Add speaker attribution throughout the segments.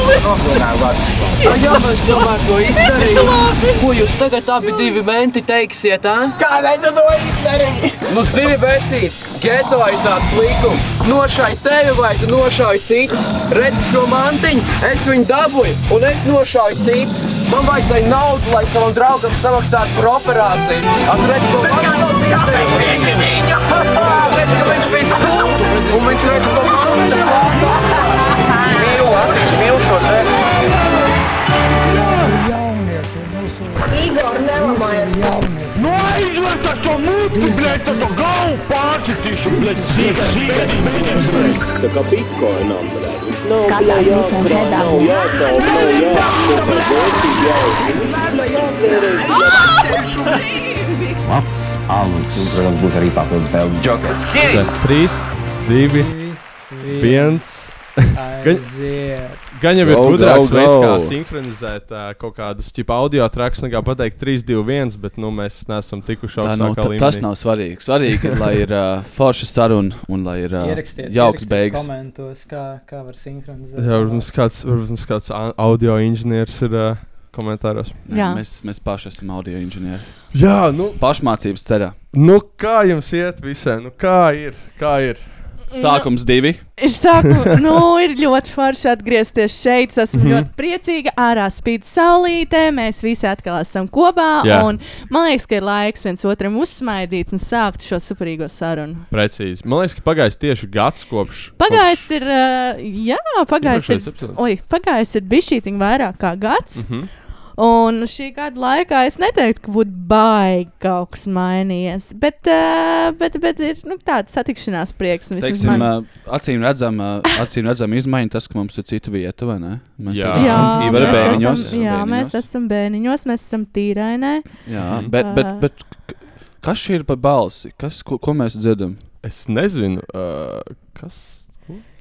Speaker 1: nogalināt.
Speaker 2: Nu, jā, mēs tomēr to izdarījām. Ko jūs tagad abi divi menti teiksiet? Eh?
Speaker 1: Kādēļ tu to izdarīji?
Speaker 2: Nu, zini, vecīt, geto ir tāds līkums. Nošai tevi vai tu nošai citus. Redzi šo mantiņu, es viņu dabūju un es nošāju citus. Man vajadzēja naudu, lai savam draugam samaksātu par operāciju. Atredz, ko man tas izdarīja. Tāpēc, ka viņš bija stulbs un viņš redz, ko man tas izdarīja.
Speaker 3: jaunieši, ir mūsu
Speaker 4: Igor, nelamājies!
Speaker 3: jaunieši.
Speaker 5: Ну аизлер то что мутки, блядь, то то гау pārcitīšu, blēd, sīk, sīk,
Speaker 6: Tā kā bitkoinam, blēd, viņš nav
Speaker 7: Skatās
Speaker 6: blēd,
Speaker 7: visiem
Speaker 6: jākrāj,
Speaker 7: pēdām.
Speaker 6: nav jātaup, nav jāapkopē vērtību jāuzņem, viņš ir blēd, jātērē.
Speaker 1: Protams, būs arī papildus vēl joks.
Speaker 8: 3, 2, 1.
Speaker 3: Aiziet.
Speaker 8: Gan jau ir
Speaker 1: Go,
Speaker 8: gudrāks
Speaker 1: go,
Speaker 8: veids,
Speaker 1: go.
Speaker 8: kā sinhronizēt uh, kaut kādus tipu audio trakus, nekā pateikt 3, 2, 1, bet nu, mēs neesam tikuši
Speaker 9: Tā, nu,
Speaker 8: augstākā
Speaker 9: ta,
Speaker 8: līmenī.
Speaker 9: tas nav svarīgi. Svarīgi ir, lai ir uh, forša saruna un lai ir uh,
Speaker 3: Ierakstiet,
Speaker 9: jauks
Speaker 3: ierakstiet
Speaker 9: beigas.
Speaker 3: Komentos, kā, kā var sinhronizēt.
Speaker 8: Jā, varbūt kāds, varbūt kāds a- audio inženieris ir uh, komentāros.
Speaker 7: Jā.
Speaker 9: Mēs, mēs paši esam audio inženieri.
Speaker 8: Jā, nu,
Speaker 9: Pašmācības ceļā.
Speaker 8: nu kā jums iet visai? Nu, kā ir? Kā ir?
Speaker 9: Sākums divi.
Speaker 7: Ir, sāku, nu, ir ļoti forši atgriezties šeit. Es
Speaker 8: Mhm.
Speaker 7: esmu ļoti priecīga. Ārā spīd saulītē, mēs visi atkal esam kopā.
Speaker 8: Jā.
Speaker 7: un Man liekas, ka ir laiks viens otram uzsmaidīt un sākt šo superīgo sarunu.
Speaker 8: Precīzi. Man liekas, ka pagājis tieši gads kopš.
Speaker 7: Pagājis ir, uh, jā, pagājis ir,
Speaker 8: Iepriekšējais epizodes.
Speaker 7: oi, pagājis ir bišķītiņ vairāk kā gads.
Speaker 8: Mhm.
Speaker 7: Un šī gada laikā es neteiktu, ka būtu baigi kaut kas mainījies. Bet, uh, bet, bet ir nu, tāds satikšanās prieks. un vismaz
Speaker 9: Teiksim,
Speaker 7: man-
Speaker 9: uh, acīm redzama acīm redzam izmaiņa, tas, ka mums ir cita vieta, vai ne? Mēs
Speaker 8: Jā.
Speaker 9: arī
Speaker 7: Jā,
Speaker 8: Ivara
Speaker 9: esam
Speaker 7: mēs
Speaker 9: Ivara
Speaker 7: esam-
Speaker 9: bērniņos.
Speaker 7: Jā, mēs esam bērniņos, mēs esam tīrainē.
Speaker 9: Jā, bet, bet,
Speaker 7: Ā.
Speaker 9: bet k- kas šī ir par balsi? Kas, ko, ko mēs dzirdam?
Speaker 8: Es nezinu, uh, kas.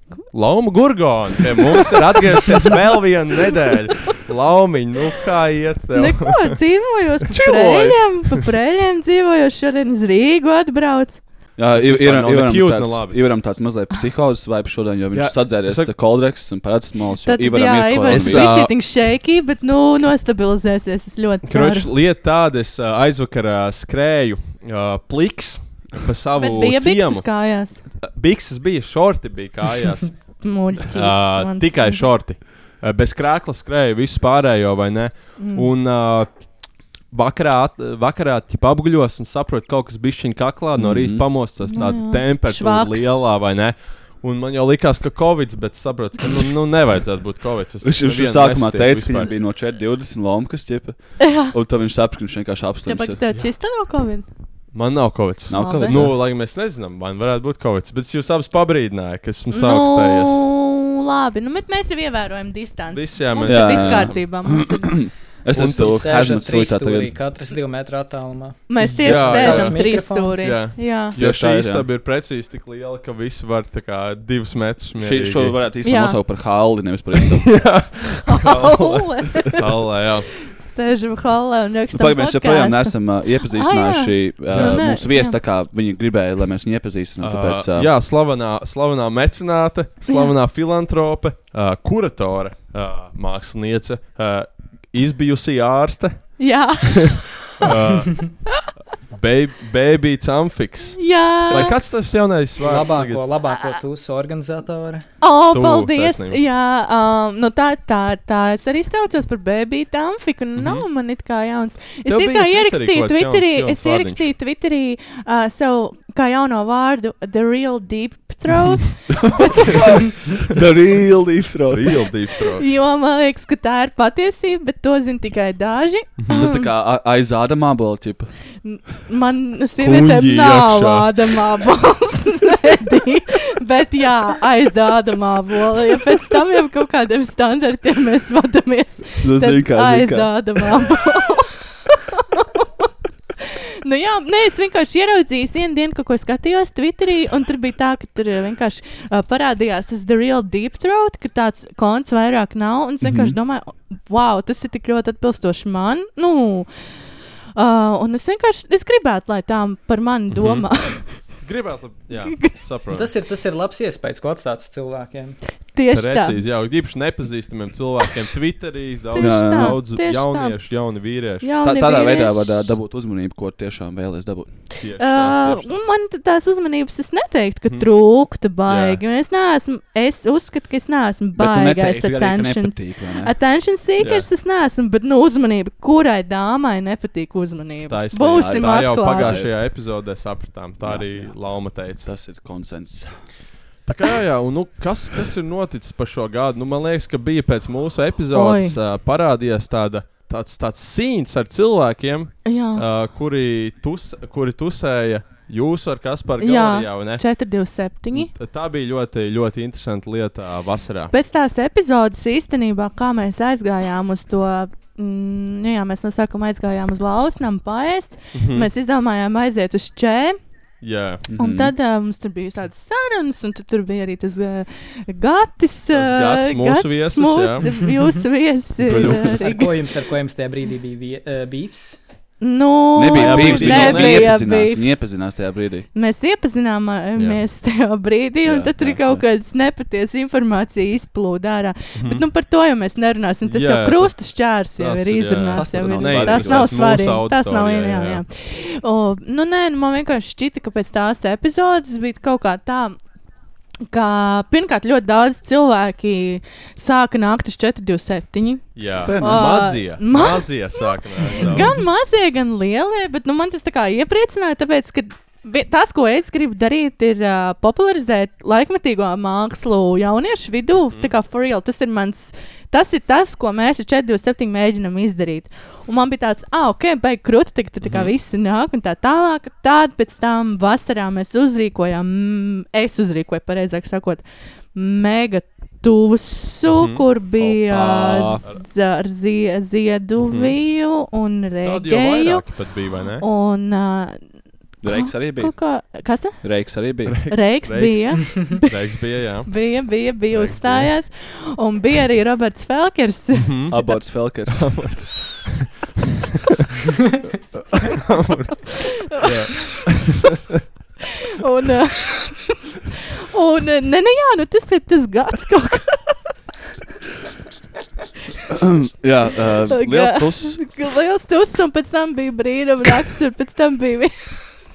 Speaker 8: ko? Lauma Gurgona. Pie mums ir atgriezusies vēl viena nedēļa. Laumiņa, nu kā iet? Tev?
Speaker 7: Neko dzīvojos, pa
Speaker 8: Čiloji.
Speaker 7: prēļiem, pa prēļiem dzīvojos, šodien uz Rīgu atbrauc.
Speaker 9: Jā,
Speaker 8: Tas
Speaker 9: ir
Speaker 8: vispār nav ne cute, ne labi.
Speaker 9: Ivaram tāds mazliet psihozes vibes šodien, jo
Speaker 8: Jā,
Speaker 9: viņš sadzēries
Speaker 8: es saku-
Speaker 9: koldreks un parāds malas.
Speaker 7: Tad, jā, Ivars
Speaker 9: Es,
Speaker 7: bija
Speaker 9: ā,
Speaker 7: šī tik šeikī, bet nu nostabilizēsies, es ļoti
Speaker 8: Kroč,
Speaker 7: ceru.
Speaker 8: lieta tāda, es uh, aizvakarā skrēju uh, pliks pa
Speaker 7: Bet
Speaker 8: savu
Speaker 7: bija bikses
Speaker 8: ciemu.
Speaker 7: kājās.
Speaker 8: Bikses bija, šorti bija kājās.
Speaker 7: Muļķis.
Speaker 8: Uh,
Speaker 7: mans.
Speaker 8: tikai šorti. Uh, Bez krākla skrēja visu pārējo, vai ne? Mm. Un uh, vakarā, at- vakarā ķip apguļos un saprotu, kaut kas bija viņa kaklā. No
Speaker 9: Mhm.
Speaker 8: rīta pamostas
Speaker 7: Nu
Speaker 8: tāda
Speaker 7: jā.
Speaker 8: temperatūra
Speaker 7: Švaks.
Speaker 8: lielā, vai ne? Un man jau likās, ka Covid, bet saprotu, ka nu, nu nevajadzētu būt Covid. Es
Speaker 9: Viņš viņš
Speaker 8: nevienu
Speaker 9: sākumā
Speaker 8: nestiepu
Speaker 9: teica, ka
Speaker 8: vispār.
Speaker 9: viņam bija no 4, 20 lomkas, ķepa. Un tad viņš saprata, ka viņš vienkārši
Speaker 7: Tāpēc, ka
Speaker 9: apstājas.
Speaker 7: tev čista nav Covid.
Speaker 8: Man nav Covid.
Speaker 9: Nav
Speaker 7: Labi.
Speaker 9: kā
Speaker 8: Nu, lai gan mēs nezinām, man varētu būt Covid, bet jūs abas pabrīdinājāt, ka esmu sāpstējies.
Speaker 7: Nu, labi, nu, bet mēs jau ievērojam distanci.
Speaker 8: Visi, jā,
Speaker 7: Mums ir
Speaker 8: mēs-
Speaker 9: Jā,
Speaker 7: viss
Speaker 9: jā.
Speaker 7: kārtībā. mums ir-
Speaker 9: Es
Speaker 8: Un
Speaker 9: esmu Hazmat Suicā tagad.
Speaker 3: Katrs divu metru attālumā.
Speaker 7: Mēs tieši
Speaker 8: Jā, jā.
Speaker 7: sēžam
Speaker 3: Savs
Speaker 7: trīs
Speaker 3: mikrofons.
Speaker 7: stūrī.
Speaker 8: Jā.
Speaker 7: Jā.
Speaker 8: Jo
Speaker 9: Tieši
Speaker 8: šī
Speaker 9: tā ir, jā.
Speaker 8: istaba ir precīzi tik liela, ka visi var tā kā divus metrus
Speaker 9: Šī, šo
Speaker 8: mierīgi.
Speaker 9: varētu īstenībā
Speaker 7: Jā.
Speaker 9: nosaukt par halli, nevis par istabu.
Speaker 7: Holle.
Speaker 8: Tālā, jā.
Speaker 7: Sēžam hollē un rakstam
Speaker 8: Nu,
Speaker 9: Pagaidām, mēs joprojām
Speaker 7: podcastu.
Speaker 9: neesam uh, iepazīstinājuši uh,
Speaker 7: Nu, nē,
Speaker 9: mūsu viesi
Speaker 7: jā.
Speaker 9: tā, kā viņi gribēja, lai mēs viņu iepazīstinām. Tāpēc,
Speaker 8: Uh,
Speaker 9: uh,
Speaker 8: jā, slavenā, slavenā mecenāte, slavenā filantrope, uh, kuratore, uh, māksliniece, uh, izbijusi ārste,
Speaker 7: Jā,
Speaker 8: uh, bērns amfiks. Vai
Speaker 7: jā.
Speaker 8: kāds tas jaunais vārds?
Speaker 3: Labāko,
Speaker 8: tagad?
Speaker 3: labāko tūsu organizatore.
Speaker 7: O,
Speaker 8: Tu,
Speaker 7: paldies.
Speaker 8: taisnība.
Speaker 7: Jā, um, nu tā, tā, tā. Es arī staucos par bērnu tamfiku. Nu, nav man it kā jauns. Es
Speaker 8: Mhm. Tev
Speaker 7: it
Speaker 8: bija
Speaker 7: kā
Speaker 8: Twitterī
Speaker 7: ierakstīju
Speaker 8: kaut kāds jauns-
Speaker 7: Twitterī,
Speaker 8: jauns
Speaker 7: es ierakstīju Twitterī uh, savu kā jauno vārdu The Real Deep Throat.
Speaker 9: The real difference.
Speaker 8: Real deep throat.
Speaker 7: Jo man liekas, ka tā ir patiesība, bet to zina tikai daži.
Speaker 8: Mhm.
Speaker 9: Tas tā kā a- aiz āda mābola tipa.
Speaker 7: Man sievietēm
Speaker 8: Kuņģi
Speaker 7: nav
Speaker 8: iekšā.
Speaker 7: ādamā balsts, bet jā, aiz ādamā bola. Ja pēc tam jau kaut kādiem standartiem mēs vadamies,
Speaker 9: Tas
Speaker 7: tad aiz
Speaker 9: vienkārši
Speaker 7: ādamā bola. Nu jā, nē, es vienkārši ieraudzīju, vienu dienu kaut ko skatījos Twitterī, un tur bija tā, ka tur eh, vienkārši uh, parādījās tas The Real Deep Throat, ka tāds konts vairāk nav. Un es vienkārši mm
Speaker 9: Mhm.
Speaker 7: -hmm. domāju, wow, tas ir tik ļoti atbilstoši man. Nu, uh, un es vienkārši es gribētu, lai tām par mani
Speaker 9: Mhm.
Speaker 7: domā. Mm -hmm.
Speaker 8: Gribētu, lab- jā, saprotu.
Speaker 3: Tas ir, tas ir labs iespējas, ko atstāt uz cilvēkiem.
Speaker 7: Tieši tā.
Speaker 8: Precīzi, jā, īpaši nepazīstamiem cilvēkiem. Twitterī daudz,
Speaker 7: Tieši tā,
Speaker 8: daudz
Speaker 7: tieši tā.
Speaker 8: jauniešu, jauni vīrieši.
Speaker 7: Jā,
Speaker 9: Tā, tādā veidā var ā, dabūt uzmanību, ko tiešām vēlēs dabūt.
Speaker 8: Tieši tā,
Speaker 7: Uh,
Speaker 8: tieši tā.
Speaker 7: man t- tās uzmanības es neteiktu, ka trūkta baigi.
Speaker 8: Jā.
Speaker 7: un Es, neesmu, es uzskatu, ka es neesmu
Speaker 9: Bet tu
Speaker 7: baigais
Speaker 9: neteiksi, ka arī, ka
Speaker 7: attention.
Speaker 9: nepatīk, vai ne?
Speaker 7: Attention seekers es neesmu, bet nu, uzmanība. Kurai dāmai nepatīk uzmanība?
Speaker 8: Taisnība.
Speaker 7: Būsim
Speaker 8: tā jau
Speaker 7: atklāti.
Speaker 8: pagājušajā epizodē sapratām. Tā arī Lapa teica.
Speaker 9: Tas ir konsensus.
Speaker 8: Tā kā, jā, jā, un, nu, kas, kas ir noticis par šo gadu? Nu, man liekas, ka bija pēc mūsu epizodes uh, parādījās tāda, tāds, tāds sīns ar cilvēkiem,
Speaker 7: Jā,
Speaker 8: uh, kuri, tus, kuri tusēja jūsu ar Kasparu
Speaker 7: Jā.
Speaker 8: galerijā. vai ne?
Speaker 7: 427.
Speaker 8: Un Tā bija ļoti, ļoti interesanta lieta ā, vasarā.
Speaker 7: Pēc tās epizodes īstenībā, kā mēs aizgājām uz to. Mm, nu jā, mēs no sākuma aizgājām uz Lausnām, paēst. Mm -hmm. Mēs izdomājām aiziet uz Čēnu.
Speaker 8: Mhm. Jā,
Speaker 7: Un
Speaker 9: Mhm.
Speaker 7: tad uh, mums tur bija tādas sarunas, un tu tur bija arī tas uh, gatis.
Speaker 8: gatis
Speaker 7: ā,
Speaker 8: mūsu
Speaker 7: gatis
Speaker 8: viesis, jā.
Speaker 7: Mūsu, jūsu viesis. ir
Speaker 8: Gaļuks.
Speaker 7: arī-
Speaker 3: Ar ko jums, ar ko jums tajā brīdī bija vie- eh, beefs?
Speaker 7: Nu,
Speaker 9: Nebija
Speaker 8: Jā,
Speaker 9: bijis
Speaker 8: bija
Speaker 9: grūti. Viņi
Speaker 7: nebija
Speaker 9: iepazinās,
Speaker 7: beefs.
Speaker 9: viņi iepazinās tajā brīdī.
Speaker 7: Mēs iepazināmies tajā brīdī, un
Speaker 9: Jā,
Speaker 7: tad tur
Speaker 9: jā,
Speaker 7: ir kaut
Speaker 9: jā. kāda
Speaker 7: kādas nepatiesas informācijas izplūda ārā. Bet nu, par to jau mēs nerunāsim. Tas
Speaker 8: Jā,
Speaker 7: jau
Speaker 8: tas-
Speaker 7: krustu šķērs jau ir
Speaker 8: tas ir, jā.
Speaker 7: izrunāts.
Speaker 9: Tas,
Speaker 7: jau
Speaker 9: protams,
Speaker 7: ir-
Speaker 9: nav
Speaker 7: Tas
Speaker 9: svarīgi.
Speaker 7: nav
Speaker 8: Tas mūsu
Speaker 7: svarīgi. Tas nav
Speaker 8: auditorijai,
Speaker 7: jā, jā.
Speaker 8: jā.
Speaker 7: O, nu, nē, nu, man vienkārši šķita, ka pēc tās epizodes bija kaut kā tā. Kā, pirmkārt, ļoti daudz cilvēki sāka nākt uz 427.
Speaker 8: jā.
Speaker 9: Pēc-
Speaker 8: mazie.
Speaker 7: ma-
Speaker 8: Mazie sākumā.
Speaker 7: Gan mazie, gan lielie, bet nu, man tas tā kā iepriecināja, tāpēc, ka vi- tas, ko es gribu darīt, ir uh, popularizēt laikmatīgo mākslu jauniešu vidū. Mm. Tā kā for real, tas ir mans. Tas ir tas, ko mēs ar 427 mēģinām izdarīt. Un man bija tāds, ah, ok, beigas krūti, tagad tā kā visi nāk un tā tālāk. Tad pēc tam vasarā mēs uzrīkojām, mm, es uzrīkoju, pareizāk sakot, mega tuvusu, mm -hmm. kur bija
Speaker 8: Opa.
Speaker 7: z- ar zie, Zieduviju un
Speaker 8: Tāda Mhm. jau
Speaker 7: Regeju.
Speaker 8: vairāk pat bija, vai ne?
Speaker 7: Un, uh,
Speaker 9: Reiks arī bija.
Speaker 7: kaut kā, kas tas
Speaker 9: Reiks arī bija.
Speaker 7: Reiks
Speaker 8: Reiks.
Speaker 7: bija?
Speaker 8: Reiks bija, jā.
Speaker 7: Bija, bija, bija
Speaker 8: Reiks bija.
Speaker 7: uzstājās. Un bija arī Roberts Falkers.
Speaker 9: Aborts Felkers.
Speaker 8: Mhm.
Speaker 7: un, uh, un uh, ne, ne, jā, nu tas ir tas gads, kaut kā
Speaker 9: Jā, uh, liels
Speaker 7: Ga-
Speaker 9: puses.
Speaker 7: liels tuss, un pēc tam bija brīnuma nakts, un pēc tam bija vi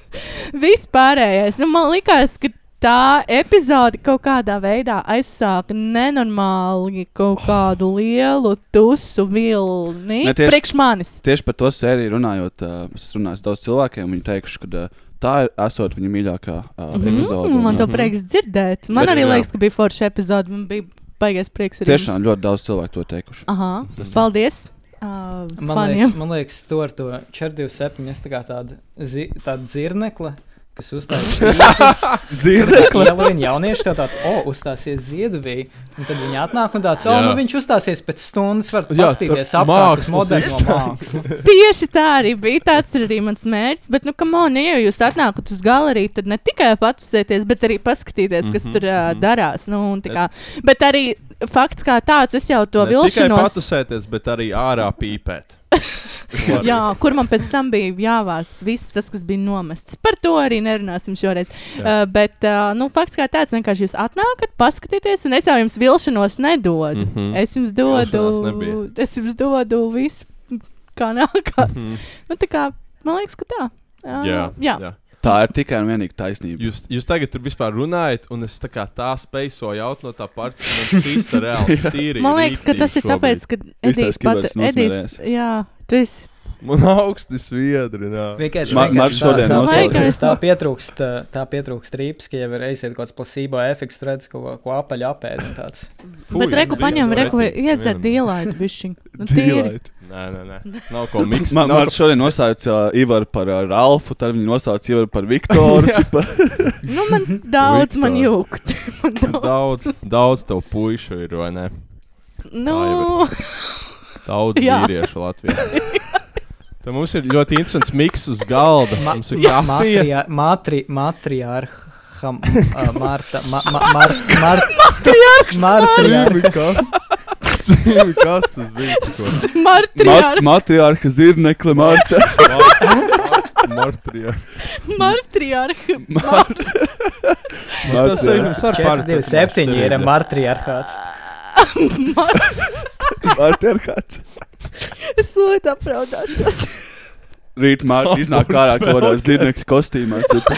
Speaker 7: vispārējais. Nu, man liekas, ka tā epizode kaut kādā veidā aizsāka nenormāli kaut kādu lielu tusu vilni
Speaker 9: Ne, tieši-
Speaker 7: priekš manis.
Speaker 9: Tieši par to sēriju runājot, uh, es esmu runājis daudz cilvēkiem, viņi teikuši, ka uh, tā ir esot viņa mīļākā uh, epizode.
Speaker 7: Mm, man
Speaker 9: un,
Speaker 7: to prieks dzirdēt. Man
Speaker 9: Bet,
Speaker 7: arī
Speaker 9: jā.
Speaker 7: liekas, ka bija forša epizode. Man bija baigais prieks
Speaker 9: uh,
Speaker 7: arī.
Speaker 9: Tiešām ļoti daudz cilvēku to teikuši.
Speaker 7: Aha, paldies. Uh,
Speaker 3: Man liekas, man liekas, to ar to 427 es tā kā tāda, zi, tāda zirnekla. Kas uzstājas Ziedonijā? Jā, viņa jaunieši tā tāds, o, uzstāsies Ziedonijā. Un tad viņi atnāk un tāds, o,
Speaker 8: Jā.
Speaker 3: nu viņš uzstāsies pēc stundas, var
Speaker 8: Jā,
Speaker 3: paskatīties
Speaker 8: tā
Speaker 3: apkārt uz
Speaker 8: mākslas
Speaker 3: moderno mākslu.
Speaker 7: Tieši tā arī bija. Tāds ir arī mans mērķis. Bet, nu, kam on, ja jūs atnākat uz galeriju, tad ne tikai patusēties, bet arī paskatīties, kas mm -hmm, tur
Speaker 8: Mhm,
Speaker 7: uh, darās. Nu, un tā kā, bet arī fakts kā tāds, es jau to
Speaker 8: Ne tikai
Speaker 7: vilšanos.
Speaker 8: patusēties, bet arī ārā pīpēt.
Speaker 7: Jā, kur man pēc tam bija jāvāc viss, tas, kas bija nomests. Par to arī nerunāsim šoreiz.
Speaker 8: Jā.
Speaker 7: Uh, bet, uh, nu, fakts kā tāds, vienkārši jūs atnākat, paskatieties, un es jau jums vilšanos nedodu. Mm
Speaker 8: Mhm.
Speaker 7: -hmm. Es jums
Speaker 8: Vilšanās
Speaker 7: dodu,
Speaker 8: nebija.
Speaker 7: es jums dodu visu, kā nākās. Mm -hmm. nu, tā kā, man liekas, ka tā. Uh,
Speaker 8: Mhm. Jā,
Speaker 7: jā.
Speaker 8: jā.
Speaker 9: Tā ir tikai un vienīgi taisnība.
Speaker 8: Jūs, jūs tagad tur vispār runājat, un es tā kā tā spēju sojāt no tā parka, ka man tas ir reāli. Tīri,
Speaker 7: Man liekas, ka tas ir tāpēc, ka
Speaker 9: Viss
Speaker 7: Edijs
Speaker 9: tās
Speaker 7: pat
Speaker 9: kibers nosmērēs.
Speaker 7: Edijs. Jā, tu esi.
Speaker 8: Man augsti sviedri. nā.
Speaker 3: Vienkārši
Speaker 9: Ma- Marks
Speaker 3: vienkārši tā-
Speaker 9: šodien
Speaker 3: tā-
Speaker 9: nosauca.
Speaker 3: tā- tā pietrūkst, uh, tā pietrūkst rīps, ka jau ir aiziet kaut kāds placebo efekts, tu redz kaut ko, ko apaļ apēd un tāds.
Speaker 8: Fui,
Speaker 7: Bet reku
Speaker 8: neviens
Speaker 7: paņem,
Speaker 8: nav
Speaker 7: reku
Speaker 8: ētisks,
Speaker 7: iedzer
Speaker 8: nevienam.
Speaker 7: dīlaitu bišķiņu. Nu, tīri.
Speaker 8: Nē, nē, nē. Nav ko miksēt.
Speaker 9: Man, man šodien nosauca uh, Ivaru par uh, Ralfu, tad viņi nosauca Ivaru par Viktoru. čipa.
Speaker 7: Nu, man daudz man
Speaker 8: Viktor.
Speaker 7: jūgt. Man daudz.
Speaker 8: Daudz, daudz tev puišu ir, vai ne?
Speaker 7: Nu,
Speaker 8: Daudz
Speaker 7: Jā.
Speaker 8: vīriešu Latvijā. Tad mums ir ļoti interesants miks uz galda.
Speaker 3: Ma-
Speaker 8: Mums ir kafija.
Speaker 3: Matri- matri- Matriarham, uh, Marta, ma, ma, mar, mar, Matriarhs.
Speaker 8: Zini, kas- Zini, Kas tas bija? tikko?
Speaker 7: Martiņā.
Speaker 9: Mat- Matriarha Zirnekle Marta.
Speaker 8: Ma- ma-
Speaker 9: Mortrijā.
Speaker 7: Martriarha.
Speaker 8: Nu, Tas ir mums ar
Speaker 3: 427 ir martriarchāts.
Speaker 9: Mortrijārkāds.
Speaker 7: Es ļoti apraudāšos.
Speaker 9: Rīt Mārtiņš iznāk ārā kaut kādā zirnekļa kostīmā. cipa.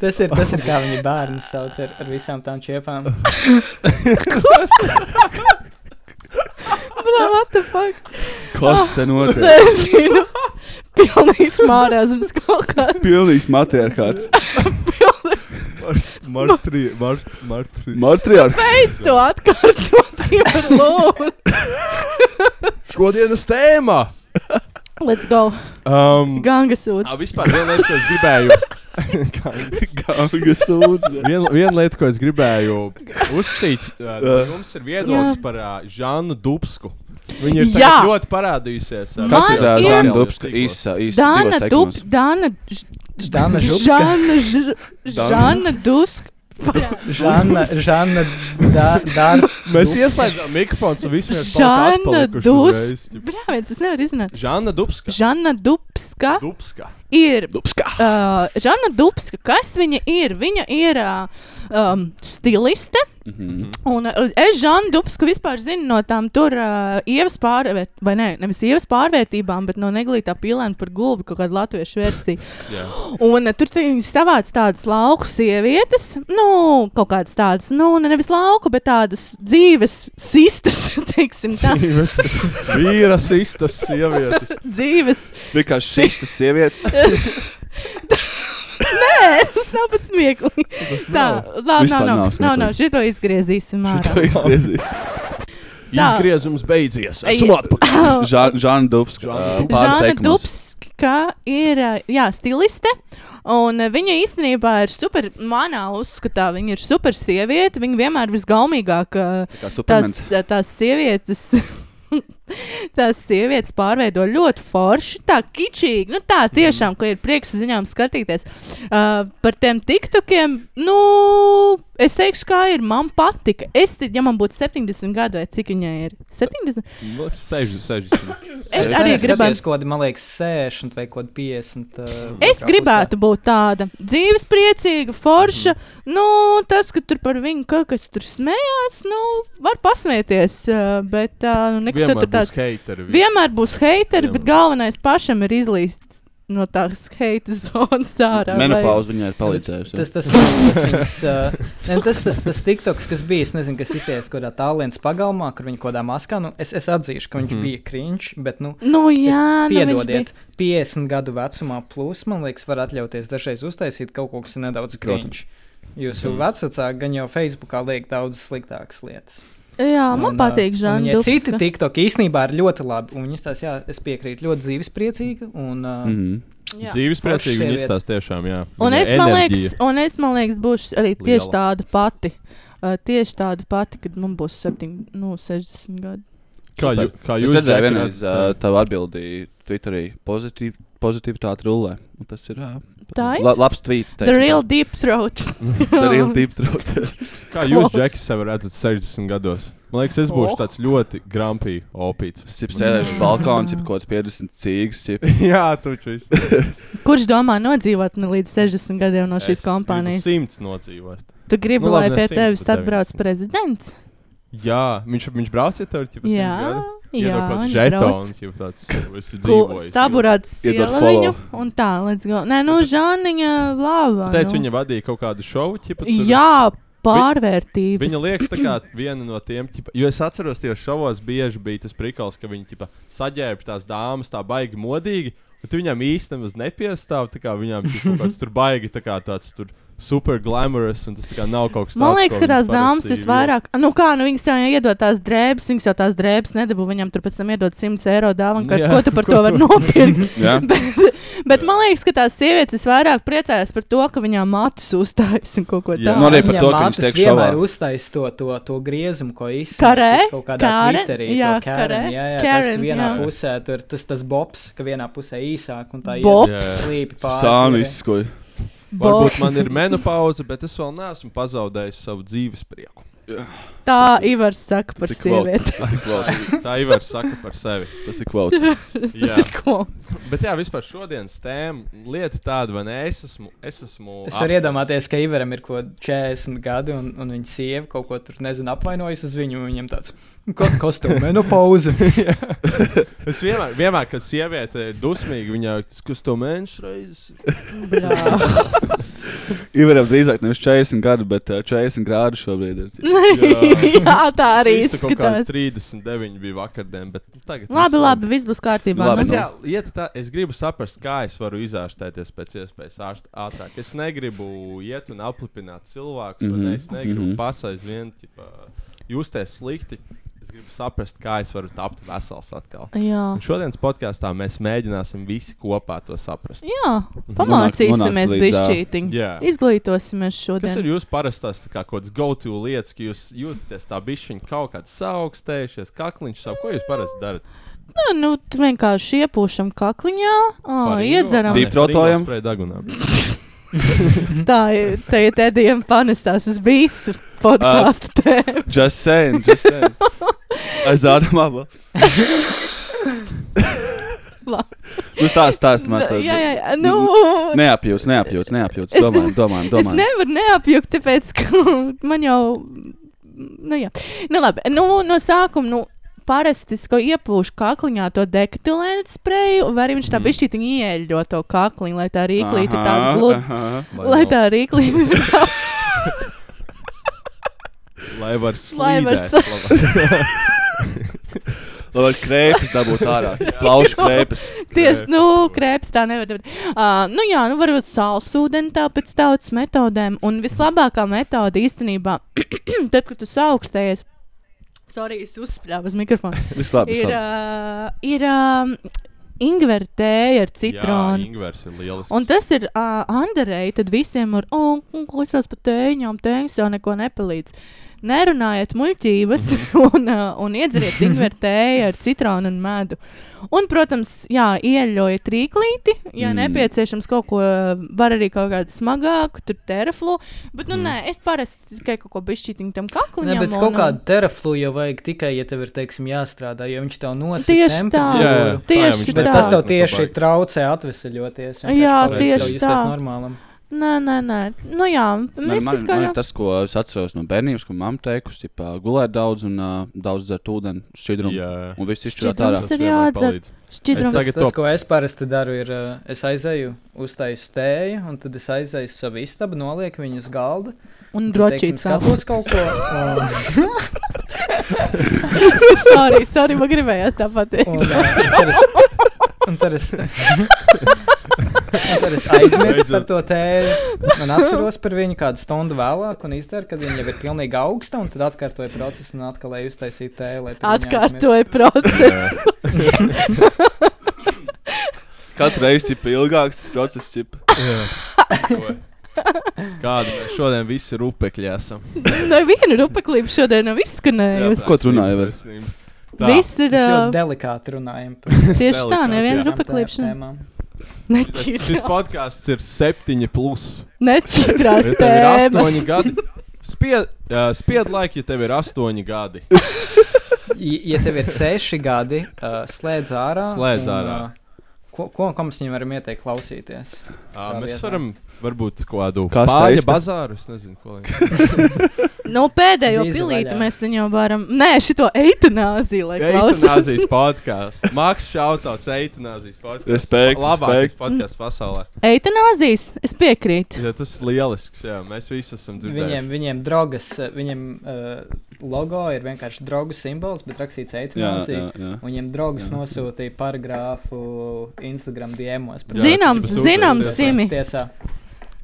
Speaker 3: Tas ir, tas ir kā viņa bērnu sauc ar, ar visām tām čiepām.
Speaker 7: Bro, what the fuck? Ah.
Speaker 9: Kas te notiek?
Speaker 7: Nezinu. Pilnīgs mārāzms kaut kā.
Speaker 9: Pilnīgs matērkāds.
Speaker 8: Martrija.
Speaker 9: Mortrijārks.
Speaker 7: Beidz to atkārtot, Ivar, lūdzu.
Speaker 8: Šodienas tēma!
Speaker 7: Let's go.
Speaker 8: Um,
Speaker 7: Ganga sūds.
Speaker 8: vispār viena lieta, ko es gribēju.
Speaker 9: Ganga sūdz.
Speaker 8: Viena vien lieta, ko es gribēju uzsākt,
Speaker 9: Jā.
Speaker 8: uh, jums ir viedoklis
Speaker 7: Jā.
Speaker 8: par uh, Žānu Dubsku. Viņa
Speaker 7: Jā.
Speaker 8: ir tagad ļoti parādījusies. Uh,
Speaker 9: Kas ir
Speaker 7: Man
Speaker 9: tā
Speaker 7: ir-
Speaker 9: Žana Dubska? Īsa, īsa.
Speaker 7: Dāna Dub... Dāna...
Speaker 3: Žana Župska.
Speaker 7: Žana... Žr-
Speaker 9: Dāna.
Speaker 7: Žana Dusk.
Speaker 3: Žana, Žana, da, da,
Speaker 8: Mēs ieslēdzām mikrofons un viss vienkārši
Speaker 7: Žana
Speaker 8: palika atpalikuši uzreiz,
Speaker 7: Dusk.
Speaker 8: ķip.
Speaker 7: Brāviens, es nevaru izrunāt.
Speaker 8: Žana Dubska.
Speaker 7: Žana Dubska
Speaker 8: Dubska.
Speaker 7: ir
Speaker 9: Dubska.
Speaker 7: Uh, Žana Dubska, kas viņa ir? Viņa ir uh, um, stiliste.
Speaker 9: Mhm.
Speaker 7: Un uh, es Žanu Dubsku vispār zinu no tām tur uh, ievas pārvērtībām, vai ne, nevis ievas pārvērtībām, bet no neglītā pīlēna par gulbi kaut kāda latviešu versija. Un uh, tur tie viņi savāc tādas lauku sievietes, nu, kaut kādas tādas, nu, ne- nevis lauku, bet tādas dzīves sistas, teiksim tā,
Speaker 8: Divas vīras, istas sievietes.
Speaker 7: dzīves.
Speaker 9: Vienkārši šīs sievietes.
Speaker 7: Nē, tas nav pats smieklīgi. Tā, labi,
Speaker 9: Vispār
Speaker 7: nav,
Speaker 9: nav
Speaker 7: nav, nav, nav,
Speaker 9: smieklīgi.
Speaker 7: šito izgriezīsim
Speaker 9: To
Speaker 7: ārā.
Speaker 9: izgriezīs.
Speaker 7: Tā.
Speaker 8: Izgriezums beidzies.
Speaker 7: Ei.
Speaker 8: Esmu atpakaļ. Žana
Speaker 9: Žana Dubska. ā,
Speaker 8: Dubska.
Speaker 7: Žana
Speaker 9: pārsteigumos.
Speaker 7: Dubska ir ā, jā, stiliste. Un ā, viņa īstenībā ir super, manā uzskatā, viņa ir super sieviete. Viņa vienmēr ir visgaumīgākā.
Speaker 9: Tā kā
Speaker 7: Tās,
Speaker 9: Supermans.
Speaker 7: ā, tās sievietes. Tās sievietes pārveido ļoti forši, tā kičīgi. Nu, tā tiešām, ka ir prieks uz viņām skatīties. Uh, par tiem tiktokiem, nu, es teikšu, kā ir. Man patika. Es, te- ja man būtu 70 gadi, vai cik viņai ir? 70?
Speaker 8: Nu, 60, 60.
Speaker 7: Es, es arī gribētu.
Speaker 3: kaut kādu, man liekas, 60 vai kaut kādu 50. uh,
Speaker 7: Es
Speaker 3: otrā
Speaker 7: gribētu būt tāda dzīves priecīga, forša. Mm. Nu, tas, ka tur par viņu kaut kas tur smējās, nu, var pasmieties. ā, Bet ā, nu, nekas jau
Speaker 8: Vienmēr
Speaker 7: tur
Speaker 8: būs
Speaker 7: tāds.
Speaker 8: heiteri. visi.
Speaker 7: Vienmēr būs heiteri, bet
Speaker 8: Vienmēr.
Speaker 7: galvenais pašam ir izlīst no tās heita zonas ārā. lai-
Speaker 9: Menopauze viņai ir palīdzējusi.
Speaker 3: Tas tas tas tas viņas, uh, ne, tas tas tas TikToks, kas bija, es nezinu, kas izties kaut kādā tālens pagalmā, kur viņa kaut kādā maskā, nu, es, es atzīšu, ka viņš
Speaker 9: Mhm.
Speaker 3: mm -hmm. bija kriņš, bet, nu,
Speaker 7: Nu,
Speaker 3: es-
Speaker 7: jā, nu, viņš
Speaker 3: piedodiet, 50 gadu vecumā plus, man liekas, var atļauties dažreiz uztaisīt kaut ko, kas ir nedaudz kriņš. Jūsu
Speaker 9: Mhm.
Speaker 3: mm. vecāki gan jau Facebookā liek daudz sliktākas lietas.
Speaker 7: bija- Jā, Ah, man
Speaker 3: Un, ā,
Speaker 7: patīk,
Speaker 3: un
Speaker 7: Žanna.
Speaker 3: viņai Citi
Speaker 7: Dubska.
Speaker 3: TikTok īstenībā ir ļoti labi, un viņas tās, jā, es piekrītu, ļoti dzīvespriecīga un uh, mm.
Speaker 9: Mhm.
Speaker 7: Jā.
Speaker 8: Dzīves priecīgi
Speaker 3: Foršas
Speaker 8: viņi izstāsta tiešām, jā.
Speaker 7: Un
Speaker 8: Viņai
Speaker 7: es, man
Speaker 8: enerģija.
Speaker 7: liekas, un es, man liekas, būšu arī tieši
Speaker 8: Liela.
Speaker 7: tāda pati. Uh, tieši tāda pati, kad man būs septiņ- nu, 60 gadi.
Speaker 8: Kā,
Speaker 9: Super.
Speaker 8: jū, kā
Speaker 9: Es
Speaker 8: jūs
Speaker 9: redzēju,
Speaker 8: redzējāt,
Speaker 9: vienreiz ā, tavu atbildīju Twitterī pozitīvi. Pozitivitāte rullē. Un tas ir ā,
Speaker 7: Tā ir?
Speaker 9: la, labs tweets.
Speaker 7: The real deep throat. Um,
Speaker 9: The real deep throat.
Speaker 8: kā jūs,
Speaker 7: Klausa.
Speaker 8: Džeki, sev redzat 60 gados? Man liekas, es būšu
Speaker 7: Oh.
Speaker 8: tāds ļoti grumpy opīts.
Speaker 9: Es jau sēžu balkonā, jau kaut kāds 50 cīgas. jeb-
Speaker 8: jā, tu čuvis.
Speaker 7: Kurš domā nodzīvot nu, līdz 60 gadiem no šīs
Speaker 8: Es
Speaker 7: kompānijas?
Speaker 8: gribu Simts nodzīvot.
Speaker 7: Tu gribi,
Speaker 8: Nu,
Speaker 7: nu, lai
Speaker 8: labi, ne
Speaker 7: pie
Speaker 8: 100,
Speaker 7: tevis
Speaker 8: bet
Speaker 7: atbrauc
Speaker 8: 90.
Speaker 7: prezidents?
Speaker 8: Jā, viņš, viņš brauc ar tevi, jau
Speaker 7: Jā, jā, viņš brauc.
Speaker 8: žetons, jau tāds - es
Speaker 7: Ku-
Speaker 8: dzīvoju.
Speaker 7: Staburāts
Speaker 9: Iedod
Speaker 7: siela
Speaker 9: follow.
Speaker 7: viņu un tā, let's go. Nē, nu, Žāniņa lava.
Speaker 8: Teic,
Speaker 7: nu.
Speaker 8: viņa vadīja kaut kādu šovu, tipa, tur-
Speaker 7: Jā, pārvērtības.
Speaker 8: Viņa liekas, tā kā viena no tiem, tipa, jo es atceros, tie šovos bieži bija tas prikals, ka viņi tipa, saģērba tās dāmas tā baigi modīgi, un tu viņam īstenībā nepiestāv. tā kā Viņām tipa, kaut kāds tur baigi tā kā tāds tur super glamorous, un tas tā kā nav kaut kas tāds.
Speaker 7: Man liekas,
Speaker 8: ko
Speaker 7: ka tās
Speaker 8: viņas
Speaker 7: dāmas
Speaker 8: parasti ieliek.
Speaker 7: visvairāk, nu kā, nu viņas tev jau iedod tās drēbes, viņas jau tās drēbes nedabū, viņam tur pēc tam iedod 100 eiro dāvanu,
Speaker 8: Jā,
Speaker 7: kārtu, ko tu par
Speaker 8: ko
Speaker 7: to
Speaker 8: tu-
Speaker 7: var nopirkt.
Speaker 9: Jā.
Speaker 7: bet, bet man liekas, ka tās sievietes visvairāk priecājās par to, ka viņām matus uzstājas un kaut ko
Speaker 8: Jā.
Speaker 7: tādu.
Speaker 9: Man arī par
Speaker 3: Viņam
Speaker 9: to, ka viņš
Speaker 3: mātes
Speaker 9: tiek
Speaker 3: vienmēr
Speaker 9: šovā.
Speaker 3: uztaisīja to, to, to griezumu, ko
Speaker 7: Karē?
Speaker 3: izsaka kaut kādā
Speaker 7: Kāre?
Speaker 3: Twitterī.
Speaker 7: Jā,
Speaker 3: Jā,
Speaker 7: karē?
Speaker 3: Karen, jā, jā, Karen, tas,
Speaker 7: Karen,
Speaker 3: ka vienā
Speaker 7: jā.
Speaker 3: jā. pusē tur tas, tas bobs, ka vienā pusē īsāk un tā
Speaker 7: Bobs?
Speaker 3: iet slīpi pāri.
Speaker 9: Sānis, ko
Speaker 8: Varbūt man ir menopauze, bet es vēl neesmu pazaudējis savu dzīves prieku.
Speaker 7: Tā Ivars saka par
Speaker 9: ir quote.
Speaker 7: sievieti.
Speaker 9: Tas ir quote.
Speaker 8: Tā jau var saka par sevi.
Speaker 9: Tas ir quote.
Speaker 7: Tas ir ko?
Speaker 8: Bet jā, vispār šodienas tēma lieta tāda, vai ne? Es esmu. Es, esmu
Speaker 3: Es varu
Speaker 8: apstāsts.
Speaker 3: iedomāties, ka Ivaram ir kaut kas 40 gadi, un, un viņa sieva kaut ko tur nezinu, apvainojas uz viņu. un Viņam tāds ko, - kostum, menopauze.
Speaker 8: Es vienmēr, vienmēr kad sieviete ir dusmīga, viņa skus to mēnešu reizes.
Speaker 9: Ivaram drīzāk nevis 40 gadi, bet ā, 40 grādi šobrīd ir.
Speaker 7: Jā, tā arī
Speaker 8: Īsti kaut kā
Speaker 7: izskatās.
Speaker 8: 39 bija vakardien, bet nu, tagad.
Speaker 7: Labi,
Speaker 8: viss
Speaker 7: labi, viss būs kārtībā.
Speaker 9: Labi,
Speaker 8: Bet
Speaker 7: nu.
Speaker 8: jā, lieta tā, es gribu saprast, kā es varu izārstēties pēc iespējas ārst- ātrāk. Es negribu iet un aplipināt cilvēkus, mm
Speaker 9: Mhm,
Speaker 8: -hmm. es negribu mm
Speaker 9: mhm.
Speaker 8: -hmm. pasais vien, tipā, justies slikti. Es gribu saprast, kā es varu tapt vesels atkal.
Speaker 7: Jā.
Speaker 8: Un šodienas podkāstā mēs mēģināsim visi kopā to saprast.
Speaker 7: Jā,
Speaker 9: Nonāk-
Speaker 7: pamācīsimies
Speaker 9: nonāk līdz,
Speaker 7: bišķītiņu.
Speaker 8: jā.
Speaker 7: Izglītosimies
Speaker 8: Kas
Speaker 7: šodien.
Speaker 8: ir jūsu parastās tā kā, kaut kādas go-to lietas, ka jūs jūtaties tā bišķiņa kaut kāds saukstējušies, kakliņš savu? Ko jūs parasti darat?
Speaker 7: Nu, nu, tu vienkārši iepūšam kakliņā, ā, iedzeram.
Speaker 9: Deep throatojam?
Speaker 8: Pret dagunā.
Speaker 7: Tā ir, tā ir tēdiem panesās uz visu podkāstu tēmu.
Speaker 9: Just saying, just saying. Aiz ādām abu.
Speaker 7: Labi.
Speaker 9: Nu stāst, stāst man to.
Speaker 7: Jā, jā, jā, nu.
Speaker 9: Neapjūts, neapjūts, neapjūts.
Speaker 7: Es-
Speaker 9: Domājam, domājam,
Speaker 7: Es
Speaker 9: domājam.
Speaker 7: nevaru neapjukt, tāpēc, ka man jau. Nu, jā, nu, labi. Nu, no sākuma, nu, parasti es ko iepūšu kakliņā to dektilēnu spreju, vai arī viņš tā bišķi tik ieļo to kakliņu, lai tā rīklīte tā
Speaker 9: Aha,
Speaker 7: gludi.
Speaker 9: aha.
Speaker 7: Lai tā rīklīte.
Speaker 8: Lai var
Speaker 7: Lai var
Speaker 8: slīdēt. labāk.
Speaker 9: Lai var krēpes dabūt ārā. Plaušu krēpes.
Speaker 7: Tieši, nu, krēps tā nevar būt. Uh, nu, jā, nu, varbūt sālsūdeni tā pēc tautas metodēm. Un vislabākā metode īstenībā, tad, kad tu saaugstējies, sorry, es uzspļāvu uz mikrofonu,
Speaker 9: Viss labi, viss
Speaker 7: ir,
Speaker 9: labi.
Speaker 7: uh, ir uh, ingvera tēja ar
Speaker 8: Jā,
Speaker 7: citronu.
Speaker 8: Ingūns ir lielisks.
Speaker 7: Un tas ir uh, Andrejai, tad visiem ir, oh, klausās par tēņām, tēņas jau neko nepalīdz. Nerunājiet muļķības un, uh, un iedzeriet ingvertēju ar citronu un medu. Un, protams, jā, ieļaujiet rīklīti, ja mm. nepieciešams kaut ko, var arī kaut kādu smagāku, tur teraflu. Bet, nu, mm. nē, es parasti tikai kaut ko bišķītiņu tam kaklam.
Speaker 3: Nē, bet kaut kādu teraflu jau vajag tikai, ja tev ir, teiksim, jāstrādā, jo viņš tev nosaka
Speaker 7: Tieši tā.
Speaker 3: temperatūru.
Speaker 7: Tieši
Speaker 3: Bet
Speaker 7: tā.
Speaker 3: tas tev tieši traucē atvesaļoties. vienkārši
Speaker 7: Jā,
Speaker 3: palīdz
Speaker 8: tieši
Speaker 3: tev justies
Speaker 7: tā.
Speaker 3: normālam.
Speaker 7: Nē, nē, nē. Nu, jā,
Speaker 9: Man,
Speaker 7: mēs
Speaker 9: man,
Speaker 7: it kā
Speaker 9: man
Speaker 7: jau.
Speaker 9: ir tas, ko es atceros no bērnības, ko mamma teikusi, ka gulēt daudz un uh, daudz dzert ūdeni, šķidrumu.
Speaker 8: Jā.
Speaker 9: Un viss izšķirās
Speaker 7: Šķidrums
Speaker 9: ārā.
Speaker 7: Tas ir jādzer.
Speaker 8: Es
Speaker 7: Šķidrums.
Speaker 8: tagad-
Speaker 3: Tas,
Speaker 8: to-
Speaker 3: tas, ko es parasti daru, ir, uh, es aizēju, uztaisu tēju, un tad es aizēju uz savu istabu, nolieku viņu uz galda.
Speaker 8: Nu,
Speaker 7: Un
Speaker 3: Teiksim,
Speaker 7: drošības apgabals.
Speaker 3: skatos kaut ko, un,
Speaker 7: Sorry, sorry, man gribējās tāpat.
Speaker 3: un, uh, un tad es- un tad es, un tad es aizmirstu par to tēju. Un atceros par viņu kādu stundu vēlāk, un izdaru, kad viņa jau ir pilnīgi augsta, un tad atkārtoju procesu, un atkal eju uztaisīt tēju. lai par viņu aizmirstu.
Speaker 7: Atkārtoja procesu.
Speaker 9: Katru reizi ir ilgāks tas process. Cipa.
Speaker 8: Kāda mēs šodien visi rupekļi esam?
Speaker 7: Nevienu rupaklību Nu, šodien nav izskanējusi.
Speaker 9: Ko tu runāji, Ivar?
Speaker 8: Ivar?
Speaker 7: Viss ir
Speaker 3: Mēs
Speaker 7: ā,
Speaker 3: ļoti delikāti runājam par
Speaker 7: tieši tā,
Speaker 8: delikāti, jā.
Speaker 7: neviena
Speaker 3: tām
Speaker 7: rupaklīpšana.
Speaker 3: tēmām.
Speaker 8: Šis
Speaker 7: Nečītrās
Speaker 8: podkāsts ir septiņi plus. Ja tev ir
Speaker 7: tēmas.
Speaker 8: astoņi gadi. Spied, uh, spied laiku, ja tev ir astoņi gadi.
Speaker 3: Ja ja tev ir seši gadi, uh, slēdz ārā.
Speaker 8: Slēdz
Speaker 3: un,
Speaker 8: ārā.
Speaker 3: Uh, ko, ko, ko mēs viņam varam ieteikt klausīties?
Speaker 8: Uh,
Speaker 3: Tā
Speaker 8: mēs
Speaker 3: vietā.
Speaker 8: varam varbūt kādu
Speaker 9: Kas
Speaker 8: pāri
Speaker 9: taista?
Speaker 8: bazāru. Es nezinu, ko lai.
Speaker 7: No Nu, pēdējo
Speaker 3: Vīza
Speaker 7: pilīti
Speaker 3: vaļā.
Speaker 7: mēs viņu varam. Nē, šito eitanāziju, lai klausās.
Speaker 8: Eitanāzijas podkāsts. Mākslinieks šautauts eitanāzijas podkāsts.
Speaker 9: Respekt,
Speaker 8: Labākais
Speaker 9: respekt.
Speaker 8: podkāsts pasaulē.
Speaker 7: Eitanāzijas? Es piekrītu.
Speaker 8: Jā, tas ir lielisks. Jā. Mēs visi esam
Speaker 3: Viņiem,
Speaker 8: dzirdējuši.
Speaker 3: viņiem drogas, uh, viņiem uh, logo ir vienkārši draugu simbols, bet rakstīts
Speaker 9: Jā, jā,
Speaker 3: eitanāzija.
Speaker 9: jā.
Speaker 3: Un Viņiem draugs nosūtīja paragrāfu Instagram diemos.
Speaker 8: Jā,
Speaker 7: Zinām,
Speaker 8: tipus
Speaker 7: zinām,
Speaker 8: ūdens
Speaker 7: simi.
Speaker 3: Tiesā.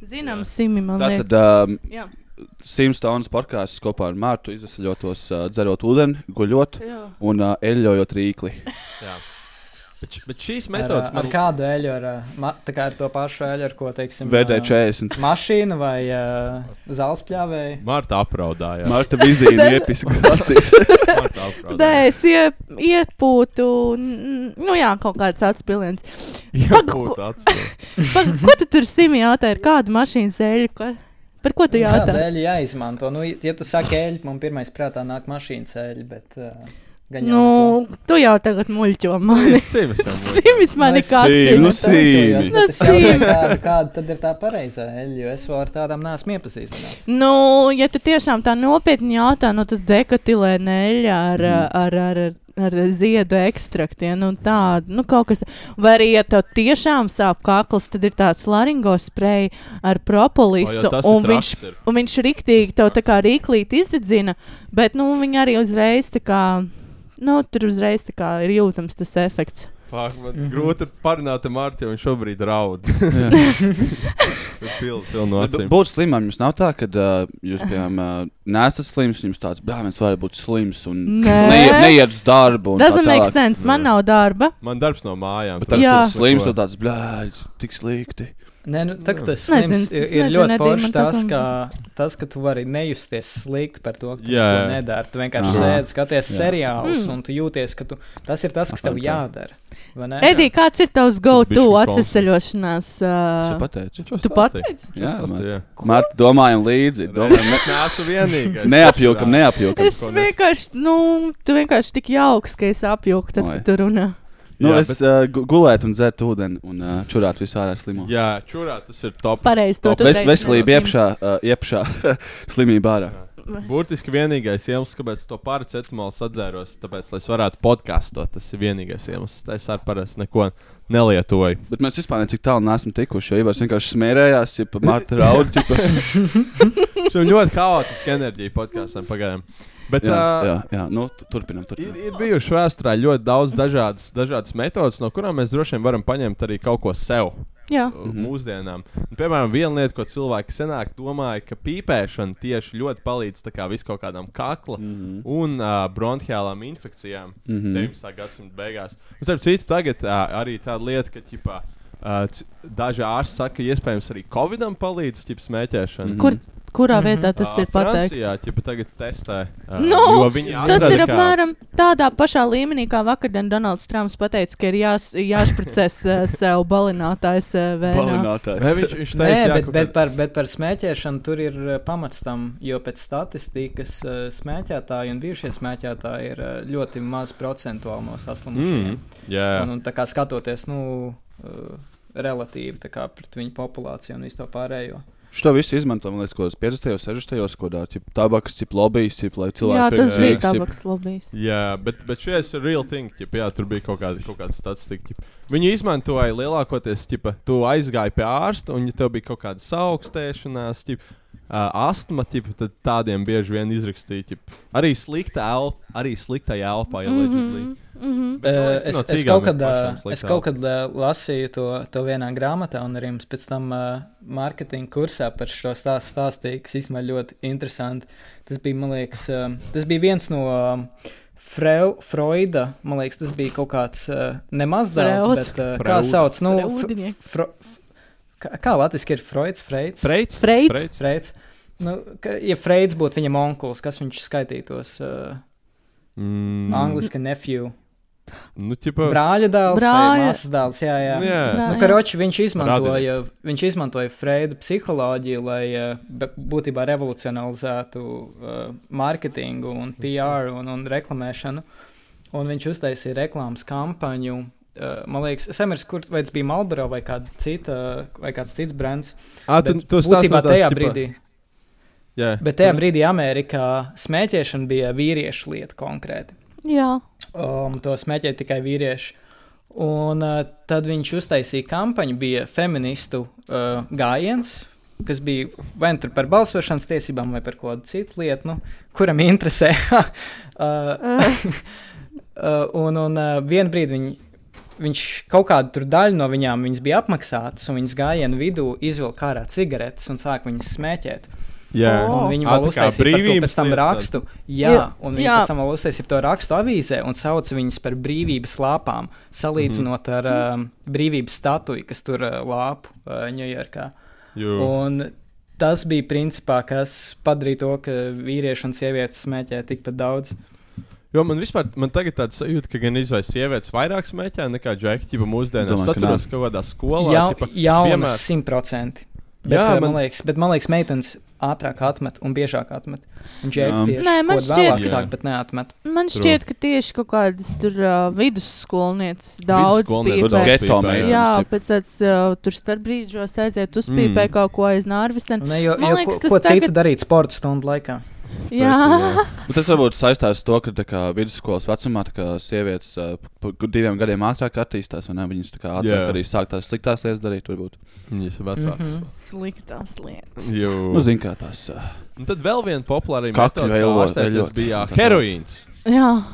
Speaker 7: Zinām, simi, man liekas.
Speaker 9: Tātad um,
Speaker 7: Jā.
Speaker 9: simstonas parkās kopā ar Mārtu izvesaļotos, uh, dzerot ūdeni, guļot un uh, eļļojot rīkli.
Speaker 8: Bet, š- bet šīs
Speaker 3: Ar,
Speaker 8: metodas
Speaker 3: uh, ar
Speaker 8: man
Speaker 3: kādu eļu, ar, uh, ma- tā kā ar to pašu eļu, ar ko teiksim,
Speaker 9: Vēdē
Speaker 3: uh,
Speaker 9: 40.
Speaker 3: mašīnu vai uh, zāles pļāvēju.
Speaker 8: Marta apraudāja.
Speaker 9: Marta vizīte iepiska acīs.
Speaker 8: Marta
Speaker 7: Nē,
Speaker 8: apraudāja.
Speaker 7: es ie, iepūtu, n- nu jā, kaut kāds atspiliens.
Speaker 8: Jā, būtu atspēlēt.
Speaker 7: Pa, ko tu tur simi jautā, ar kādu mašīnu sēļu? Ko? Par ko tu jautā?
Speaker 3: Kādēļ jāizmanto? Nu, ja tu saki eļļu, man pirmais prātā nāk mašīnas eļļa, bet uh, gan jau.
Speaker 7: Nu, tu jau tagad muļķo mani. Simis man ir
Speaker 3: Nu, es-
Speaker 9: Nu,
Speaker 7: kāds.
Speaker 9: si- sīvi.
Speaker 3: Kāda, kāda tad ir tā pareizā eļļa, jo es vēl ar tādām neesmu iepazīstināts.
Speaker 7: Nu, ja tu tiešām tā nopietni jautā, nu tad dekatilē neļa ar,
Speaker 8: Mhm.
Speaker 7: mm. ar, ar, ar, ar ziedu ekstraktiem un tādu. Nu, kaut kas. Vai arī, ja tev tiešām sāp kakls, tad ir tāds laringo spray ar propolisu.
Speaker 8: O, jā, tas ir
Speaker 7: un, viņš,
Speaker 8: traks ir.
Speaker 7: un viņš riktīgi tev tā kā rīklīt izdedzina, bet nu, viņi arī uzreiz tā kā. Nu, tur uzreiz tā kā ir jūtams tas efekts.
Speaker 8: Fāk, man
Speaker 7: Mhm.
Speaker 8: mm -hmm. grūti parunāt ar Mārtu, jo viņš šobrīd raud. Pilnu pilnu
Speaker 9: B-
Speaker 8: acīm.
Speaker 9: Būt slimam, jums nav tā, ka uh, jūs, piemēram, uh, nesat slims, un jums tāds brālis var būt slims un
Speaker 7: Nē.
Speaker 9: neiet, neiet uz darbu. un tā
Speaker 7: Tas makes
Speaker 9: tālāk.
Speaker 7: sense. Man
Speaker 8: Jā.
Speaker 7: nav darba.
Speaker 8: Man darbs no mājām.
Speaker 9: Bet
Speaker 8: tā
Speaker 9: tad,
Speaker 7: Jā.
Speaker 9: kad tu slims, tad tāds brālis, tik slikti.
Speaker 3: Nē, nu, tā, ka tas
Speaker 7: Nezinu,
Speaker 3: slims, ir, ir
Speaker 7: nezinu,
Speaker 3: ļoti
Speaker 7: Edij,
Speaker 3: forši
Speaker 7: man tā
Speaker 3: tas,
Speaker 7: kā-
Speaker 3: ka, tas, ka tu vari nejusties slikti par to, ka tu
Speaker 8: Jā, jā.
Speaker 3: neko nedari. Tu vienkārši
Speaker 9: Aha.
Speaker 3: sēdi, skaties
Speaker 9: Jā.
Speaker 3: seriālus,
Speaker 7: Mm.
Speaker 3: un tu jūties, ka tu, tas ir tas, kas tev
Speaker 9: Apmēram tā.
Speaker 3: jādara. vai ne?
Speaker 7: Edī, kāds ir tavs go-to
Speaker 8: bišķiņ
Speaker 7: atvesaļošanās?
Speaker 9: Es jau
Speaker 7: Uh,
Speaker 9: pateicu.
Speaker 8: Viņš jau
Speaker 7: Tu
Speaker 8: stāstīja.
Speaker 7: pateici?
Speaker 8: Viņš jau
Speaker 9: Jā,
Speaker 8: stāstīja, jā.
Speaker 9: Mārta, domājam līdzi. Domājam,
Speaker 8: Nē, Es neesmu vienīgais.
Speaker 9: neapjūkam, neapjūkam.
Speaker 7: Es vienkārši, nu, tu vienkārši tik jauks, ka es apjūku, tad,
Speaker 9: Oi.
Speaker 7: kad tu runā.
Speaker 9: Nu,
Speaker 8: Jā,
Speaker 9: es uh, gu- gulētu un dzērtu ūdeni un uh, čurātu visā ārā slimo.
Speaker 8: Jā, čurā tas ir top.
Speaker 7: Pareizi, to tu
Speaker 9: Ves,
Speaker 7: teici,
Speaker 9: veselība
Speaker 7: Sims.
Speaker 9: iepšā, uh, iepšā slimībā ārā.
Speaker 8: Būtiski vienīgais iemesls, kāpēc es to paracetamolu sadzēros, tāpēc, lai es varētu podkāstot. Tas ir vienīgais iemesls. Tā Es arī parasti neko nelietoju.
Speaker 9: Bet mēs vispār ne cik tālu neesam tikuši. Jo Ivars vienkārši smērējās, ja pa Mārta raud. ķipa.
Speaker 8: Viņš ir ļoti haotiski enerģija podkāstam pagaidām. Bet,
Speaker 9: Jā,
Speaker 8: ā,
Speaker 9: jā, jā. Nu, tu- turpinam,
Speaker 8: Ir,
Speaker 9: turpinam.
Speaker 8: ir bijušas vēsturē ļoti daudz dažādas, dažādas metodas, no kurām mēs droši vien varam paņemt arī kaut ko sev.
Speaker 7: Jā,
Speaker 8: Mhm. Mūsdienām. Un, piemēram, viena lieta, ko cilvēki senāk domāja, ka pīpēšana tieši ļoti palīdz tā kā vis kaut kādām kakla mm -hmm. un uh, bronhiālām infekcijām mm -hmm. 19. gadsimta beigās. Un, starp citu, tagad uh, arī tāda lieta, ka ķipā, uh, c- daži ārsti saka, ka iespējams arī Covidam palīdz ķip, smēķēšana. Mm
Speaker 7: kur, kurā
Speaker 9: Mhm.
Speaker 7: vietā tas ir
Speaker 8: Jā,
Speaker 7: pateikts?
Speaker 8: ķipa, tagad testē. Uh,
Speaker 7: Nu,
Speaker 8: jo viņi
Speaker 7: Tas
Speaker 8: atrada,
Speaker 7: ir
Speaker 8: kā-
Speaker 7: apmēram tādā pašā līmenī, kā vakardien Donalds Trumps teica, ka ir jās, jāšpricēs eh, sev balinātājs eh, vēnā.
Speaker 8: Vai
Speaker 9: Balinātājs.
Speaker 8: Viņš, viņš
Speaker 3: Nē,
Speaker 8: teica, jā,
Speaker 3: bet,
Speaker 8: kaut
Speaker 3: bet,
Speaker 8: kā-
Speaker 3: par, bet par smēķēšanu tur ir uh, pamats tam, jo pēc statistikas uh, smēķētāji un bijušie smēķētāji ir uh, ļoti maz procentuāli no saslimušajiem.
Speaker 8: Mm, jā.
Speaker 3: Un, un tā kā skatoties, nu, uh, relatīvi tā kā pret viņu populāciju un visu to pārējo.
Speaker 9: Šo visu izmantojam, lai kaut kādos 50, 60, kaut kādā ķip, tabakas, ķip, lobbyis, ķip, lai cilvēki
Speaker 7: Jā, tas bija
Speaker 9: pirks, ķip.
Speaker 7: tabaks lobijs.
Speaker 8: Jā, bet, bet šis ir real thing. Ķip, jā, tur bija kaut kāda, kaut kāda statistika. Ķip. Viņi izmantoja lielākoties, ja tu aizgāji pie ārsta un ja tev bija kaut kāda saukstēšanās, ķip, uh, astma, ķip, tad tādiem bieži vien izrakstīja. Ķip. Arī slikta elpa, arī slikta elpa. Mm
Speaker 7: Mhm,
Speaker 8: -hmm.
Speaker 3: Uh, Mhm. es, es, kaut kad, uh, es kaut kad uh, lasīju to, to vienā grāmatā, un arī mums pēc tam uh, mārketinga kursā par šo stāstu stāstīja, kas īstenībā ļoti interesanti. Tas bija, man liekas, uh, tas bija viens no um, Freu, Freuda, man liekas, tas bija kaut kāds uh, nemaz dēls,
Speaker 7: Freuds.
Speaker 3: bet uh, kā
Speaker 8: Freuda.
Speaker 3: sauc, nu, f-
Speaker 7: Freudinieks.
Speaker 3: fro, f, kā, kā latviski ir Freuds, Freids?
Speaker 8: Freids?
Speaker 7: Freids.
Speaker 8: Freids.
Speaker 3: Freids. Nu, ka, ja Freids būtu viņam onkulis, kas viņš skaitītos? Uh,
Speaker 8: Mm,
Speaker 3: mm. Angliski nephew.
Speaker 8: nu, ķipa,
Speaker 3: Brāļa dēls,
Speaker 7: Brāļa.
Speaker 3: vai māsas dēls, jā, jā.
Speaker 8: nu, jā.
Speaker 3: Nu, Karoči, viņš, izmantoja,
Speaker 8: Radinieks.
Speaker 3: viņš izmantoja Freida psiholoģiju, lai eh, be- būtībā revolucionalizētu uh, mārketingu, un PR un, un reklāmēšanu. Un viņš uztaisīja reklāmas kampaņu. Uh, man liekas, es nemanīju, kur vai tas bija Malboro vai, kāda cita, vai kāds cits brands.
Speaker 8: Ā, tu,
Speaker 3: bet
Speaker 8: tu stāsti
Speaker 3: būtībā
Speaker 8: no tās,
Speaker 3: tajā
Speaker 8: ķipa,
Speaker 3: brīdī.
Speaker 8: Jā,
Speaker 3: Bet tajā brīdī Amerikā smēķēšana bija vīriešu lieta konkrēti.
Speaker 7: Jā,
Speaker 3: Um, to smēķēja tikai vīrieši. Un uh, tad viņš uztaisīja kampaņu, bija feministu uh, gājiens, kas bija vai nu tur par balsošanas tiesībām, vai par kādu citu lietu, nu, kuram interesē. uh, Uh, un un uh, vienā brīdī viņ, viņš kaut kādu tur daļu no viņām viņas bija apmaksātas, un viņas gājienu vidū izvilka ārā cigaretes un sāka viņas smēķēt.
Speaker 8: jā.
Speaker 3: Un viņi
Speaker 8: Ā,
Speaker 3: vēl
Speaker 8: tā kā
Speaker 3: uztaisīja par to
Speaker 8: brīvības
Speaker 3: pēc tam
Speaker 8: lietas tādas.
Speaker 3: rakstu. Jā,
Speaker 7: Oh. Jā.
Speaker 3: un viņi
Speaker 7: Jā.
Speaker 3: pēc tam vēl uztaisīja to rakstu avīzē un sauca viņus par brīvības lāpām, salīdzinot
Speaker 8: Mhm.
Speaker 3: ar um, brīvības statuju, kas tur uh, lāpu uh, Ņujorkā.
Speaker 8: Jū.
Speaker 3: Un tas bija principā, kas padarīja to, ka vīrieši un sievietes smēķē tikpat daudz.
Speaker 8: Jo man vispār man tagad tāds sajūta, ka gan izvairās sievietes vairāk smēķē nekā džekļi, ja
Speaker 9: Es
Speaker 8: mūsdienās
Speaker 9: domāju, ka
Speaker 8: atceros
Speaker 9: nē.
Speaker 8: kaut kādā skolā.
Speaker 3: Jā,
Speaker 8: ķipa,
Speaker 3: jaunas
Speaker 8: piemērs-
Speaker 3: simtprocentīgi. Bet,
Speaker 8: Jā,
Speaker 3: jā, man...
Speaker 8: man-
Speaker 3: man liekas, bet man liekas, meitenes ātrāk atmet un biežāk atmet. Un
Speaker 9: Jā.
Speaker 3: džekļi tieši
Speaker 7: Nē, man
Speaker 3: kaut
Speaker 7: šķiet,
Speaker 3: vēlāk
Speaker 8: ka-
Speaker 3: sāk, bet neatmet.
Speaker 7: Man šķiet, ka tieši kaut kādas tur uh, vidusskolnieces daudz
Speaker 8: Vidusskolnieci
Speaker 7: bija.
Speaker 9: Tur
Speaker 7: pēc-
Speaker 8: daudz
Speaker 9: geto
Speaker 8: pīpē,
Speaker 9: meitenes.
Speaker 7: Jā,
Speaker 9: Jā.
Speaker 7: pēc tam uh, tur starp brīžos aiziet uz pīpē mm. kaut ko aiz nārvisēm.
Speaker 3: Ne, jo,
Speaker 7: Man
Speaker 3: jo,
Speaker 7: liekas,
Speaker 3: ko,
Speaker 7: tas
Speaker 3: ko citu
Speaker 7: tagad-
Speaker 3: darīt sporta stundu laikā?
Speaker 7: Jā,
Speaker 9: Bet Nu, tas varbūt saistās ar to, ka tā kā, vidusskolas vecumā tā kā, sievietes uh, pa pa diviem gadiem ātrāk attīstās. vai ne? Viņas tā kā, ātrāk
Speaker 8: Jā.
Speaker 9: arī sāk tās sliktās lietas darīt. Varbūt.
Speaker 8: Viņas ir vecākas.
Speaker 3: Mhm.
Speaker 7: sliktās lietas.
Speaker 9: Nu,
Speaker 8: Jū.
Speaker 9: Zinu, kā tās. Uh,
Speaker 8: Un tad vēl viena populāra
Speaker 9: Kakļu veilo-
Speaker 8: Tas
Speaker 9: veļot.
Speaker 8: bija heroīns.
Speaker 7: Jā,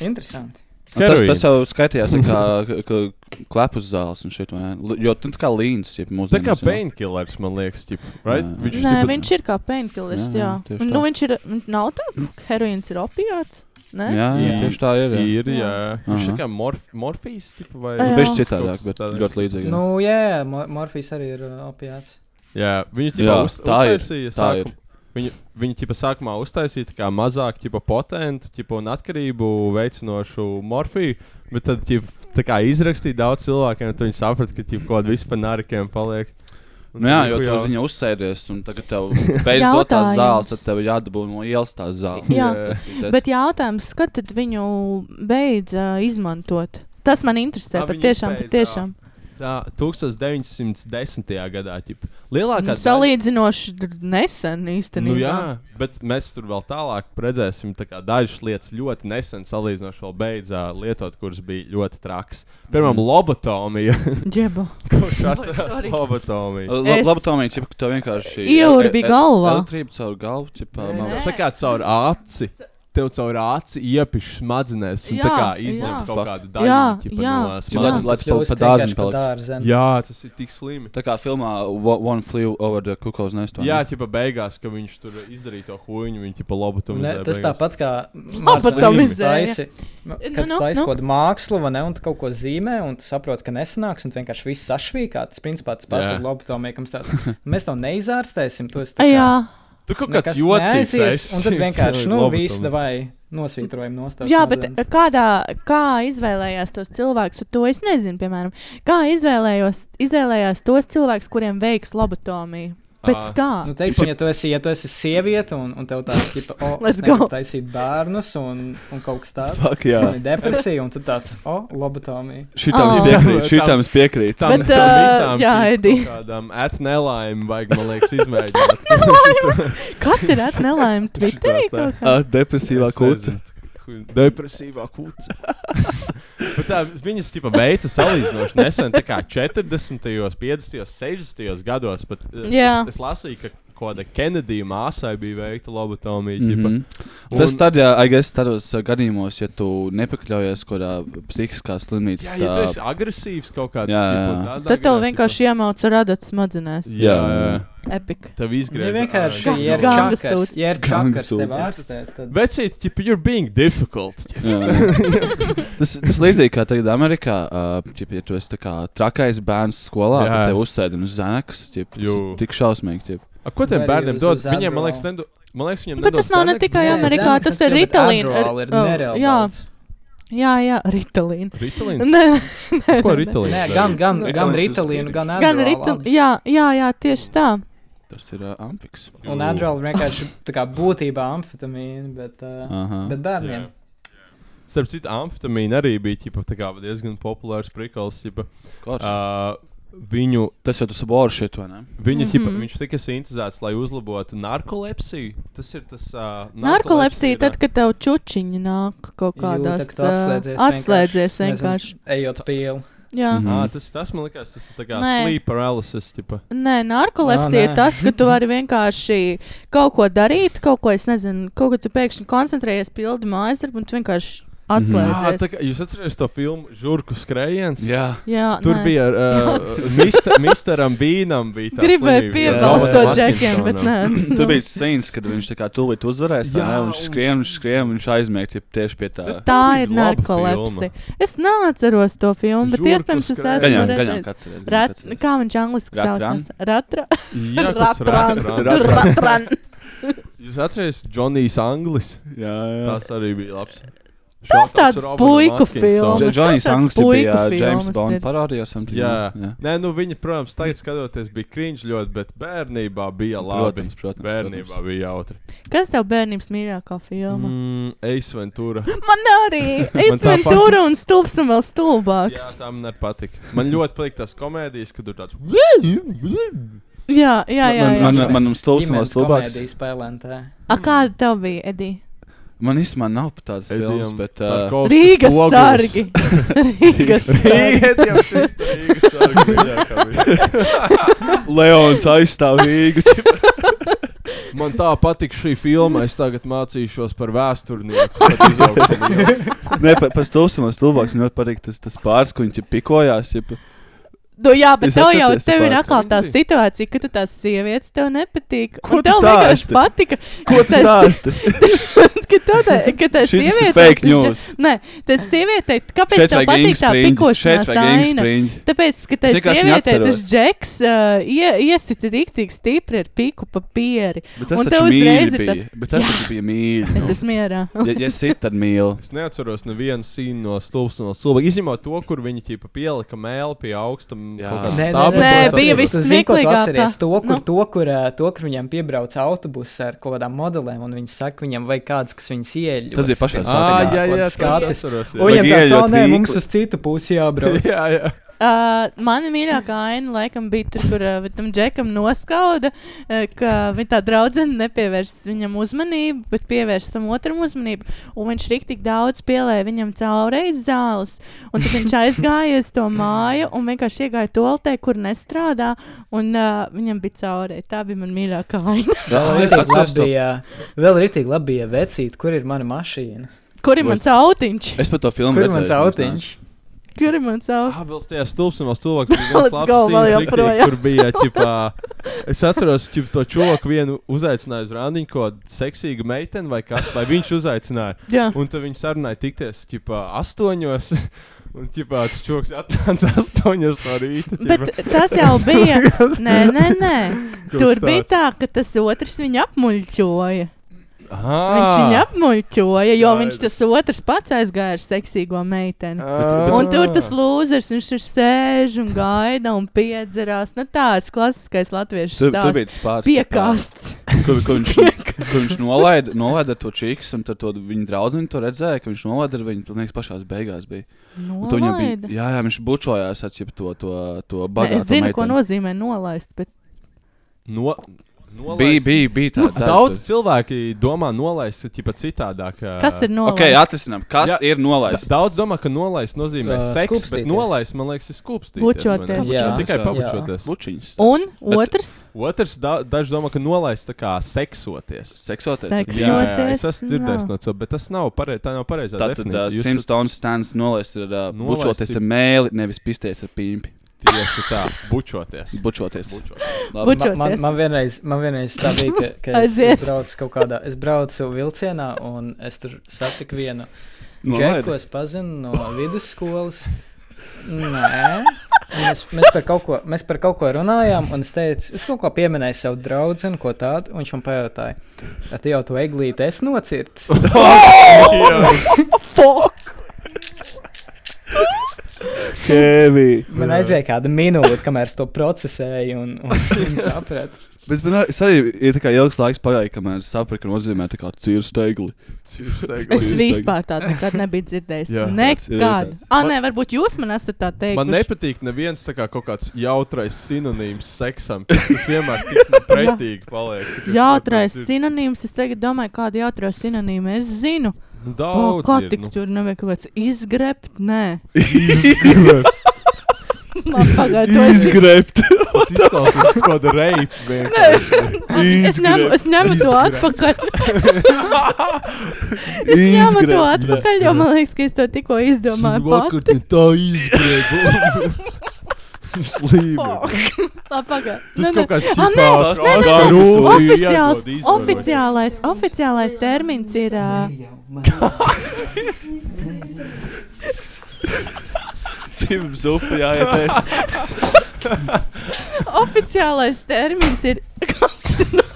Speaker 3: Interesanti.
Speaker 9: tas,
Speaker 8: Heroīns.
Speaker 9: tas jau skaitījās tā kā k- k- klepus zāles un šit. vai ne? L- Jo tur tā kā līnijas ir mūsu.
Speaker 8: Tā kā painkillers, man liekas, tip, right?
Speaker 9: Jā.
Speaker 8: Viņš
Speaker 7: Nē,
Speaker 8: tipa-
Speaker 7: viņš ir kā painkillers.
Speaker 9: Jā,
Speaker 7: Jā,
Speaker 9: jā, tieši
Speaker 7: Un,
Speaker 9: tā.
Speaker 7: nu, viņš ir. Nav tā, ka heroīns ir opiāts. Nē,
Speaker 9: Jā, jā,
Speaker 8: Jā.
Speaker 9: tieši tā ir. Jā.
Speaker 8: ir. Jā. Viņš
Speaker 9: Aha.
Speaker 8: ir kā morf morfijs, tipa, vai
Speaker 7: Jā.
Speaker 9: Viņš
Speaker 7: Bišķi
Speaker 9: ir citādāk, bet ļoti līdzīga.
Speaker 3: Nu, jā, mo- morfijs arī ir uh, opiāts.
Speaker 8: Jā, viņa
Speaker 9: Jā,
Speaker 8: tipā uz,
Speaker 9: tā ir,
Speaker 8: uztaisīja
Speaker 9: tā ir.
Speaker 8: sākum, viņa, viņa tipā sākumā uztaisīja tā kā mazāk tipa, potentu tipa, un atkarību veicinošu morfiju, bet tad tipa, tā kā izrakstīja daudz cilvēkiem, un tad viņi saprata, ka tipa, kaut kāda vispār narkiem paliek. Un
Speaker 9: Nu jā, jo
Speaker 8: tipa
Speaker 9: tu
Speaker 8: jau-
Speaker 9: uz viņu uzsēdies, un tagad tev beidz dot tās
Speaker 7: Jautājums.
Speaker 9: zāles, tad tev jādabū no ielas tās zāles.
Speaker 7: Jā.
Speaker 9: Tad-
Speaker 7: Bet jautājums, kad tad viņu beidza izmantot? Tas man interesē.
Speaker 8: Ā, viņu
Speaker 7: Patiešām,
Speaker 8: izbeidza,
Speaker 7: patiešām.
Speaker 8: Tā 1910. gadā tipa, lielākā
Speaker 7: Nu, salīdzinoši d- nesen
Speaker 8: Nu,
Speaker 7: īstenībā.
Speaker 8: jā, bet mēs tur vēl tālāk redzēsim, tā kā dažas lietas ļoti nesen salīdzinoši vēl beidzā lietot, kuras bija ļoti trakas. Piemēram, mm.
Speaker 9: Mhm.
Speaker 8: lobotomija.
Speaker 7: Džeba.
Speaker 8: Kurš
Speaker 7: sorry.
Speaker 8: atcerās lobotomiju?
Speaker 9: La-
Speaker 7: Es-
Speaker 9: Labi, Tomija, cik tev vienkārši
Speaker 7: Ieurbi galvā.
Speaker 9: Trība caur galvu, tipā,
Speaker 7: Nē,
Speaker 9: man
Speaker 7: nē.
Speaker 9: liekas.
Speaker 8: Tā kā caur aci. Tev caur aci iepiš smadzenēs, un jā, tā
Speaker 7: Jā,
Speaker 8: kā izņem
Speaker 7: jā.
Speaker 8: kaut kādu daļu
Speaker 7: Jā,
Speaker 8: ķipa,
Speaker 7: jā,
Speaker 8: no
Speaker 9: Ķipa, lai-
Speaker 8: smadzenēm.
Speaker 9: lai tu pa- pa
Speaker 3: Kļūst
Speaker 9: dārziņu
Speaker 3: vienkārši pa
Speaker 9: palikt.
Speaker 3: dārzenu.
Speaker 8: Jā, tas ir tik slimi.
Speaker 9: Tā kā filmā Wo- One Flew Over the Cuckoo's Nest. vai
Speaker 8: Jā,
Speaker 9: ne?
Speaker 8: ķipa beigās, ka viņš tur izdarīja to huīņu, viņa ķipa
Speaker 3: Nu, Ne,
Speaker 8: lobotomizē.
Speaker 3: tas
Speaker 8: beigās.
Speaker 3: tāpat kā
Speaker 7: Lobotomizēja.
Speaker 3: Taisi, nu,
Speaker 7: Nu,
Speaker 3: kad
Speaker 7: nu,
Speaker 3: tu taisi
Speaker 7: nu.
Speaker 3: kaut kādu mākslu, vai ne, un tu kaut ko zīmē, un tu saproti, ka nesanāks, un tu vienkārši viss sašvīkā. Tas principā tas pats
Speaker 8: Jā.
Speaker 3: ir lobotomijam. Nu, Mēs tev neizārstēsim, to es tā kā-
Speaker 7: Jā,
Speaker 8: Tu kaut Nu, kāds
Speaker 3: nekas
Speaker 8: joks,
Speaker 3: neaizies, un tad vienkārši, nu, visu davai nosvītrojam nostāst.
Speaker 7: jā bet eh, kādā, kā izvēlējās tos cilvēkus, to es nezinu, piemēram, kā izvēlējos, izvēlējās tos cilvēkus, kuriem veiks lobotomiju. Pēc
Speaker 8: Ā.
Speaker 7: kā?
Speaker 3: Nu, teiksim, ja tu esi, ja tu esi sieviete, un, un tev tāds, ka, o,
Speaker 7: Let's
Speaker 3: es gribu
Speaker 7: go.
Speaker 3: taisīt bērnus, un, un kaut kas tāds.
Speaker 9: Fuck,
Speaker 3: Man
Speaker 9: jā.
Speaker 3: ir depresija, un tad tāds, o, lobotomija.
Speaker 9: Šitam es
Speaker 7: Oh.
Speaker 9: piekrītu, šitam es piekrītu.
Speaker 8: Tam,
Speaker 7: Bet,
Speaker 8: bet, tam
Speaker 7: ā,
Speaker 8: visām
Speaker 7: jā,
Speaker 8: jā,
Speaker 7: Edi.
Speaker 8: kādam atnelaimēm vajag, man liekas, izmēģināt.
Speaker 7: Kas ir atnelaime Twitterī?
Speaker 8: Šitās, tā.
Speaker 7: kaut kā?
Speaker 9: Ah. Depresīvā
Speaker 8: Es nezinu, hu- Depresīvā kūca. Bet tā, viņas tipa veica salīdzinoši nesen, tā kā 40., 50., 60. gados. Bet, eh,
Speaker 7: Jā.
Speaker 8: es, es lasīju, ka kaut kāda Kenedija māsai bija veikta lobotomija. Mm -hmm.
Speaker 9: Mhm. Tas tad, jā, I guess, tādos uh, gadījumos, ja tu nepakļaujies kaut kādā psihiskā slimnīcas.
Speaker 8: Jā, ja tu
Speaker 9: uh,
Speaker 8: esi agresīvs kaut kāds,
Speaker 9: Jā, jā.
Speaker 8: tipa, tādā
Speaker 7: Tad tev
Speaker 8: gadā,
Speaker 7: vienkārši iemauca radats smadzenēs.
Speaker 8: tipa, jā, jā, jā.
Speaker 7: Epic.
Speaker 8: Tev
Speaker 3: Ja
Speaker 8: izgriež.
Speaker 3: Nu, vienkārši,
Speaker 8: ā,
Speaker 3: ja ir
Speaker 7: Ganga
Speaker 3: čakars,
Speaker 7: sūds.
Speaker 3: ja ir
Speaker 9: Ganga
Speaker 3: čakars tev
Speaker 9: sūds.
Speaker 3: ārstē, tad
Speaker 8: Vecīt, tipa, you're being difficult.
Speaker 9: Jā. tas, tas līdzīgi kā tagad Amerikā, uh, ķip, ja tu esi tā kā trakais bērns skolā,
Speaker 8: Jā.
Speaker 9: tad tev uzsēdina uz zenakas. ķip, Tas
Speaker 8: Jū.
Speaker 9: ir tik šausmīgi. Ķip.
Speaker 8: A, ko tiem
Speaker 3: Very
Speaker 8: bērniem
Speaker 3: uz-
Speaker 8: dod?
Speaker 3: uz
Speaker 8: Viņiem, man
Speaker 3: Adderall.
Speaker 8: liekas, nedod. Man liekas, viņiem
Speaker 7: Bet
Speaker 8: nedod
Speaker 7: tas nav ne
Speaker 8: Xanax,
Speaker 7: tikai
Speaker 8: bet-
Speaker 3: Nē,
Speaker 7: Amerikā,
Speaker 3: Xanax
Speaker 7: tas
Speaker 3: es
Speaker 7: ir
Speaker 3: pieņemu, bet
Speaker 7: Ritalīna.
Speaker 3: Adderall ir
Speaker 7: Ir, oh,
Speaker 3: nereāli
Speaker 7: jā.
Speaker 3: daudz.
Speaker 7: Jā, jā, ritalīna.
Speaker 8: Ritalīns.
Speaker 7: Nē, nē,
Speaker 8: Ko
Speaker 7: nē, nē.
Speaker 8: Ritalīns?
Speaker 3: Nē,
Speaker 8: darīja?
Speaker 3: gan, gan, gan
Speaker 8: Ritalīns ir
Speaker 3: Ritalīnu, gan
Speaker 8: spīdīgs.
Speaker 7: Gan
Speaker 3: Adderall
Speaker 7: ritalīna.
Speaker 3: abas.
Speaker 7: Jā, jā, jā, tieši tā.
Speaker 9: Tas ir uh, amfiks.
Speaker 3: Un
Speaker 8: Jū.
Speaker 3: Adderall vienkārši tā kā būtībā amfetamīna, bet, uh,
Speaker 9: Aha.
Speaker 3: bet
Speaker 8: Jā.
Speaker 3: bērniem.
Speaker 8: Starp citu, amfetamīna arī bija ķipa, tā kā diezgan populārs prikals. Ķipa,
Speaker 9: Forši.
Speaker 8: uh, viņu
Speaker 9: Tas jau tas borš šeit, vai ne?
Speaker 8: viņu mm -hmm. ķipa,
Speaker 7: Mhm.
Speaker 8: viņš tika sintēzēts, lai uzlabotu narkolepsiju. Tas ir tas uh,
Speaker 7: Narkolepsija, tad, kad tev čučiņi nāk kaut
Speaker 3: Jū,
Speaker 7: kādās.
Speaker 3: tad, kad tu atslēdzies
Speaker 7: ā, atslēdzies vienkārši.
Speaker 3: vienkārši, Nezinu, ejot pielu.
Speaker 7: Jā.
Speaker 9: Mhm.
Speaker 8: Ah, tas, tas man liekas, tas ir tā kā
Speaker 7: Nē.
Speaker 8: sleep paralysis. Ķipa.
Speaker 7: Nē, narkolepsija
Speaker 3: Ā,
Speaker 7: ir
Speaker 3: nē.
Speaker 7: tas, ka tu vari vienkārši kaut ko darīt, kaut ko es nezinu, kaut ko tu pēkšņi koncentrējies, pildi mājas darbu un tu vienkārši
Speaker 3: Mhm.
Speaker 8: Ah, tā
Speaker 7: atslēdzies.
Speaker 8: kā, jūs atcerieties to filmu Žurku skrējiens?
Speaker 9: Jā.
Speaker 7: Jā,
Speaker 8: Tur
Speaker 7: nē.
Speaker 8: nē. bija uh, mister, Misteram Bīnam bija tā
Speaker 7: Gribēju
Speaker 8: slimība, jā.
Speaker 7: piebalsot
Speaker 8: Robertam
Speaker 7: džekiem, bet
Speaker 8: Atkinsonam.
Speaker 7: nē.
Speaker 9: Tur bija scenas, kad viņš tā kā tūlīt uzvarēs. vai
Speaker 8: Jā,
Speaker 9: ne? viņš
Speaker 8: un-
Speaker 9: skrien, viņš skrien, viņš aizmieg ķip, tieši pie
Speaker 7: Tā
Speaker 9: tā.
Speaker 8: Tā
Speaker 7: ir
Speaker 8: bija laba
Speaker 7: narkolepsija. Es neatceros to filmu, bet
Speaker 8: Žurku
Speaker 7: iespējams, es esmu
Speaker 8: skrējiens.
Speaker 9: Gaļām, gaļām,
Speaker 7: redzējis.
Speaker 9: kāds ir.
Speaker 7: Rat, kā viņš angliski
Speaker 9: Ratran?
Speaker 7: saucās? Ratra.
Speaker 8: Jā, kaut kāds
Speaker 7: Ratran.
Speaker 8: ratran.
Speaker 7: Ratran.
Speaker 8: Jūs atcerieties, Džonijs Anglis?
Speaker 9: Jā, jā.
Speaker 8: Tas arī bija labs.
Speaker 7: Tas tāds puiku filmas.
Speaker 9: Jo-
Speaker 7: Kāds
Speaker 9: Johnny's
Speaker 7: tāds
Speaker 9: Angsti
Speaker 7: puiku
Speaker 9: bija uh, James
Speaker 7: filmas
Speaker 9: Bond
Speaker 7: ir?
Speaker 9: parādījās. something,
Speaker 8: Jā,
Speaker 9: jā.
Speaker 8: Nē, nu viņa, protams, tagad skatoties, bija krīņš ļoti, bet bērnībā bija labi.
Speaker 9: Protams, protams,
Speaker 8: bērnībā
Speaker 9: protams.
Speaker 8: bija jautri.
Speaker 7: Kas tev bērnības mīļākā filma? Mm.
Speaker 8: Mm, Ace Ventura.
Speaker 7: Man arī
Speaker 8: Man tā
Speaker 7: ir tur un stulbs un vēl stulbāks.
Speaker 8: Jā, tā man arī patika. Man ļoti patīk tās komēdijas, kad tur tāds
Speaker 7: Jā, jā, jā. jā.
Speaker 9: Man- man- manam stulbs nav
Speaker 3: Ģimenes
Speaker 9: stulbāks.
Speaker 3: komēdija spēlēntē.
Speaker 7: A, kāda tev bija, Edija?
Speaker 9: Man īstenībā nav pat tādas filmas,
Speaker 8: Edijam
Speaker 9: bet uh,
Speaker 8: Tarkovskis
Speaker 7: Rīgas
Speaker 8: poguls.
Speaker 7: sargi. Rīgas sargi.
Speaker 8: Edijam šis te Rīgas sargi mīļākā bija.
Speaker 9: Leons aizstāvīgu.
Speaker 8: Man tā patīk šī filma. Es tagad mācīšos par vēsturnieku. kad izaugšu liels.
Speaker 9: Nē, pa, pa stulsumā stulbāks man ļoti patīk tas, tas pāris, ko viņš pikojās. Jeb,
Speaker 7: Nu, jā, bet
Speaker 9: Jūs
Speaker 7: tev jau
Speaker 9: atceraties
Speaker 7: tev ir
Speaker 9: par-
Speaker 7: atkal tā situācija, ka tu tās sievietes tev nepatīk.
Speaker 9: Ko
Speaker 7: un
Speaker 9: tu
Speaker 7: tev vienkārši
Speaker 9: stāsti?
Speaker 7: patika,
Speaker 9: ko
Speaker 7: ka
Speaker 9: tas stāsta?
Speaker 7: ka tev tā, ka tā
Speaker 9: Šis
Speaker 7: sieviete.
Speaker 9: ir fake news.
Speaker 7: Nē, tas sievietei, kāpēc
Speaker 9: Šeit
Speaker 7: tev
Speaker 9: vajag
Speaker 7: patīk tā
Speaker 9: īngspriņķi. Šeit
Speaker 7: pikošanās
Speaker 9: vajag
Speaker 7: aina?
Speaker 9: īngspriņķi.
Speaker 7: Tāpēc, ka tas
Speaker 9: Es vienkārši
Speaker 7: sievietei tas
Speaker 9: neatceros.
Speaker 7: džeks uh, ie, iesita rīktīgi stipri ar piku papīri.
Speaker 9: Bet tas
Speaker 7: Un
Speaker 9: taču
Speaker 7: tev uzreiz
Speaker 9: mīļi
Speaker 7: ir
Speaker 9: bija.
Speaker 7: tāds-
Speaker 9: Bet tas
Speaker 7: Jā.
Speaker 9: taču bija mīļi.
Speaker 7: Es esmu mierā.
Speaker 9: Ja, ja sit, tad mīli.
Speaker 8: Es neatceros nevienu sīnu no stulbas no stulbas. Izņemot to, kur viņi ķipa pielika mēli pie augsta
Speaker 9: Jā.
Speaker 8: stūra.
Speaker 9: Nē,
Speaker 7: nē, nē, bija viss smieklīgākā.
Speaker 3: atceries to, kur,
Speaker 7: Nu.
Speaker 3: nu. to, kur, ā, to, kur viņam piebrauca autobuss ar kaut kādām modelēm, un viņi saka, viņam vajag kāds, kas viņas ieļaus.
Speaker 9: Tas bija pašā
Speaker 8: Ah, jā, jā,
Speaker 3: skatis.
Speaker 8: tas
Speaker 3: Un viņam
Speaker 9: Vajag
Speaker 3: tāds, oh,
Speaker 9: ieļot
Speaker 3: nē,
Speaker 9: rīkli."
Speaker 3: mums uz citu pusi jābrauc.
Speaker 8: Jā, jā.
Speaker 7: Uh, mana mīļākā aina, laikam, bija tur, kur uh, tam džekam noskauda, uh, ka viņa tā draudzene nepievērs viņam uzmanību, bet pievērs tam otram uzmanību. Un viņš rīktīgi daudz pielēja viņam caurreiz zāles. Un tad viņš aizgāja uz to māju un vienkārši iegāja toltē, kur nestrādā. Un uh, viņam bija caurreiz. Tā bija mana mīļākā aina.
Speaker 3: Vēl
Speaker 9: Es
Speaker 3: rītīgi
Speaker 9: atceros
Speaker 3: labi
Speaker 9: to-
Speaker 3: bija, vēl rītīgi labi bija vecīt, kur ir mana mašīna.
Speaker 7: Kur ir mans autiņš?
Speaker 9: Es pat to filmu
Speaker 3: Kur ir
Speaker 9: redzēju.
Speaker 3: mans autiņš?
Speaker 7: Kur ir mans autiņš?
Speaker 8: Ah, vēl tajā stulpā vēl cilvēks bija viens
Speaker 7: Oh. Let's go,
Speaker 8: labs
Speaker 7: vēl
Speaker 8: scenes riktīgi,
Speaker 7: joprojām.
Speaker 8: kur bija ķipā. Es atceros, ka to čoku vienu uzaicināja uz randiņu, ko seksīga meitene vai kas, vai viņš uzaicināja.
Speaker 7: Jā.
Speaker 8: Un tad viņi sarunāja tikties ķipā astoņos. Un ķipā tas čoks atnāca astoņos no rīta.
Speaker 7: Bet tas jau bija. Nē, nē, nē.
Speaker 8: Kaut
Speaker 7: Tur bija
Speaker 8: tāds.
Speaker 7: tā, ka tas otrs viņu apmuļķoja. Viņš viņu
Speaker 8: Ah!
Speaker 7: apmuļķoja, jo viņš
Speaker 8: Skaidrs.
Speaker 7: tas otrs pats aizgāja ar seksīgo meiteni.
Speaker 8: Ah!
Speaker 7: Un tur tas lūzers, viņš tur sēž un gaida un piedzerās. Nu, tāds klasiskais latviešu
Speaker 9: Tur, tur bija
Speaker 7: stāsts.
Speaker 9: tas pāris.
Speaker 7: Piekāsts.
Speaker 9: Kur, kur viņš, kur viņš nolaida, nolaida to čīks, un tad to viņa draudzene to redzēja, ka viņš nolaida ar viņu. Tas liekas, pašā beigās bija. Un to viņam bija.
Speaker 7: Nolaida.
Speaker 9: Jā, jā viņš bučojās ar ķip to, to, to
Speaker 7: Nē,
Speaker 9: bagātu.
Speaker 7: Es zinu, ko
Speaker 9: meiteni.
Speaker 7: nozīmē nolaist, bet
Speaker 8: No, nolaist.
Speaker 9: Bija, bija, bija tā, tā,
Speaker 8: Daudz cilvēki domā, nolaist ir citādāk. ā,
Speaker 7: kas ir
Speaker 9: Ok,
Speaker 7: nolaist?
Speaker 9: atrisinām, kas
Speaker 8: Jā.
Speaker 9: jā. ir nolaists.
Speaker 8: Da, daudz domā, ka nolaist nozīmē uh,
Speaker 3: Ā,
Speaker 8: seksu, bet
Speaker 3: skūpstīties.
Speaker 8: nolaist, man liekas, ir skūpstīties.
Speaker 7: Bučoties.
Speaker 8: vai ne?
Speaker 3: Jā.
Speaker 8: tikai
Speaker 9: Jā.
Speaker 8: pabučoties.
Speaker 9: Lučiņas.
Speaker 7: Un
Speaker 8: Bet-
Speaker 7: otrs?
Speaker 8: Otrs, da, daži domā, ka nolaist tā kā seksoties.
Speaker 9: Seksoties.
Speaker 7: Seks.
Speaker 9: Jā.
Speaker 8: es esmu
Speaker 7: Joties,
Speaker 8: dzirdējis
Speaker 7: jā.
Speaker 8: no cilvēkiem, bet tas nav pareizi. Tā nav pareizā
Speaker 9: Tātad uh,
Speaker 8: definīcija. Jūs esat
Speaker 9: Simpsons stands nolaist ir uh,
Speaker 8: Nolaist
Speaker 9: bučoties
Speaker 8: ir-
Speaker 9: ar mēli, nevis pisties ar pīmpi.
Speaker 8: tieši tā, bučoties.
Speaker 9: Bučoties.
Speaker 8: Bučoties.
Speaker 9: Labi.
Speaker 7: Bučo-
Speaker 3: Man, man,
Speaker 7: Čoties.
Speaker 3: man, vienreiz, man vienreiz tā bija, ka, ka es,
Speaker 7: Aiziet.
Speaker 3: es braucu kaut kādā, es braucu vilcienā un es tur satiku vienu
Speaker 9: Nolaida.
Speaker 3: Džeku, ko es pazinu no vidusskolas. Nē. Mēs, mēs, par kaut ko, mēs par kaut ko runājām, un es teicu, es kaut ko pieminēju savu draugu, ko tādu. un Viņš man pajautāja, vai tu jau to eglīti esi nocirts?
Speaker 9: Kevī.
Speaker 3: Man aizēja kāda minūte, kamēr es to procesēju, un, un viņi saprata.
Speaker 9: Bet man ar- es arī ir tā kā ilgs laiks pagāja, kamēr es sapratu, ka nozīmē tā kā cīru steigli.
Speaker 7: Es
Speaker 9: Jūs
Speaker 7: vispār tādu nekad nebiju dzirdējis.
Speaker 8: Jā,
Speaker 9: tāds ir
Speaker 7: Nekad.
Speaker 9: tāds.
Speaker 7: Ah, nē, varbūt jūs man esat tā teikuši.
Speaker 8: Man nepatīk neviens tā kā kaut kāds jautrais sinonīms seksam. Tas vienmēr tik man pretīgi paliek. Tā kā es
Speaker 7: Jautrais
Speaker 8: nedzirdēju.
Speaker 7: sinonīms. Es tagad domāju, kādu jautru sinonīmu es zinu. Oh,
Speaker 8: Nu, Daudz.
Speaker 7: kā
Speaker 8: ir,
Speaker 7: tik
Speaker 8: nu.
Speaker 7: tur nevajag kaut kāds izgrebt? Nē, man pagaidām.
Speaker 9: Izgrebt.
Speaker 8: Tas izklausās kā kāda reipa.
Speaker 7: Es ņemu, es ņemu to atpakaļ. es ņemu to
Speaker 9: Izgrebt.
Speaker 7: atpakaļ, jo man liekas, ka es to tikko izdomāju. pati.
Speaker 8: tā izgriež.
Speaker 7: Oh.
Speaker 8: Slīmi.
Speaker 7: Labi, pagaid.
Speaker 8: Tas
Speaker 7: Nē, nē.
Speaker 8: kaut kāds
Speaker 7: Ah, nē,
Speaker 8: ķipā-
Speaker 9: nē, nē.
Speaker 8: kā rūvi
Speaker 7: Oficiāls,
Speaker 8: iedod izvairot.
Speaker 7: oficiālais, oficiālais termins ir. Uh,
Speaker 9: Simt zupa jāiet.
Speaker 7: oficiālais termins ir. Kas tur no-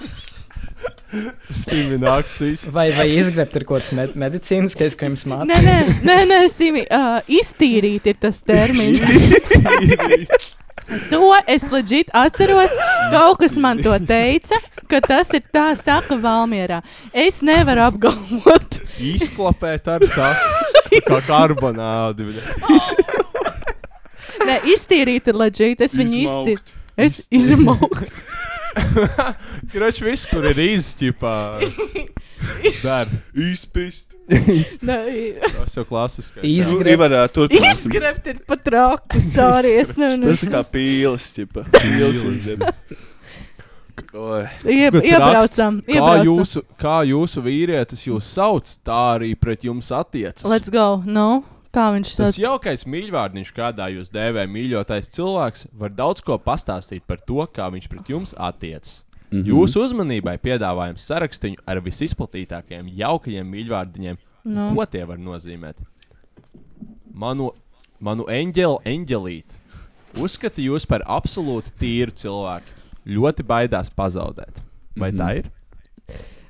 Speaker 8: Sīmi nāk sīsti.
Speaker 3: Vai, vai izgrebt ir kaut kāds med medicīniskais, ko jums
Speaker 7: Nē,
Speaker 3: mācīja?
Speaker 7: nē, nē, nē Simi, uh, iztīrīt ir tas termins. to es leģit atceros. Kaut kas man to teica, ka tas ir tā saka Valmjerā. Es nevaru apgalvot.
Speaker 8: Izklapēt ar tā. Kā karbonādi.
Speaker 7: Nē, iztīrīt ir leģit. Es viņu iztīru. Es izmauku.
Speaker 8: Kroč, viss, kur ir izķipā. Dar. Izpist. Tas jau klasiskais.
Speaker 3: Iz-
Speaker 7: Nu,
Speaker 9: Gribu varētu turpināt.
Speaker 7: Izskrept ir pat rāku. Sorry, es nevienu.
Speaker 9: Tas ir kā pīles, tipa. Pīles uz zemes. Oi.
Speaker 7: Ie,
Speaker 8: Kāds raksts?
Speaker 7: iebraucam.
Speaker 8: Kā
Speaker 7: iebraucam.
Speaker 8: jūsu, kā jūsu vīrietis jūs sauc, tā arī pret jums attiecas.
Speaker 7: Let's go. No? Kā viņš
Speaker 8: Tas
Speaker 7: sauc?
Speaker 8: jaukais mīļvārdiņš, kādā jūs dēvējat mīļotais cilvēks, var daudz ko pastāstīt par to, kā viņš pret jums attiecas.
Speaker 9: Mhm.
Speaker 8: Mm -hmm.
Speaker 7: Mhm.
Speaker 8: Jūsu uzmanībai piedāvājam sarakstu ar visizplatītākajiem, jaukajiem mīļvārdiņiem.
Speaker 7: Nu.
Speaker 8: No. Ko tie var nozīmēt? Manu, manu eņģeli, eņģelīti. Uzskata jūs par absolūti tīru cilvēku. Ļoti baidās pazaudēt. Vai mm -hmm.
Speaker 3: Mhm.
Speaker 8: tā ir?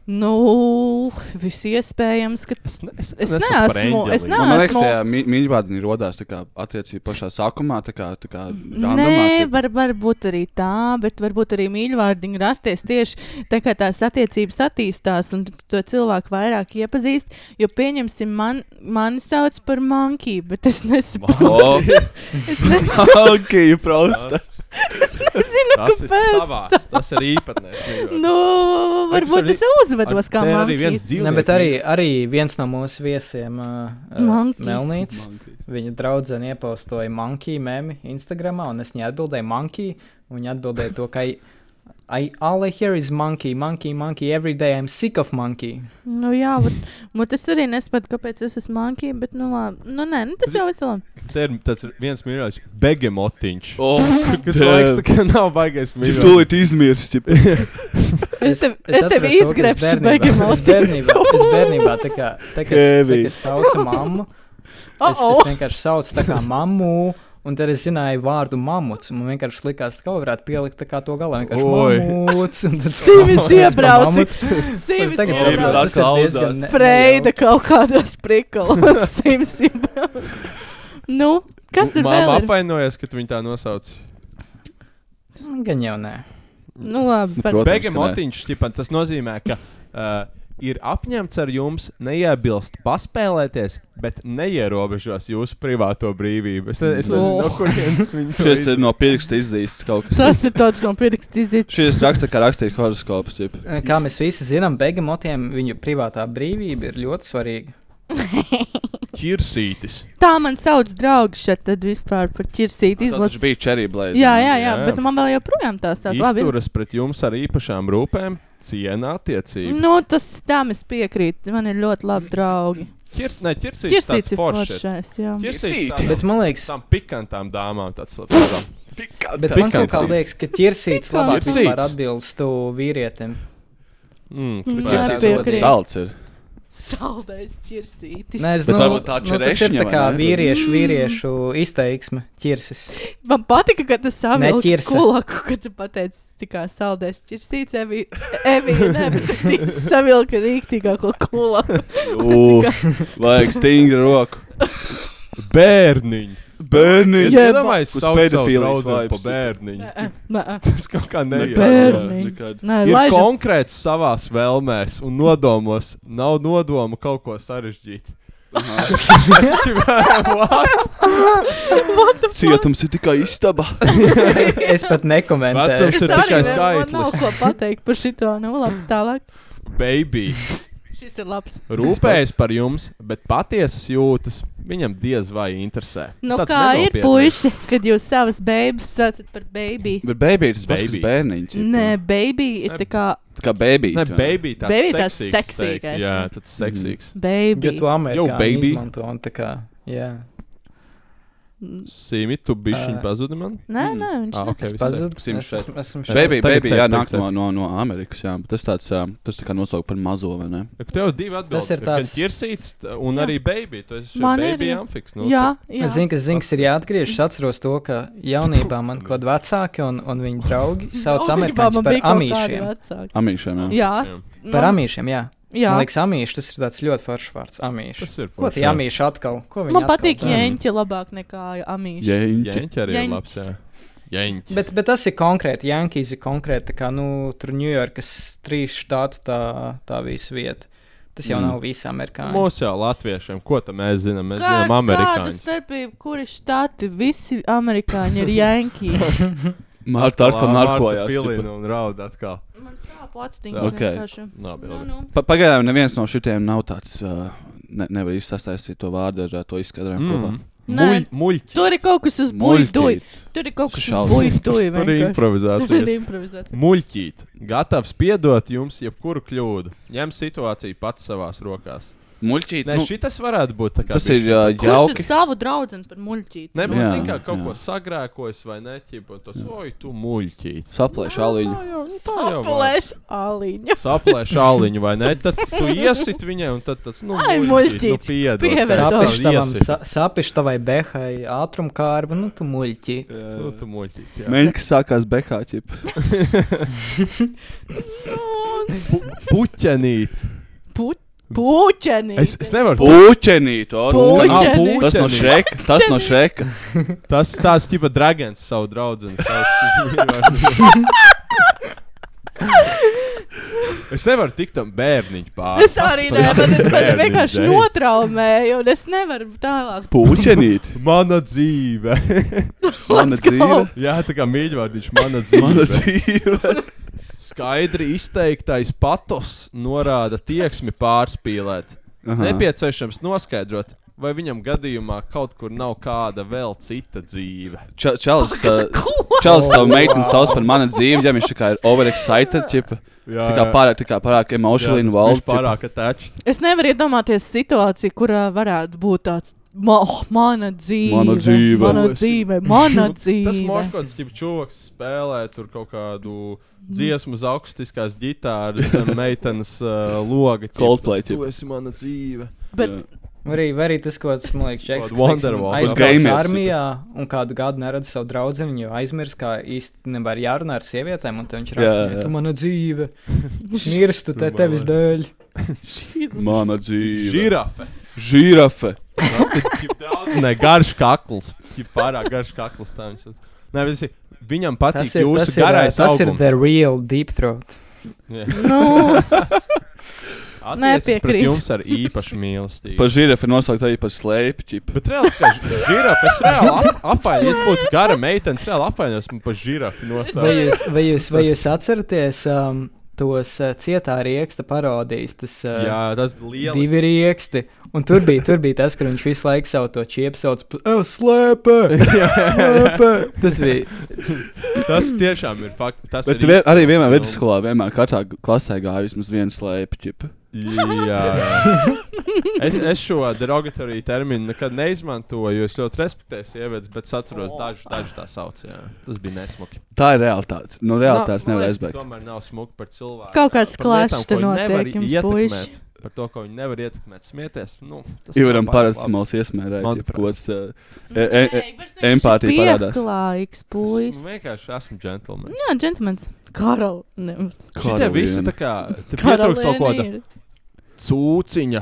Speaker 7: Nu, viss iespējams, ka
Speaker 8: Es, ne, es,
Speaker 7: Es
Speaker 8: nesaucu par
Speaker 7: neesmu- es
Speaker 8: eņģelīti.
Speaker 7: neesmu-
Speaker 9: Man liekas,
Speaker 7: esmu-
Speaker 9: tajā mi- mīļvārdiņā radās tā kā attiecība pašā sākumā, tā kā, tā kā
Speaker 7: Nē,
Speaker 9: randomā.
Speaker 7: var, varbūt arī tā, bet varbūt arī mīļvārdiņi rasties tieši tā, kā tās attiecības attīstās un tu to cilvēku vairāk iepazīst. Jo, pieņemsim, man, mani sauc par monkiju, bet es nesaprotu.
Speaker 8: Oh.
Speaker 9: O,
Speaker 7: Es nes-
Speaker 9: ok, prosta.
Speaker 7: nezinu,
Speaker 8: Tas ir
Speaker 7: kāpēc.
Speaker 8: savāds, tas ir īpatnējs. mīļvārdiņš.
Speaker 7: Nu,
Speaker 8: Vai kas
Speaker 7: varbūt
Speaker 8: arī-
Speaker 7: es uzvedos kā
Speaker 8: Te ir arī viens
Speaker 7: monkija.
Speaker 3: Nē,
Speaker 8: dzīvnieks.
Speaker 3: bet arī, arī viens no mūsu viesiem, uh, uh,
Speaker 7: Monkeys.
Speaker 3: Melnīts, viņa draudzene iepostoja monkiju memi Instagram, un es viņai atbildēju monkiju, un viņa atbildēja to, ka I, I, all I hear is monkey, monkey, monkey, every day I'm sick of monkey.
Speaker 7: Nu, jā, bet, bet es arī nesaprotu, kāpēc es esmu monkija, bet, nu, labi. Nu, nē, nu, tas jau veselam.
Speaker 8: Te ir tāds viens mīļākais, begemotiņš.
Speaker 3: Oh,
Speaker 9: O,
Speaker 8: Kas
Speaker 9: Damn.
Speaker 8: man liekas, tā kā nav baigais
Speaker 9: Čip
Speaker 8: mīļākais.
Speaker 9: Oh, tūlīt izmirst, tipa.
Speaker 7: Es tev, es tev
Speaker 3: atceros to, ka es
Speaker 7: izgrebšu,
Speaker 3: bērnībā-
Speaker 7: beigām
Speaker 3: Es bērnībā, es bērnībā tā kā, tā kā es, tā,
Speaker 9: Heavy.
Speaker 3: kā es saucu mammu, es, es vienkārši saucu tā kā mammu. Un tad es zināju vārdu mamuts. Man vienkārši likās, ka kaut kā varētu pielikt tā kā to galā. Vienkārši
Speaker 8: Oi.
Speaker 3: mamuts. un tad
Speaker 7: Sīvis
Speaker 3: mamuts par
Speaker 7: iebrauci.
Speaker 3: mamutu.
Speaker 7: Sīvis
Speaker 3: Es tagad
Speaker 9: iebrauc.
Speaker 3: saprotu,
Speaker 7: iebrauci.
Speaker 3: tas ir diezgan ne-
Speaker 7: Freida kaut kādos prikalos. Sīvis iebrauci. Nu, kas tur vēl
Speaker 8: Māma
Speaker 7: ir?
Speaker 8: apvainojas, ka tu viņu tā nosauc.
Speaker 3: nejauki. Gan jau nē.
Speaker 7: Nu, labi. par-
Speaker 9: Protams, ka
Speaker 8: Begemotiņš, tipa, tas nozīmē, ka uh, ir apņemts ar jums neiebilst, paspēlēties, bet neierobežos jūsu privāto brīvību. Es, es nezinu, no
Speaker 7: Oh.
Speaker 8: kurienes viņš
Speaker 9: Šis ir no pirksta izzīsts kaut kas.
Speaker 7: Tas ir tāds no pirksta izdzīs.
Speaker 9: Šis raksta kā rakstīts horoskops, tipa.
Speaker 3: Kā mēs visi zinām, begamotiem viņu privātā brīvība ir ļoti svarīga.
Speaker 8: ķirsītis.
Speaker 7: Tā man sauc draugs šeit tad vispār par ķirsīt
Speaker 9: Tas
Speaker 7: izlasīt.
Speaker 9: bija cherry blaze.
Speaker 7: Jā, jā, jā,
Speaker 8: Jā.
Speaker 7: bet man vēl joprojām tā sauc. Labi.
Speaker 8: Izturas pret jums ar īpašām rūpēm, cienā attiecības.
Speaker 7: Nu, tas tam es piekrītu. Man ir ļoti labi draugi.
Speaker 8: Ķirs, ne, ķirsītis,
Speaker 7: Ķirsīts
Speaker 8: ķirsītis
Speaker 7: ir foršais. Jā.
Speaker 8: Ķirsītis. tādām-
Speaker 3: Bet man liekas,
Speaker 8: Tām pikantām dāmām tāds labs.
Speaker 3: bet man kaut kā
Speaker 8: Pikantsīts.
Speaker 3: liekas ka ķirsīts labāk
Speaker 8: Ķirsīts.
Speaker 3: vispār atbilstu vīrietim.
Speaker 8: Mm,
Speaker 7: Mm,
Speaker 8: bet
Speaker 7: jā, piekrītu.
Speaker 8: ķirsītis labāk.
Speaker 7: Piekrīt.
Speaker 9: Salds ir.
Speaker 7: Saldais ķirsītis.
Speaker 3: Nē, es
Speaker 9: Bet
Speaker 3: nu,
Speaker 9: varbūt tā
Speaker 3: nu, tas ir
Speaker 9: čerešņa,
Speaker 3: tā
Speaker 9: vai
Speaker 3: kā
Speaker 9: ne?
Speaker 3: vīriešu, vīriešu izteiksme, ķirsis.
Speaker 7: Man patika, ka tas savukārt
Speaker 3: Neķirsa.
Speaker 7: kulaku, kad tu pateici, tikā saldēs ķirsīts, Evi, Evi, nē, bet tu savilka rīktīgāko kulaku.
Speaker 9: Uff, vajag stingru roku.
Speaker 8: Bērniņu!
Speaker 9: Bērni!
Speaker 7: Jā,
Speaker 8: Jā, domāju,
Speaker 9: uz
Speaker 8: tas ir
Speaker 9: pedofīlijas
Speaker 8: pedofils
Speaker 9: vibes.
Speaker 8: pa bērniņu.
Speaker 7: Nē,
Speaker 8: Tas kaut kā neiet.
Speaker 7: bērni.
Speaker 9: nekad.
Speaker 7: nē,
Speaker 8: Ir
Speaker 7: laižam.
Speaker 8: konkrēts savās vēlmēs un nodomos. Nav nodoma kaut ko sarežģīt.
Speaker 9: Cietums ir tikai istaba.
Speaker 3: Es pat nekomentēju.
Speaker 8: Vecums
Speaker 7: Es
Speaker 8: ir
Speaker 7: arī
Speaker 8: tikai
Speaker 7: ne- man Nav
Speaker 8: skaitlis.
Speaker 7: ko pateikt par šito, nu labi, tālāk.
Speaker 8: Baby
Speaker 7: Šis ir labs.
Speaker 8: rūpējas par jums, bet patiesas jūtas viņam diez vai interesē.
Speaker 7: Nu
Speaker 8: Tāds
Speaker 7: kā ir
Speaker 8: nenopietns.
Speaker 7: puiši, kad jūs savas bēbas saucat par baby?
Speaker 9: Bet baby ir tas pats,
Speaker 8: Baby.
Speaker 9: kas bērniņš. ir.
Speaker 7: Nē, baby ir
Speaker 8: Nē.
Speaker 7: tā kā
Speaker 9: Tā kā baby.
Speaker 8: Ne,
Speaker 9: tu-
Speaker 8: baby tāds
Speaker 7: Baby tāds
Speaker 8: seksīgs
Speaker 7: seksīgais,
Speaker 8: teikt.
Speaker 7: ne?
Speaker 8: Jā,
Speaker 3: Mhm.
Speaker 8: tāds seksīgs.
Speaker 3: Jo
Speaker 7: baby.
Speaker 3: tu Amerikā
Speaker 8: baby.
Speaker 3: izmanto un tā kā, jā.
Speaker 8: Simi, tu bišķiņ
Speaker 3: Ā.
Speaker 8: pazudi man?
Speaker 7: Nē, nē, viņš
Speaker 8: Ā,
Speaker 7: nav.
Speaker 8: Mm. Ah, ok, viss
Speaker 3: Pazudu.
Speaker 8: sēž. Sims šeit.
Speaker 3: Esmu- Esmu šeit.
Speaker 9: Baby,
Speaker 8: tagad
Speaker 9: baby,
Speaker 8: sēd,
Speaker 9: jā,
Speaker 8: tagad
Speaker 9: nāk no, no, no Amerikas, jā, bet tas tāds, ā, tas tā kā nosaukt par mazo, vai ne?
Speaker 8: Ja, Tev ir divi atbildi.
Speaker 3: Tas ir tāds-
Speaker 8: Gan ķirsīts, t- un
Speaker 7: Jā.
Speaker 8: arī baby. Tu esi
Speaker 7: Man
Speaker 8: baby
Speaker 7: arī.
Speaker 8: amfiks. Nu,
Speaker 7: Jā, jā.
Speaker 3: Es zinu, ka zinks ir jāatgriežas. Es atceros to, ka jaunībā man kaut kādi vecāki un, un viņu draugi sauc
Speaker 7: Jaunībā
Speaker 3: amerikāņus
Speaker 7: man
Speaker 3: par
Speaker 7: bija kaut kādi
Speaker 3: amīšiem.
Speaker 7: vecāki.
Speaker 9: Amīšiem, jā.
Speaker 7: Jā, nu,
Speaker 8: Jā.
Speaker 3: Par amīšiem, jā.
Speaker 7: jā.
Speaker 3: Man liekas, amīši tas ir tāds ļoti foršs vārds. Amīši.
Speaker 8: Tas ir
Speaker 3: Ko tie amīši atkal? Ko viņi
Speaker 7: Man
Speaker 3: atkal
Speaker 7: patīk
Speaker 3: dara?
Speaker 7: jēņķi labāk nekā amīši.
Speaker 9: Jēņķi.
Speaker 8: Jaņķi arī ir
Speaker 7: Jeņķis.
Speaker 8: labs. jā. Jeņķis.
Speaker 3: Bet, bet tas ir konkrēti. Jankīs ir konkrēti, tā kā nu, tur Ņujorkas trīs štātu tā, tā visa vieta. Tas jau
Speaker 9: Mm.
Speaker 3: mm. nav visi amerikāņi.
Speaker 8: Mūsu jau latviešiem, ko tam mēs zinām? Mēs
Speaker 7: Kā-
Speaker 8: zinām
Speaker 7: Kāda
Speaker 8: amerikāņus.
Speaker 7: starpība, kuri štati, visi amerikāņi ir jēņķi.
Speaker 9: Mārta ar ko
Speaker 8: Lā- Marta
Speaker 9: narkojās.
Speaker 8: Pilina
Speaker 9: tipa.
Speaker 8: un raud atkal.
Speaker 7: Man sāp atstīns
Speaker 9: Ok.
Speaker 7: vienkārši.
Speaker 8: Labi,
Speaker 7: Nu,
Speaker 8: labi.
Speaker 7: nu.
Speaker 9: Pa, pagaidām neviens no šitiem nav tāds, ā, ne, nevar īsti sasaistīt to vārdu ar ā, to izskatrojumu kopā.
Speaker 8: Mm.
Speaker 7: Nē.
Speaker 8: Muļ- Muļķi.
Speaker 7: Tur ir kaut kas uz buļbuļs. Tur ir kaut
Speaker 9: Tas
Speaker 7: kas
Speaker 9: ir šausmas.
Speaker 7: uz buļbuļs.
Speaker 8: Tur ir
Speaker 7: Tur ir
Speaker 8: improvizācija.
Speaker 7: improvizēta.
Speaker 8: Muļķīt. Gatavs piedot jums jebkuru kļūdu. Ņem situāciju pats savās rokās.
Speaker 9: Muļķīt,
Speaker 8: Nē,
Speaker 9: nu,
Speaker 8: šitas varētu būt tā kā.
Speaker 9: tas ir
Speaker 8: bišķi-
Speaker 9: ā,
Speaker 7: Kurš
Speaker 9: jauki.
Speaker 7: ir savu draugu par muļķīti?
Speaker 8: Nē, man
Speaker 9: Jā,
Speaker 8: liekas, ka kaut
Speaker 9: jā.
Speaker 8: ko sagrēkojas vai nē, ķipa. Tas, oi, tu muļķīt.
Speaker 9: Saplēšu aliņu.
Speaker 7: Aplēš aliņu.
Speaker 8: saplēš aliņu, vai ne? Tad tu iesit viņai, un tad tas, nu,
Speaker 7: Ai,
Speaker 8: muļķīt, nu,
Speaker 7: muļķīt.
Speaker 8: piedod.
Speaker 7: Pievērš
Speaker 8: Tas
Speaker 7: Sapiš
Speaker 3: Sapiši
Speaker 8: tā,
Speaker 3: tavam,
Speaker 8: iesit.
Speaker 3: sa, sapiš tavai behai ātrumkārbu, nu tu muļķi.
Speaker 8: Nu, tu muļķīt, jā.
Speaker 9: Mēģinājums sākās Behāķi.
Speaker 8: Pu puķenīt.
Speaker 7: Puķ- Puķenī.
Speaker 8: Es, es nevaru.
Speaker 9: Puķenīt, to
Speaker 7: Puķenīt.
Speaker 9: skan-
Speaker 8: Ah, puķenīt.
Speaker 9: Tas no šreka, tas no šreka.
Speaker 8: Tas tās ķipa dragons savu draudzeni. sauc. Es nevaru tikt tam bērniņu pāri.
Speaker 7: Es arī nē, man ir man ir vienkārši notraumēja, un es nevaru tālāk.
Speaker 9: Puķenīt.
Speaker 8: Mana dzīve.
Speaker 9: Mana
Speaker 7: Let's go.
Speaker 9: dzīve.
Speaker 8: Jā, tā kā mīļvārdiņš, mana dzīve.
Speaker 9: Mana dzīve.
Speaker 8: Skaidri izteiktais patos norāda tieksmi pārspīlēt. Aha. Nepieciešams noskaidrot, vai viņam gadījumā kaut kur nav kāda vēl cita dzīve.
Speaker 9: Ča- Čalis ā, s- čalis savu meiteni sauc par mana dzīvi, ja viņš tā kā ir overexcited, ķipa. Tā kā pārāk, tā kā pārāk emotionally involved. ķipa.
Speaker 8: pārāk attached.
Speaker 7: Es nevaru iedomāties situāciju, kurā varētu būt tāds. Ma, oh, mana dzīve,
Speaker 9: Mana dzīve.
Speaker 7: mana dzīve, mana dzīve.
Speaker 8: Tas morkots, ja čūlis spēlē tur kaut kādu dziesmu uz augstas gitāras, zem meitenes uh, loga. ķip,
Speaker 9: Coldplay,
Speaker 8: tas, Tu
Speaker 9: ķip.
Speaker 8: esi mana dzīve.
Speaker 7: Bet
Speaker 3: Arī, arī tas, ko tas, man liekas, Džeks,
Speaker 8: Kādu
Speaker 3: kas
Speaker 8: Wonderwall.
Speaker 9: Gamers,
Speaker 3: aizgājis
Speaker 9: tipa.
Speaker 3: armijā un kādu gadu neredz savu draugu, jo aizmirst, kā īsti nevar jārunā ar sievietēm, un tad viņš
Speaker 9: Jā,
Speaker 3: raksta,
Speaker 9: jā.
Speaker 3: ka tu mana dzīve, mirstu te tevis dēļ.
Speaker 9: Mana dzīve.
Speaker 8: Žirafe.
Speaker 9: Žirafe.
Speaker 8: Tik daudz- Nē, garš kakls. Tik pārāk garš kakls. tā viņš sauc. Nē, bet tas ir- Viņam patīk
Speaker 3: Tas ir,
Speaker 8: jūsu
Speaker 3: tas, ir,
Speaker 8: garais
Speaker 3: ā, tas ir
Speaker 8: augums.
Speaker 3: the real deep throat.
Speaker 7: nu,
Speaker 8: Attiecas pret
Speaker 7: Nepiekrīt.
Speaker 8: jums ar īpašu mīlestību.
Speaker 9: Par žirafi nosaukt arī par slēpi, ķipa.
Speaker 8: Bet reāli, ka žirafa, es reāli ap- apvainojos, ja es būtu gara meitene, es reāli apvainojos man par žirafu
Speaker 3: Vai
Speaker 8: nostāju.
Speaker 3: jūs, vai jūs, vai jūs atceraties um, tos uh, cietā rieksta parodijas? Tas, uh,
Speaker 8: Jā, tas bija liels.
Speaker 3: Divi rieksti. Un tur bija, tur bija tas, kur viņš visu laiku savu to čiepu sauc par "Eu, slēpē! slēpē!" Tas bija.
Speaker 8: Tas tiešām ir fakts. Tas
Speaker 9: Bet
Speaker 8: ir
Speaker 9: tu vien,
Speaker 8: īsts
Speaker 9: arī vienmēr
Speaker 8: films.
Speaker 9: vidusskolā, vienmēr katrā g- klasē gāja vismaz viena slēpi, ķipa.
Speaker 8: Jā, jā. Es, es šo derogatoriju terminu nekad neizmantoju, jo es ļoti respektēju sievietes, bet es atceros
Speaker 7: Oh.
Speaker 8: dažu, dažu tā saucamā. Tas bija nesmuki.
Speaker 9: Tā ir realitāte. No realitātes
Speaker 8: Man
Speaker 9: nevar
Speaker 8: liekas, ka
Speaker 9: aizbēgt.
Speaker 8: Tomēr nav smuki par cilvēku.
Speaker 7: Kaut kāds clash te notiek jums, puiši.
Speaker 8: ietekmēt. Par to, ko viņi nevar ietekmēt, smieties. Nu, tas nav
Speaker 9: Ivaram
Speaker 8: pārāk
Speaker 9: parasti
Speaker 8: labi.
Speaker 9: smalsi iesmērēja,
Speaker 8: Man
Speaker 9: ķipa, kaut kas. ā, e- e- e- empātija parādās.
Speaker 7: Pieklājīgs
Speaker 8: Es
Speaker 7: puisis.
Speaker 8: vienkārši esmu džentlmenis.
Speaker 9: Nu.
Speaker 7: Jā, džentlmenis. Karl. Ne,
Speaker 8: Šitie
Speaker 9: Karaliene.
Speaker 8: visi tā kā te pietrūkst kaut kāda
Speaker 7: karaliene ir.
Speaker 8: cūciņa.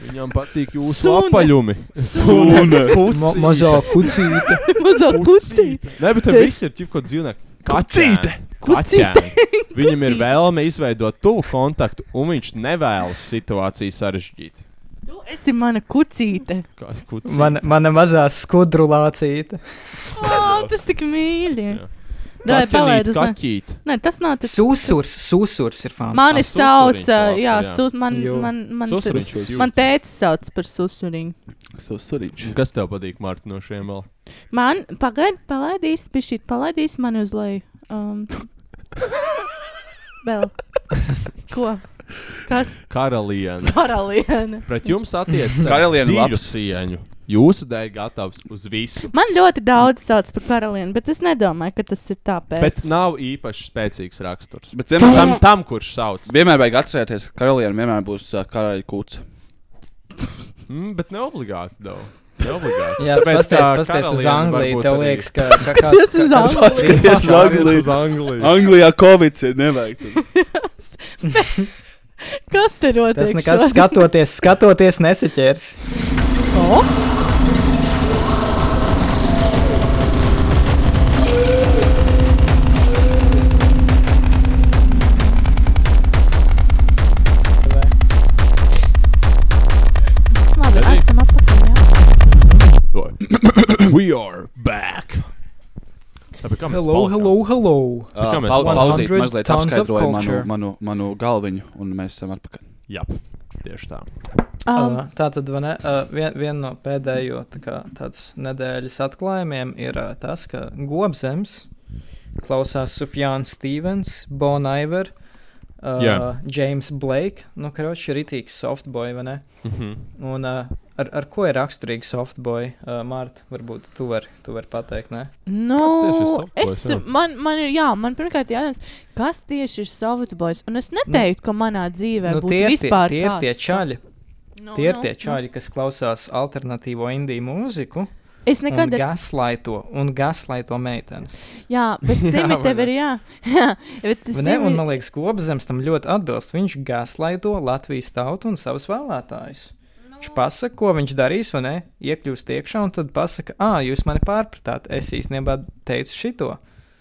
Speaker 8: Viņam patīk jūsu
Speaker 7: Sune.
Speaker 8: apaļumi.
Speaker 9: Sune.
Speaker 3: Mo mazā kucīte.
Speaker 7: Mazā kucīte.
Speaker 8: Nē, bet tur
Speaker 7: Tas-
Speaker 8: viss ir ķipko dzīvnieki.
Speaker 9: Kucīte.
Speaker 7: Kucīte.
Speaker 8: Kaķēni. Viņam ir vēlme izveidot tuvu kontaktu, un viņš nevēlas situāciju sarežģīt.
Speaker 7: Tu esi mana kucīte.
Speaker 8: Kā kucīte.
Speaker 3: Mana, mana mazā skudrulācīte.
Speaker 7: Oh, tas tik mīļi.
Speaker 8: Jā.
Speaker 7: Dai,
Speaker 8: Kaķenīt,
Speaker 7: palaid uz mani.
Speaker 8: kaķīt.
Speaker 7: Nē, tas nav tas.
Speaker 3: Susurs, susurs ir fans.
Speaker 7: Mani
Speaker 8: Ah,
Speaker 7: sauc,
Speaker 8: susuriņš
Speaker 7: ā,
Speaker 8: sauc,
Speaker 7: jā,
Speaker 8: jā.
Speaker 7: sūt, man,
Speaker 3: Jū.
Speaker 7: man, man,
Speaker 8: Susuriņš ir
Speaker 9: man-
Speaker 8: cute.
Speaker 7: man tēcis sauc par susuriņu.
Speaker 9: Savs surīčs.
Speaker 8: Un Kas tev patīk, Mārtiņ, no šiem vēl?
Speaker 7: Man, pagaidi, palaidīs, pišķīt, palaidīs mani uz leju. Um, vēl. Ko? Kas?
Speaker 8: Karaliene.
Speaker 7: Karaliene.
Speaker 8: Pret jums attiecas
Speaker 9: Karaliene
Speaker 8: karalienes
Speaker 9: labs.
Speaker 8: sieņu. jūsu dēļ gatavs uz visu.
Speaker 7: Man ļoti daudz sauc par karalieni, bet es nedomāju, ka tas ir tāpēc.
Speaker 8: Bet nav īpaši spēcīgs raksturs.
Speaker 9: Bet vienmēr,
Speaker 8: Tam, tam kurš sauc.
Speaker 9: vienmēr vajag atcerēties, ka karalienē vienmēr būs uh, karaļa kūts.
Speaker 8: Mm, bet ne obligāti. Nav. Ne obligāti.
Speaker 3: Jā,
Speaker 8: Tāpēc
Speaker 3: tas
Speaker 8: tā
Speaker 3: pastāstīs uz
Speaker 8: karaliene
Speaker 3: Angliju.
Speaker 8: varbūt
Speaker 3: Tev
Speaker 8: arī-
Speaker 3: liekas, ka ka kāds
Speaker 7: Tas uz
Speaker 3: kāds-
Speaker 7: Angliju.
Speaker 9: Skaties uz Angliju.
Speaker 8: Uz Angliju.
Speaker 9: Anglijā Covid ir nevajag.
Speaker 7: Kas tur notiek?
Speaker 3: Tas nekas
Speaker 7: šodien?
Speaker 3: skatoties, skatoties nesaķers.
Speaker 7: O! Labi,
Speaker 8: Redzi?
Speaker 7: esam atpakaļ, jā.
Speaker 8: We are back. Tāpēc kā mēs
Speaker 3: Hello,
Speaker 8: palikām?
Speaker 3: hello, hello.
Speaker 8: Tā kā mēs
Speaker 9: Pau-
Speaker 8: palikām?
Speaker 9: Pauzīt,
Speaker 3: 100
Speaker 9: mazliet
Speaker 3: tons of
Speaker 9: apskaidroju manu,
Speaker 3: culture.
Speaker 9: manu, manu galviņu, un mēs esam atpakaļ.
Speaker 8: Jā, tieši tā.
Speaker 7: Um,
Speaker 3: Tā tad vai ne, uh, vien, viena no pēdējo tā kā, tāds nedēļas atklājumiem ir uh, tas, ka Gobzems klausās Sufjāns Stevens, Bon Iver, uh,
Speaker 8: Jā.
Speaker 3: James Blake. Nu, karoči, ritīgs softboy, vai ne?
Speaker 8: Mhm.
Speaker 3: Un uh, ar, ar ko ir raksturīgi softboy? Uh, Mārta, varbūt tu vari var pateikt, ne?
Speaker 8: tieši ir
Speaker 7: Nu,
Speaker 8: softboys,
Speaker 7: es,
Speaker 8: jā?
Speaker 7: man, man ir, jā, man pirmkārt jautājums, kas tieši ir softboys? Un es neteiktu, ka manā dzīvē
Speaker 3: Nu,
Speaker 7: būtu
Speaker 3: tie, ir tie,
Speaker 7: vispār
Speaker 3: tie ir tie
Speaker 7: tāds.
Speaker 3: čaļi,
Speaker 7: Nu,
Speaker 3: Tie ir
Speaker 7: nu,
Speaker 3: tie
Speaker 7: nu.
Speaker 3: čaļi, kas klausās alternatīvo indiju mūziku.
Speaker 7: Es
Speaker 3: Nekad
Speaker 7: nekad,
Speaker 3: ir gaslaito un gaslaito meitenes.
Speaker 7: jā, bet
Speaker 3: Jā,
Speaker 7: simi
Speaker 3: vai
Speaker 7: tev
Speaker 3: ne?
Speaker 7: ir, jā, jā, bet tas
Speaker 3: Vai Ne, un,
Speaker 7: ir.
Speaker 3: man liekas, Gobzems tam ļoti atbilst. Viņš gaslaito Latvijas tautu un savus vēlētājus.
Speaker 7: Nu,
Speaker 3: Viņš pasaka, ko viņš darīs, un ne, iekļūst iekšā, un tad pasaka, ah, jūs mani pārpratāt, es īstenībā teicu šito.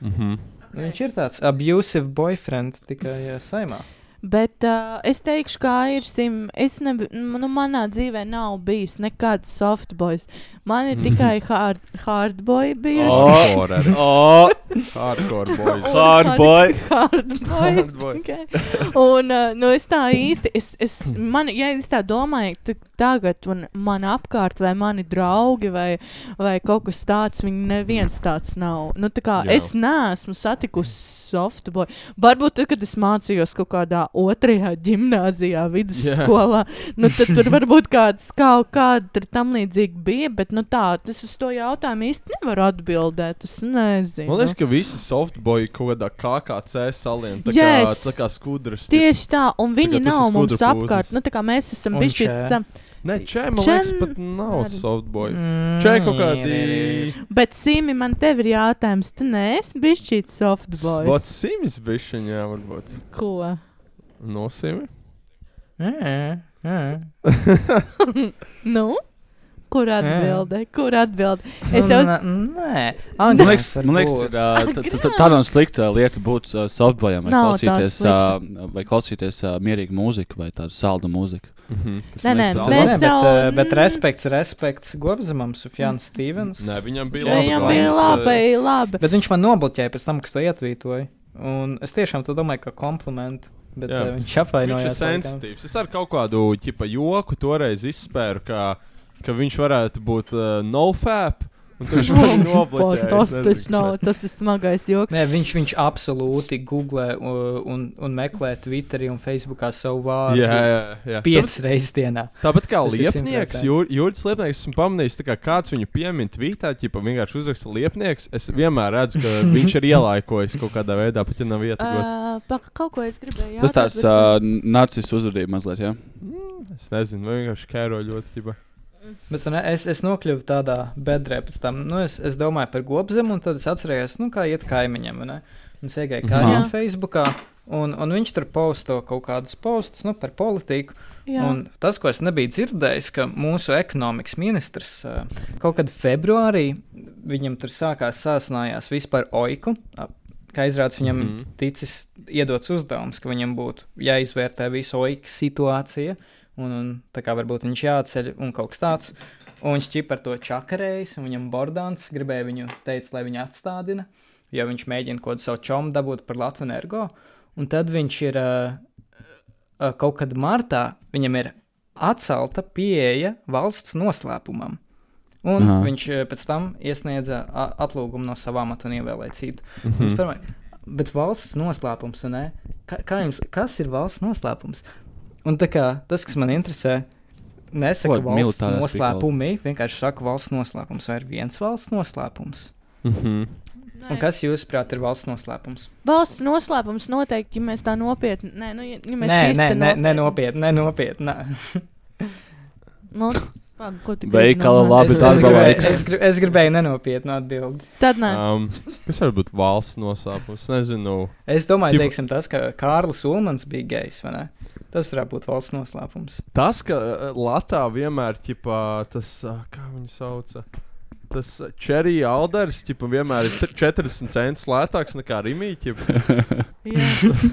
Speaker 8: Mhm.
Speaker 3: Viņš ir tāds abusive boyfriend tikai uh, saimā.
Speaker 7: Bet uh, es teikšu, kā ir sim. Es ne, nu, manā dzīvē nav bijis nekāds softboys. Man
Speaker 3: Mhm.
Speaker 7: ir tikai hard, hardboy bijuši.
Speaker 8: Hardcore arī.
Speaker 9: Oh,
Speaker 8: Hardcore boys.
Speaker 9: hardboy!
Speaker 7: Hardboy.
Speaker 8: Hardboy.
Speaker 7: tikai. Un uh, nu, es tā īsti, es, es, man, ja es tā domāju, tad tagad un man apkārt vai mani draugi vai, vai kaut kas tāds, viņi neviens tāds nav. Nu, tā kā
Speaker 8: Jā.
Speaker 7: Jā. es neesmu satikusi softboy. Varbūt tad, kad es mācījos kaut kādā otrajā gimnāzijā, vidusskolā, nu, tad tur varbūt kāds kaut kāda tur tam līdzīga bija, bet nu tā, tas uz to jautājumu īsti nevaru atbildēt. Es nezinu.
Speaker 8: Man liekas, ka visi softboy kaut kādā KKC salien, tā kā,
Speaker 7: Yes.
Speaker 8: tā kā skudras.
Speaker 7: Tieši tā, un viņi
Speaker 8: Tagad tas
Speaker 7: nav
Speaker 8: ir
Speaker 7: mums
Speaker 8: skudra
Speaker 7: apkārt.
Speaker 8: pūzes.
Speaker 7: Nu, tā kā mēs esam
Speaker 3: Un
Speaker 7: bijuši
Speaker 3: čē.
Speaker 7: tam,
Speaker 8: Nē, čē, man
Speaker 7: Čen-
Speaker 8: liekas, pat nav
Speaker 7: arī.
Speaker 8: softboy.
Speaker 3: Mm,
Speaker 8: Čē kaut
Speaker 3: ir,
Speaker 8: kādi.
Speaker 7: bet Simi, man te ir jautājums, tu neesi bijusi
Speaker 8: Vot
Speaker 7: softboys.
Speaker 8: simis bišķiņā varbūt.
Speaker 7: Ko?
Speaker 8: Nosimi?
Speaker 3: ir, ir. Jā, jā.
Speaker 7: Nu? Kur atbildē? Kur atbildē? Es jau
Speaker 3: Nu, Nē, nē.
Speaker 9: Man
Speaker 3: Agnes,
Speaker 9: liekas, man liekas
Speaker 3: varbūt.
Speaker 9: ir, uh, tā- tā- tā- tāda nav slikta lieta būt uh, softboyam vai
Speaker 7: Nav tā
Speaker 9: klausīties, uh, vai klausīties uh, mierīgu mūziku vai tādu saldu mūziku.
Speaker 8: Mhm.
Speaker 7: Nē, nē,
Speaker 9: mēs-
Speaker 3: Nē,
Speaker 7: mēs
Speaker 3: bet,
Speaker 7: jau-
Speaker 3: eh, bet
Speaker 7: mm.
Speaker 3: respekts, respekts Gobzemam, Sufjāns Stevens.
Speaker 8: Nē, viņam bija
Speaker 3: Labs eh.
Speaker 7: viņam
Speaker 8: labi.
Speaker 7: bija
Speaker 3: plāns,
Speaker 7: labi, labi.
Speaker 3: Bet viņš man nobloķēja pēc tam, kas to ietvītoja. Un es tiešām to domāju, ka komplimentu. Bet
Speaker 8: Jā.
Speaker 3: eh, viņš
Speaker 8: Viņš ir
Speaker 3: apvainojās. laikam.
Speaker 8: sensitīvs. Es ar kaut kādu ķipa, joku toreiz izspēru, ka, ka viņš varētu būt uh, nofap. un tad Viņš man nobloķēja,
Speaker 7: Tas
Speaker 8: es nezinu,
Speaker 7: tas nav,
Speaker 8: kāpēc.
Speaker 7: tas ir smagais joks.
Speaker 3: Nē, viņš, viņš absolūti googlē uh, un, un meklē Twitterī un Facebookā savu vārdu.
Speaker 8: Jā, jā, jā.
Speaker 3: Piecas reizes dienā.
Speaker 8: Tāpat kā
Speaker 3: Tas ir
Speaker 8: liepnieks,
Speaker 3: 100%.
Speaker 8: Jū- Jūras liepnieks, esmu pamanījis, tā kā kāds viņu piemin tvītā, ja vienkārši uzraksta liepnieks. Es vienmēr redzu, ka viņš ir ielaikojis kaut kādā veidā, pat ja nav ietekmēts.
Speaker 7: Uh, kaut ko es gribēju.
Speaker 9: Tas tāds
Speaker 7: jautāt,
Speaker 9: uh, nacis uzvedība mazliet, jā.
Speaker 8: Es nezinu, vai vienkārši kēro ļoti ķipa.
Speaker 3: Bet ne, es, es nokļuvu tādā bedrē pēc tam. Nu, es, es domāju par gobzemu, un tad es atcerējos, nu, kā iet kaimiņam. vai ne? Un es iegāju kaimiņam
Speaker 7: Jā.
Speaker 3: Facebookā, un, un viņš tur posto kaut kādus postus nu, par politiku.
Speaker 7: bet- jā.
Speaker 3: Un tas, ko es nebiju dzirdējis, ka mūsu ekonomikas ministrs ā, kaut kad februārī viņam tur sākās sāsinājās vispār oiku. ā, Kā izrādās, viņam mm
Speaker 8: Mhm.
Speaker 3: -hmm. ticis iedots uzdevums, ka viņam būtu jāizvērtē visa oika situācija. Un, un tā kā varbūt viņš jāatceļ un kaut kas tāds. Un viņš ķip ar to čakarējis, un viņam Bordāns gribēja viņu teikt, lai viņu atstādina, jo viņš mēģina kaut kādu savu čomu dabūt par Latviju energo. Un tad viņš ir uh, uh, kaut kad martā viņam ir atcelta pieeja valsts noslēpumam. Un Aha.
Speaker 9: Aha.
Speaker 3: viņš eh, pēc tam iesniedza a- atlūgumu no savām amata un ievēlēja citu.
Speaker 8: Hm.
Speaker 3: Mm -hmm. Bet valsts noslēpums, ne? Kā, kā jums, kas ir valsts noslēpums? Un tā kā tas, kas man interesē, nesaka
Speaker 9: Ko,
Speaker 3: valsts
Speaker 9: militārās
Speaker 3: noslēpumi, vienkārši saka valsts noslēpums. Vai ir viens valsts noslēpums?
Speaker 8: Mhm.
Speaker 3: Un kas, jūsuprāt, ir valsts noslēpums?
Speaker 7: Valsts noslēpums noteikti, ja mēs tā nopietni. Nē, nu, ja, ja mēs
Speaker 3: nē,
Speaker 7: čista
Speaker 3: nē, nē, nē,
Speaker 7: nopietni-
Speaker 3: nopietni, nē, nopietni. nā.
Speaker 7: Nu, labi, ko tu gribi
Speaker 9: Veikala
Speaker 7: no
Speaker 9: labi
Speaker 7: manis?
Speaker 3: Es, es,
Speaker 9: darba
Speaker 3: gribēju,
Speaker 9: laiks.
Speaker 3: es, grib, es gribēju nenopietnu atbildi.
Speaker 7: Tad nē.
Speaker 8: Um, kas var būt valsts noslēpums? Nezinu.
Speaker 3: Es domāju,
Speaker 8: Tipa-
Speaker 3: teiksim, tas, ka Kārlis Ulmans bija gejs, vai ne? Tas varētu būt valsts noslēpums.
Speaker 8: Tas, ka eh, Latā vienmēr ķipā, tas, eh, kā viņu sauca. Tas čerī alders ķipa, vienmēr ir tr- 40 centus lētāks nekā rīmīķis.
Speaker 7: jā.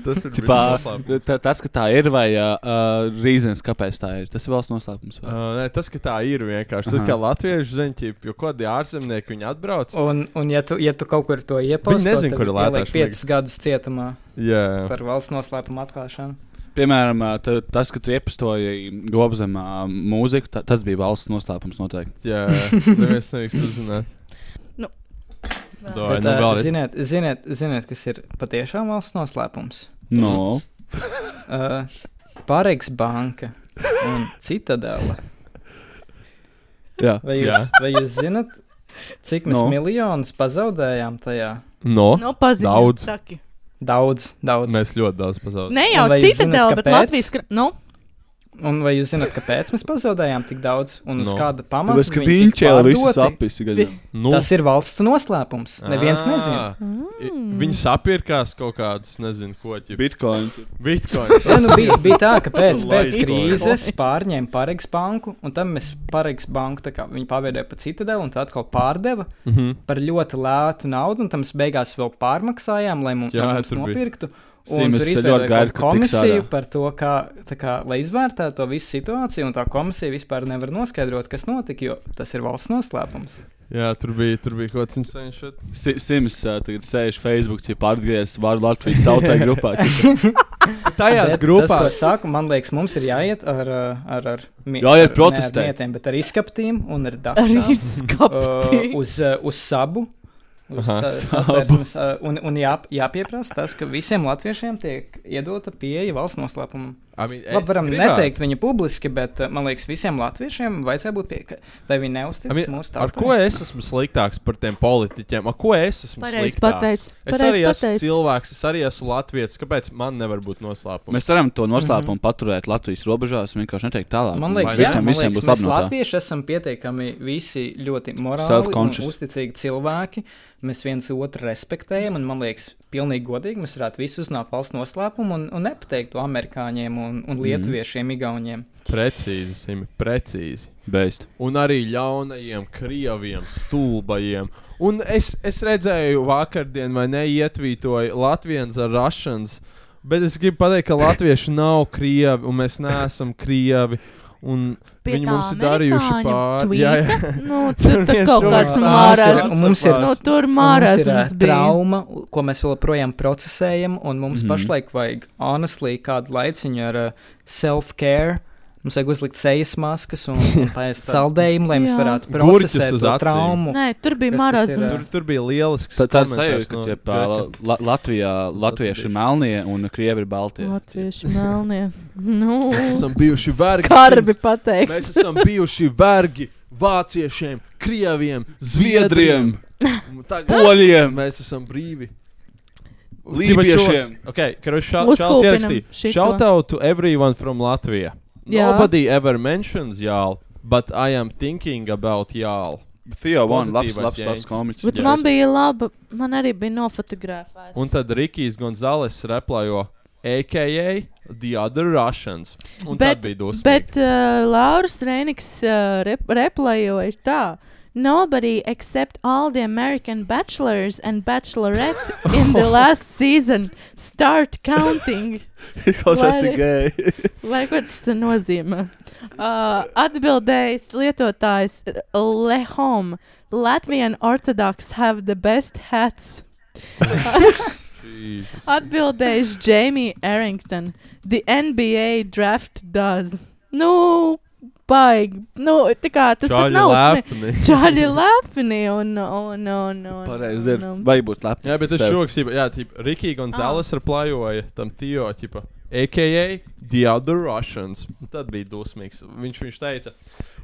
Speaker 8: Tas ir bijis
Speaker 9: Tipā,
Speaker 8: noslēpums.
Speaker 9: tā- tas, ka tā ir, vai uh, rīzens, kāpēc tā ir, tas ir valsts noslēpums. vai?
Speaker 8: Uh, nē, tas, ka tā ir vienkārši. Tas,
Speaker 9: Aha.
Speaker 8: kā latviešu zināms, jo kādi ārzemnieki viņi atbrauc.
Speaker 3: Un, un ja, tu, ja tu kaut kur to iepazīsti,
Speaker 8: nezin, kur ir lētāks,
Speaker 3: piecus gadus cietumā
Speaker 8: Jā,
Speaker 3: par valsts noslēpumu atklāšanu.
Speaker 9: Piemēram, ā, ta- tas, ka tu iepazīstināji Gobzemā mūziku, ta, tas bija valsts noslēpums noteikti.
Speaker 8: jā. Neviens nevis uzzināt.
Speaker 7: Nu.
Speaker 8: Doj,
Speaker 3: Bet,
Speaker 8: nu,
Speaker 3: ā,
Speaker 8: vēlreiz.
Speaker 3: ziniet, ziniet, ziniet, kas ir patiešām valsts noslēpums?
Speaker 9: No.
Speaker 3: Uh, Pāreiks banka un citadela.
Speaker 9: Jā,
Speaker 3: Vai jūs, vai jūs zinat, cik mēs
Speaker 9: No.
Speaker 3: no. miljonus pazaudējām tajā?
Speaker 8: No,
Speaker 7: Nu, paziņo,
Speaker 8: Daudz. Nu,
Speaker 7: saki.
Speaker 3: Daudz, daudz. Mēs...
Speaker 8: mēs ļoti daudz pazaudējām.
Speaker 7: Ne jau
Speaker 3: Un vai jūs
Speaker 7: cita
Speaker 3: zināt,
Speaker 7: dēļ, bet
Speaker 3: kāpēc?
Speaker 7: Latvijas. kra- Nu,
Speaker 3: Un vai jūs zināt, kāpēc mēs pazaudējām tik daudz un uz
Speaker 8: No.
Speaker 3: no. kāda pamata?
Speaker 9: tāpēc, ka
Speaker 3: viņi tika
Speaker 9: viņš jau visu
Speaker 3: pārdoti?
Speaker 9: sapisi.
Speaker 7: Vi-
Speaker 9: gaļā.
Speaker 8: Nu,
Speaker 3: Tas ir valsts noslēpums.
Speaker 8: Ah.
Speaker 3: Neviens nezina.
Speaker 8: Mm. Viņi sapirkās kaut kādas, nezinu, ko ķipa.
Speaker 9: Bitcoin.
Speaker 8: Bitcoins.
Speaker 3: Jā, nu bija, bija tā, ka pēc, pēc
Speaker 8: Laiku.
Speaker 3: krīzes pārņēma Pāriks banku, un tam mēs Pāriks banku tā kā viņi pavērdēja pa citadelu, un tā atkal pārdeva
Speaker 8: Mm -hmm.
Speaker 3: par ļoti lētu naudu, un tam mēs beigās vēl pārmaksājām, lai mums,
Speaker 8: Jā,
Speaker 3: lai mums
Speaker 8: tur bija.
Speaker 3: nopirktu.
Speaker 9: Sim,
Speaker 3: Un
Speaker 9: es
Speaker 3: tur
Speaker 9: ļoti
Speaker 3: izveidoja
Speaker 9: gaidu,
Speaker 3: kādu
Speaker 9: ka tiks
Speaker 3: komisiju
Speaker 9: ārā.
Speaker 3: par to, kā, tā kā, lai izvērtētu to visu situāciju, un tā komisija vispār nevar noskaidrot, kas notika, jo tas ir valsts noslēpums.
Speaker 8: Jā, tur bija, tur bija kaut kas insane. Shit.
Speaker 9: Si- Sims ā, tagad sēž Facebook, ja pārgriezt vārdu Latvijas tautai grupā.
Speaker 8: Tajās
Speaker 3: Bet Tas, ko es saku, man liekas, mums ir jāiet ar, uh, ar, ar mi-
Speaker 9: Jāiet
Speaker 3: ar-
Speaker 9: protestēt.
Speaker 3: ne ar mietiem, bet ar izskaptīm un ar dārstu.
Speaker 7: arī skapti.
Speaker 3: uh, uz, uh, uz sabu. Uz,
Speaker 8: Aha,
Speaker 3: Aha, satversmes, uh, un un jā, jāpieprasa tas, ka visiem latviešiem tiek iedota pieeja valsts noslēpumam.
Speaker 8: I mean,
Speaker 3: Labi, varam gribētu. neteikt viņu publiski, bet uh, man liekas, visiem latviešiem vajadzēja būt pieeja, lai viņi
Speaker 8: I
Speaker 3: neusticas
Speaker 8: mean,
Speaker 3: I mean, mūsu
Speaker 8: ar ko
Speaker 3: tautai.
Speaker 8: es esmu sliktāks par tiem politiķiem? Ar ko es esmu
Speaker 7: Pareizi
Speaker 8: sliktāks?
Speaker 7: pateici,
Speaker 8: Es
Speaker 7: pareizi
Speaker 8: arī esmu
Speaker 7: pateici.
Speaker 8: cilvēks, es arī esmu latviečs. Kāpēc man nevar būt noslēpums?
Speaker 9: Mēs varam to noslēpumu paturēt Latvijas robežās un vienkārši neteikt tālāk.
Speaker 3: Man liekas,
Speaker 8: Vai
Speaker 3: jā,
Speaker 9: visiem,
Speaker 3: man
Speaker 9: visiem
Speaker 3: liekas
Speaker 9: būs
Speaker 3: mēs
Speaker 9: labi. no tā.
Speaker 3: latvieši esam pietiekami visi ļoti morāli un
Speaker 9: Self-conscious.
Speaker 3: uzticīgi cilvēki. Mēs viens otru respektējam, un man liekas, pilnīgi godīgi mēs varētu visi uzzināt valsts noslēpumu un, un nepateikt to amerikāņiem un,
Speaker 9: Mhm.
Speaker 3: un lietuviešiem, mm. igauniem.
Speaker 8: Precīzi, Simi, precīzi.
Speaker 9: Beist.
Speaker 8: Un arī ļaunajiem, krieviem, stulbajiem. Un es, es redzēju, vakardien vai neietvītoju Latvijas ar Russians, bet es gribu pateikt, ka latvieši nav krievi un mēs neesam krievi. un
Speaker 7: Pie
Speaker 8: Viņi
Speaker 7: tā
Speaker 8: mums ir darījuši
Speaker 7: amerikāņu
Speaker 8: pāri.
Speaker 7: tvīta? Nu, tur tur
Speaker 8: viens
Speaker 7: kaut
Speaker 8: čomiks
Speaker 7: kāds
Speaker 8: pārsvarā
Speaker 3: mārās-
Speaker 7: mārās.
Speaker 3: Un mums ir-
Speaker 7: Nu, tur
Speaker 8: uh,
Speaker 3: Mums ir ā,
Speaker 7: mārās bija.
Speaker 3: trauma, u- ko mēs joprojām procesējam, un mums
Speaker 9: Mhm.
Speaker 3: mm -hmm. pašlaik vajag, honestly, kādu laiciņu ar uh, self-care. Mums vajag uzlikt sejas maskas un un paēst saldējumu, lai mēs
Speaker 7: Jā.
Speaker 3: varētu
Speaker 8: Gurķus
Speaker 3: procesēt
Speaker 8: uz
Speaker 3: to
Speaker 8: acīm.
Speaker 3: traumu.
Speaker 7: Nē, tur bija
Speaker 3: Kas tas ir,
Speaker 8: Tur,
Speaker 7: mārās.
Speaker 8: tur bija lielisks.
Speaker 9: Tā, tā ir
Speaker 8: komentārs
Speaker 9: sajūta, ka
Speaker 8: no
Speaker 9: tie, pā,
Speaker 8: Džeka.
Speaker 9: la, Latvijā latvieši ir melnie un krievi ir balti.
Speaker 7: Latvieši melnie. Nu,
Speaker 8: Mēs uh, esam bijuši vergi.
Speaker 7: skarbi
Speaker 8: pirms-
Speaker 7: pateikt.
Speaker 8: Mēs esam bijuši vergi vāciešiem, krieviem,
Speaker 9: Zviedriem,
Speaker 8: zviedriem. Un Tagad
Speaker 9: poļiem,
Speaker 8: mēs esam brīvi.
Speaker 9: lībiešiem.
Speaker 8: Okay, Čāls
Speaker 7: Uzkūpinam
Speaker 8: ierakstīja.
Speaker 7: šito.
Speaker 8: Shout out to everyone from Latvia.
Speaker 7: Jā.
Speaker 8: Nobody ever mentions y'all, but I am thinking about y'all.
Speaker 9: Theo Van, labs,
Speaker 8: Pozitīvais
Speaker 9: labs, labs
Speaker 8: jēdziens.
Speaker 9: komiķis.
Speaker 7: Bet
Speaker 8: Jā,
Speaker 7: man
Speaker 8: es-
Speaker 7: bija laba, man arī bija nofotografēts.
Speaker 8: Un tad Rikijs Gonzales replajo, a.k.a. The Other Russians. Un tad bija dusmīgi.
Speaker 7: Bet uh, Lauris Reinigs uh, rep replajoja tā. Nobody except all the American bachelors and bachelorette in the last season start counting.
Speaker 9: Izklausās tik gēji.
Speaker 7: Vai ko tas tur nozīmē? Uh, atbildējis lietotājs Lehom. Latvian Orthodox have the best hats.
Speaker 8: Jēzus.
Speaker 7: Atbildējis Jamie Arrington. The NBA draft does. Nu, baigi. Nu, tā kā tas pat
Speaker 8: Čaļi
Speaker 7: nav. sme-
Speaker 8: lepni.
Speaker 7: Čaļi lepni un, un, un, un,
Speaker 9: Pareizi
Speaker 7: un,
Speaker 9: ir.
Speaker 7: un.
Speaker 9: Vai būtu labi?
Speaker 8: Jā, bet tas
Speaker 9: Sev.
Speaker 8: joks, jā, jā Rikija Gonzāles ah. replajoja tam Tio, tipa, AKA The Other Russians. Un Tad bija dusmīgs. Viņš, viņš teica,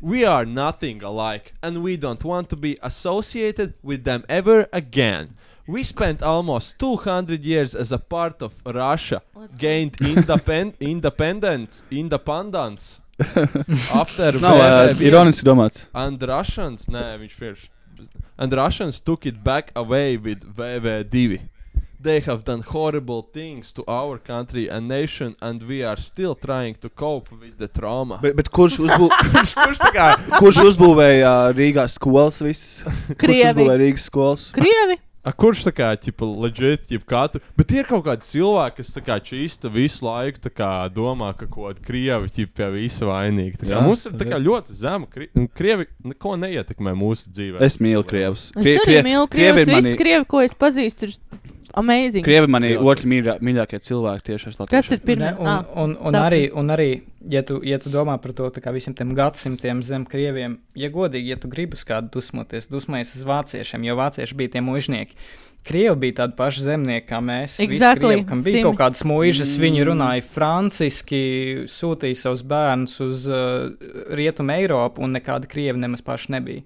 Speaker 8: We are nothing alike, and we don't want to be associated with them ever again. We spent almost 200 years as a part of Russia, gained independ independence, independence after
Speaker 9: Nav uh,
Speaker 8: World War
Speaker 9: ironiski domāts.
Speaker 8: And Russians, nē, viņš vienkārši. And Russians took it back away with VV2. They have done horrible things to our country and nation, and we are still trying to cope with the trauma.
Speaker 9: Bet, bet kurš, uzbū... kurš, kurš, kurš uzbūvēja Rīgā skolas visas? Kurš
Speaker 7: Krievi.
Speaker 9: uzbūvēja Rīgas skolas?
Speaker 7: Krievi!
Speaker 8: A, kurš tā kā, tipo, legit, jeb katru, bet ir kaut kādi cilvēki, kas tā kā čīsta visu laiku, tā kā domā, ka kaut kāda krievi, ķip, pie visa vainīga. Tā kā
Speaker 9: Jā,
Speaker 8: mums ir tā kā ļoti zema, kri un krievi neko neietekmē mūsu dzīvē.
Speaker 9: Es mīlu krievus.
Speaker 7: Es arī mīlu krievis.
Speaker 9: ir
Speaker 7: Visi
Speaker 9: mani,
Speaker 7: krievi, ko es pazīstu, ir amazing.
Speaker 9: krievi mani otri mīļā, mīļākie cilvēki tieši es
Speaker 7: Kas ir Ah.
Speaker 3: Ne,
Speaker 7: pirmā?
Speaker 3: un, un, un,
Speaker 7: sapratu.
Speaker 3: arī, un arī, ja tu, ja tu domā par to tā kā visiem tiem gadsimtiem zem krieviem, ja godīgi, ja tu gribi uz kādu dusmoties, dusmojies uz vāciešiem, jo vācieši bija tie mužnieki. Krievi bija tādi paši zemnieki, kā mēs. visi
Speaker 7: Exactly,
Speaker 3: Krievi, kam bija
Speaker 7: simi.
Speaker 3: kaut kādas mūžas, viņi runāja franciski, sūtīja savus bērnus uz uh, rietumu Eiropu, un nekāda krievi nemaz paši nebija.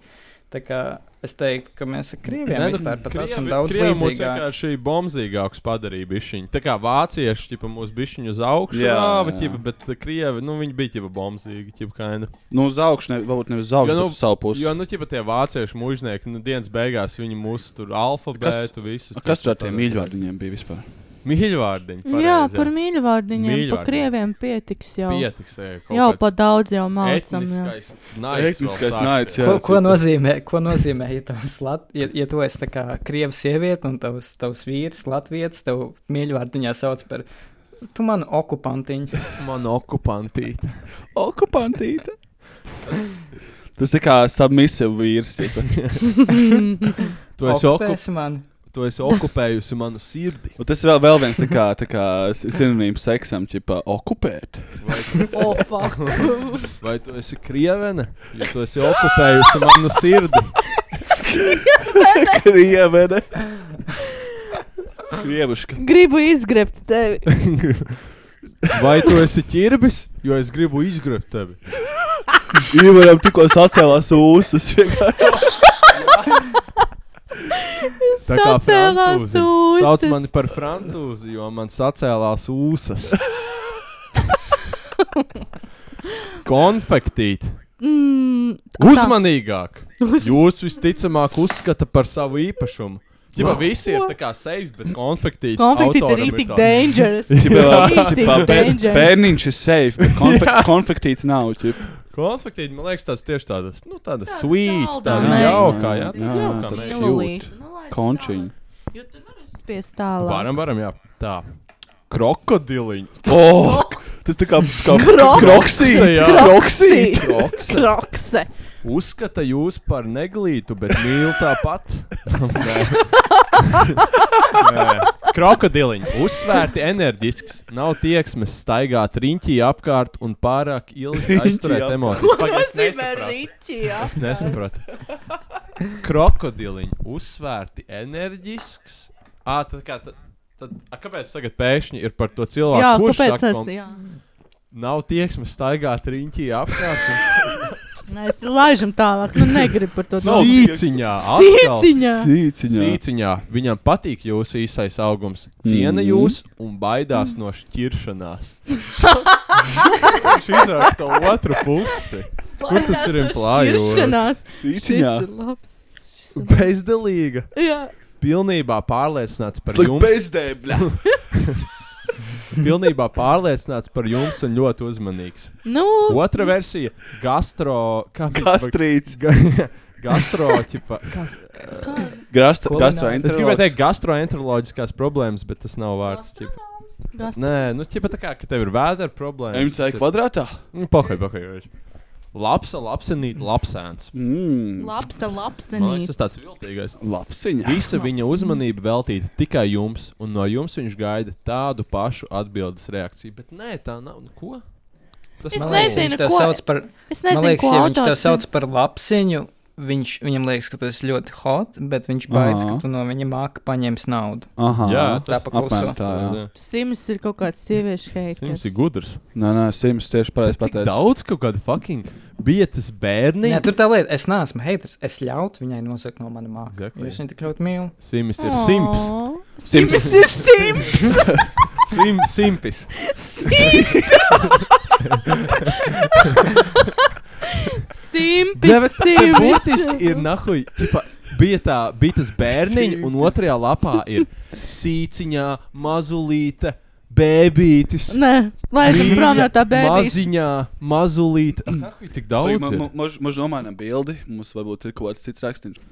Speaker 3: Tā kā es teiktu, ka mēs ar krieviem
Speaker 8: Nē, nu,
Speaker 3: vispār pat
Speaker 8: krievi-
Speaker 3: esam daudz
Speaker 8: krievi mūs
Speaker 3: līdzīgāki.
Speaker 8: vienkārši bombardīgāks padarīja bišķiņu. Tā kā vācieši tipa, mūs bišķiņu uz augšu
Speaker 9: Jā,
Speaker 8: rāva,
Speaker 9: jā.
Speaker 8: ķipa, bet eh, krievi nu, viņi bija tipa, bombardīgi. Ķipa,
Speaker 9: Nu, uz augšu, ne, varbūt nevis uz augšu,
Speaker 8: Jo, nu,
Speaker 9: bet uz savu pusi.
Speaker 8: jo nu, ķipa, tie vācieši mūžnieki nu, dienas beigās viņi mūs tur alfabētu visu.
Speaker 9: A, Kas tur ar tiem mīļvārdiņiem bija vispār?
Speaker 8: Mīļvārdiņi.
Speaker 7: Jā,
Speaker 8: pareizi,
Speaker 7: par mīļvārdiņiem. Par
Speaker 8: Mīļvārdiņiem.
Speaker 7: krieviem pietiks jau.
Speaker 8: Pietiks, ej, kaut
Speaker 7: Jau
Speaker 8: kāds
Speaker 7: pa daudz jau mācām. jā.
Speaker 8: Etniskais naids. vēl sāksies.
Speaker 3: Ko, ko, nozīmē, ko nozīmē, ja tavs lat, ja, ja tu esi tā kā krieva sieviete un tavs, tavs vīrs, latvijas, tev mīļvārdiņā sauc par, tu manu okupantiņu.
Speaker 8: Man okupantīte.
Speaker 9: Okupantīta. Tas ir kā submisīvs vīrs. tipa.
Speaker 8: Tu esi, okup,
Speaker 3: Okupēsi mani.
Speaker 8: tu esi okupējusi manu sirdi.
Speaker 9: Un tas ir vēl, vēl viens tā kā, tā kā s- sinonīms seksam, tipā okupēt.
Speaker 8: Vai,
Speaker 7: Oh, fuck.
Speaker 8: vai tu esi krievene? Jo tu esi okupējusi manu sirdi.
Speaker 9: Krievene. Krievuška.
Speaker 7: Gribu izgrebt tevi.
Speaker 8: Vai tu esi ķirbis? Jo es gribu izgrebt tevi.
Speaker 9: Ivaram tikko sacēlās ūsas.
Speaker 8: Tā kā
Speaker 7: Sacēlās
Speaker 8: francūzi. Sauc
Speaker 7: ūsas.
Speaker 8: mani par francūzi, jo man sacēlās ūsas. Konfektīt.
Speaker 7: Mm,
Speaker 8: Uzmanīgāk! Jūs visticamāk uzskata par savu īpašumu. Jā, visi ir tā kā safe, bet konflikti
Speaker 7: Konflikti ir tik dangerous. Rītīgi dangerous.
Speaker 9: Bērniņš ir safe, bet konflikt, konfliktīti nav. ķipa.
Speaker 8: Konflikti, man liekas, tās tieši tādas, nu, tādas sweet,
Speaker 7: saldā
Speaker 8: tādas
Speaker 7: meita.
Speaker 8: jaukā, jā,
Speaker 9: Jā,
Speaker 8: tāda jaukā
Speaker 9: tad
Speaker 8: meita.
Speaker 7: Lulīt.
Speaker 9: cute.
Speaker 7: Nu, lai
Speaker 9: Končiņi.
Speaker 7: tālāk, Jo tu vari spiest tālāk.
Speaker 8: Varam, varam, jā. Tā. Krokodiliņi.
Speaker 9: Oh, tas tā kā, kā
Speaker 7: Krok-
Speaker 9: kroksīt.
Speaker 8: Jā.
Speaker 9: Kroksīt.
Speaker 8: Kroks.
Speaker 7: Krokse.
Speaker 8: Uzskata jūs par neglītu, bet mīl tāpat. Krokodiliņš uzsvērti enerģisks, nav tieksmes staigāt riņķī apkārt un pārāk ilgi aizturēt
Speaker 9: apkārt.
Speaker 8: emocijas. Pagaid, es
Speaker 7: Nozīmē
Speaker 8: nesapratu.
Speaker 7: riķi,
Speaker 8: Es nesaprotu. Krokodiliņš uzsvērti enerģisks. À, tad, kā, tad, tad, a, kāpēc tagad pēkšņi ir par to cilvēku?
Speaker 7: Jā,
Speaker 8: kurš
Speaker 7: kāpēc
Speaker 8: saka,
Speaker 7: tas
Speaker 8: kom-
Speaker 7: jā.
Speaker 8: nav tieksmes staigāt riņķī apkārt un
Speaker 7: Mēs laižam tālāk, nu negribu par to domāt.
Speaker 8: Sīciņā. atkal.
Speaker 7: Sīciņā!
Speaker 9: Sīciņā.
Speaker 8: Sīciņā. Viņam patīk jūsu īsais augums, ciena
Speaker 9: Mhm.
Speaker 8: jūs un baidās no šķiršanās. Viņš izvēlas to otru pusi. Kur tas ir implāns?
Speaker 7: Šķiršanās. Šis
Speaker 9: Sīciņā.
Speaker 7: ir labs. Šis ir labs.
Speaker 8: Bezdelīga.
Speaker 7: Jā.
Speaker 8: Pilnībā pārliecināts par
Speaker 9: Slik
Speaker 8: jums.
Speaker 9: bezdēbļa.
Speaker 8: Pilnībā pārliecināts par jums un ļoti uzmanīgs.
Speaker 7: Nu,
Speaker 8: Otra versija - gastro. Kā
Speaker 9: Gastrīts.
Speaker 8: Ga- Gastro. ķipa-
Speaker 7: kā?
Speaker 9: Gastro.
Speaker 8: Es gribēju teikt, gastroenteroloģiskās problēmas, bet tas nav vārds. ķipa.
Speaker 7: Gastro-
Speaker 8: Nē, nu, ķipa tā kā, ka tev ir vēdera problēma.
Speaker 9: MC kvadrātā.
Speaker 8: Pakaļ, pakaļ. Lapsa, lapsenīt, lapsēns.
Speaker 9: Mm.
Speaker 7: Labsa,
Speaker 8: Man liekas,
Speaker 7: labsenīca.
Speaker 8: tas tāds viltīgais.
Speaker 9: Lapsiņa.
Speaker 8: Visa viņa uzmanība veltīta tikai jums, un no jums viņš gaida tādu pašu atbildes reakciju. Bet nē, tā nav. Nu, ko? Tas
Speaker 7: Es
Speaker 3: Man liekas,
Speaker 7: nezinu,
Speaker 3: viņš tev
Speaker 7: nu ko-
Speaker 3: sauc par,
Speaker 7: Es
Speaker 3: man
Speaker 7: nezinu,
Speaker 3: liekas,
Speaker 7: ko
Speaker 3: ja viņš tev
Speaker 7: autors.
Speaker 3: sauc par lapsiņu, viņš, viņam liekas, ka tu esi ļoti hot, bet viņš baidās,
Speaker 9: Aha.
Speaker 3: ka tu no viņa māka paņemsi naudu.
Speaker 9: Aha,
Speaker 8: Jā,
Speaker 3: Tā
Speaker 8: tas
Speaker 3: pa
Speaker 9: apmēram
Speaker 3: kluso.
Speaker 9: tā, jā.
Speaker 7: Sims ir kaut kāds sieviešu
Speaker 8: Sims
Speaker 7: heiters.
Speaker 8: ir gudrs.
Speaker 9: Nē, nē, Sims tieši pareizi
Speaker 8: Tik
Speaker 9: pateica.
Speaker 8: daudz kaut kāda fucking bija tas
Speaker 3: Nē,
Speaker 8: bērniņš.
Speaker 3: tur tā lieta, es neesmu haters. Es ļautu viņai nosakt no manas mākslas.
Speaker 8: Exactly.
Speaker 3: Exactly. Jūs viņu tik ļoti mīlat.
Speaker 8: Sims ir simps.
Speaker 7: Sims ir Sims!
Speaker 8: Sim, simpis.
Speaker 7: Simps!
Speaker 8: Jā, bet
Speaker 7: Simps!
Speaker 8: Būtiski ir nahuj. Tipa, bija tā, bija tas bērniņš, un otrajā lapā ir sīciņā, mazulīte, bēbītis.
Speaker 7: Nē, lai Nu, es prom no tā bērna.
Speaker 8: Maziņā, mazulīte.
Speaker 9: Mm.
Speaker 8: Ah, Nahuj, tik daudz. ir.
Speaker 9: Mums nomainām bildi, mums varbūt ir kaut kāds cits rakstīns.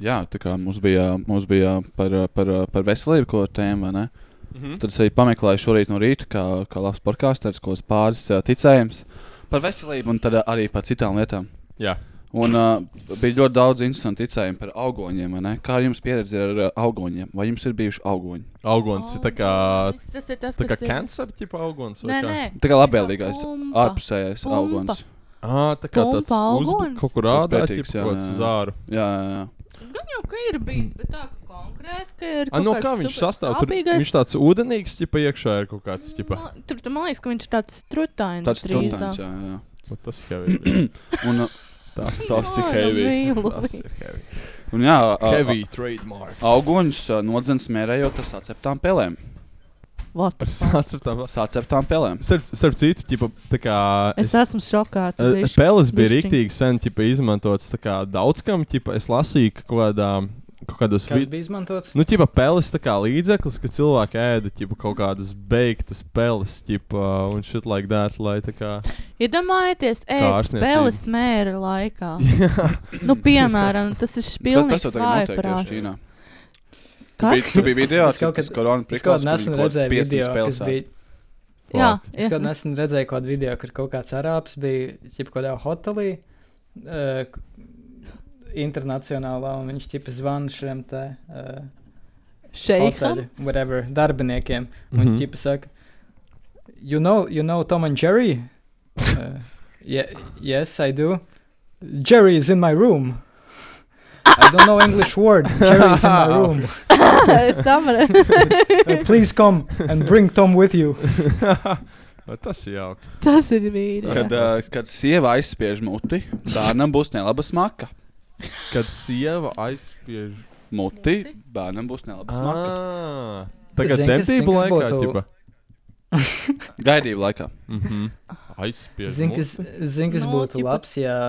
Speaker 9: Jā, tā kā mums bija, mums bija par, uh, par, uh, par veselību, ko tēma, vai ne? Mm -hmm. Tad es arī pameklēju šorīt no rīta, kā, kā labs podkāsters, ko es pāris uh, ticējums par veselību un tad uh, arī par citām lietām.
Speaker 8: Jā.
Speaker 9: Un uh, bija ļoti daudz interesantu ticējumu par augoņiem, vai ne? Kā jums pieredze ir ar uh, augoņiem? Vai jums ir bijuši augoņi?
Speaker 8: Augons ir tā kā.
Speaker 7: Tas ir tas,
Speaker 8: Tā kā
Speaker 7: kas ir.
Speaker 8: kancer tipa augons. vai
Speaker 7: Nē,
Speaker 8: kā?
Speaker 7: nē.
Speaker 9: Tā kā labvēlīgais,
Speaker 7: Pumpa.
Speaker 9: ārpusējais
Speaker 7: Pumpa.
Speaker 9: augonis.
Speaker 8: Ā, tā kā
Speaker 7: Pumpa
Speaker 8: tāds uzbūvēts
Speaker 7: auguns?
Speaker 8: kaut kur
Speaker 9: Tas
Speaker 8: ārā,
Speaker 9: pētīgs,
Speaker 8: tipa
Speaker 9: jā,
Speaker 8: kaut kāds
Speaker 9: jā,
Speaker 8: uz
Speaker 9: jā.
Speaker 8: āru.
Speaker 9: Jā, jā, jā.
Speaker 7: Gan jau ka ir bijis, bet tā ka konkrēti, ka ir.
Speaker 8: A,
Speaker 7: kaut
Speaker 8: no
Speaker 7: kāds
Speaker 8: kā viņš
Speaker 7: super
Speaker 8: sastāv? Tur,
Speaker 7: sāpīgais.
Speaker 8: viņš tāds ūdenīgs, tipa iekšā ir kaut kāds, tipa.
Speaker 7: Man- Tur tu man liekas, ka viņš ir tāds strutains.
Speaker 9: Tāds
Speaker 7: drīzāk.
Speaker 9: strūtājums, jā, jā.
Speaker 8: O, nu, Tas jau ir.
Speaker 9: Un, uh,
Speaker 8: Tas
Speaker 9: tas ir
Speaker 7: Jā,
Speaker 9: heavy.
Speaker 7: nu, mīlu.
Speaker 8: tas ir heavy.
Speaker 9: Un, jā, uh,
Speaker 8: Heavy trademark.
Speaker 9: Auguņus nodzēs mērējot ar sāceptām pelēm.
Speaker 7: What the
Speaker 8: Par
Speaker 7: fuck?
Speaker 8: sāceptām.
Speaker 9: Sāceptām pelēm.
Speaker 8: Starp, starp citu, ģipa, tā kā.
Speaker 7: Es esmu šokā.
Speaker 8: e,
Speaker 9: Eh,
Speaker 8: Peles bija rīktīgi sen ģipa, izmantots tā kā daudzkam, ķipa, es lasīju ka kaut kādā. Kaut kādos
Speaker 3: Kas
Speaker 8: vid...
Speaker 3: bija izmantots?
Speaker 8: Nu, ķipa, peles tā kā līdzeklis, ka cilvēki ēda ķipa, kaut kādas beigtas peles, ķipa, un shit like that, lai tā kā.
Speaker 7: Iedomājieties, ēst
Speaker 8: ārstniecība.
Speaker 7: peles mēra laikā. nu,
Speaker 9: Mm.
Speaker 7: piemēram, tas ir
Speaker 9: tas
Speaker 7: pilnīgs
Speaker 9: jau tagad notiek tieši
Speaker 7: vājprāts.
Speaker 9: Ķīnā. Tur bija-
Speaker 7: Kas?
Speaker 9: Tur bija video,
Speaker 3: Es kaut
Speaker 9: kas
Speaker 3: kad-
Speaker 9: korona
Speaker 3: Es kaut
Speaker 9: prikals,
Speaker 3: kādā
Speaker 9: kur viņi
Speaker 3: nesen
Speaker 9: kaut kāds
Speaker 3: redzēju
Speaker 9: 500
Speaker 3: video, kas
Speaker 9: spēles
Speaker 3: bija.
Speaker 7: Jā,
Speaker 3: Es
Speaker 7: jā.
Speaker 3: kaut nesen redzēju kādu video, kur kaut kāds arābs bija jebkurā hotelī, uh, internacionālā, un viņš tipa zvana šiem te uh,
Speaker 7: Šeikam?
Speaker 3: hoteļu, whatever, darbiniekiem. Un
Speaker 8: Mhm.
Speaker 3: viņš tipa saka, you know, you know Tom and Jerry? Uh, yeah, yes, I do. Jerry is in my room. I don't know English word. Jerry is in my room.
Speaker 7: Es sapratu.
Speaker 3: Uh, please come and bring Tom with you.
Speaker 8: O, Tas ir jauki.
Speaker 7: Tas ir mīļi.
Speaker 9: Kad, uh, kad sieva aizspiež muti, bērnam būs nelaba smaka.
Speaker 8: Kad sieva aizspiež.
Speaker 9: Muti, bērnam būs nelaba smaka.
Speaker 8: Ā, Ah. Tā kā
Speaker 3: Zini, kas- zini,
Speaker 8: dzemdību
Speaker 3: kas
Speaker 8: laikā,
Speaker 3: būtu-
Speaker 8: ķipa.
Speaker 9: Gaidību laikā.
Speaker 8: Mhm. Aizspiež.
Speaker 3: Zini, kas, zin, kas
Speaker 7: Nu,
Speaker 3: būtu
Speaker 7: tipa-
Speaker 3: labs, ja,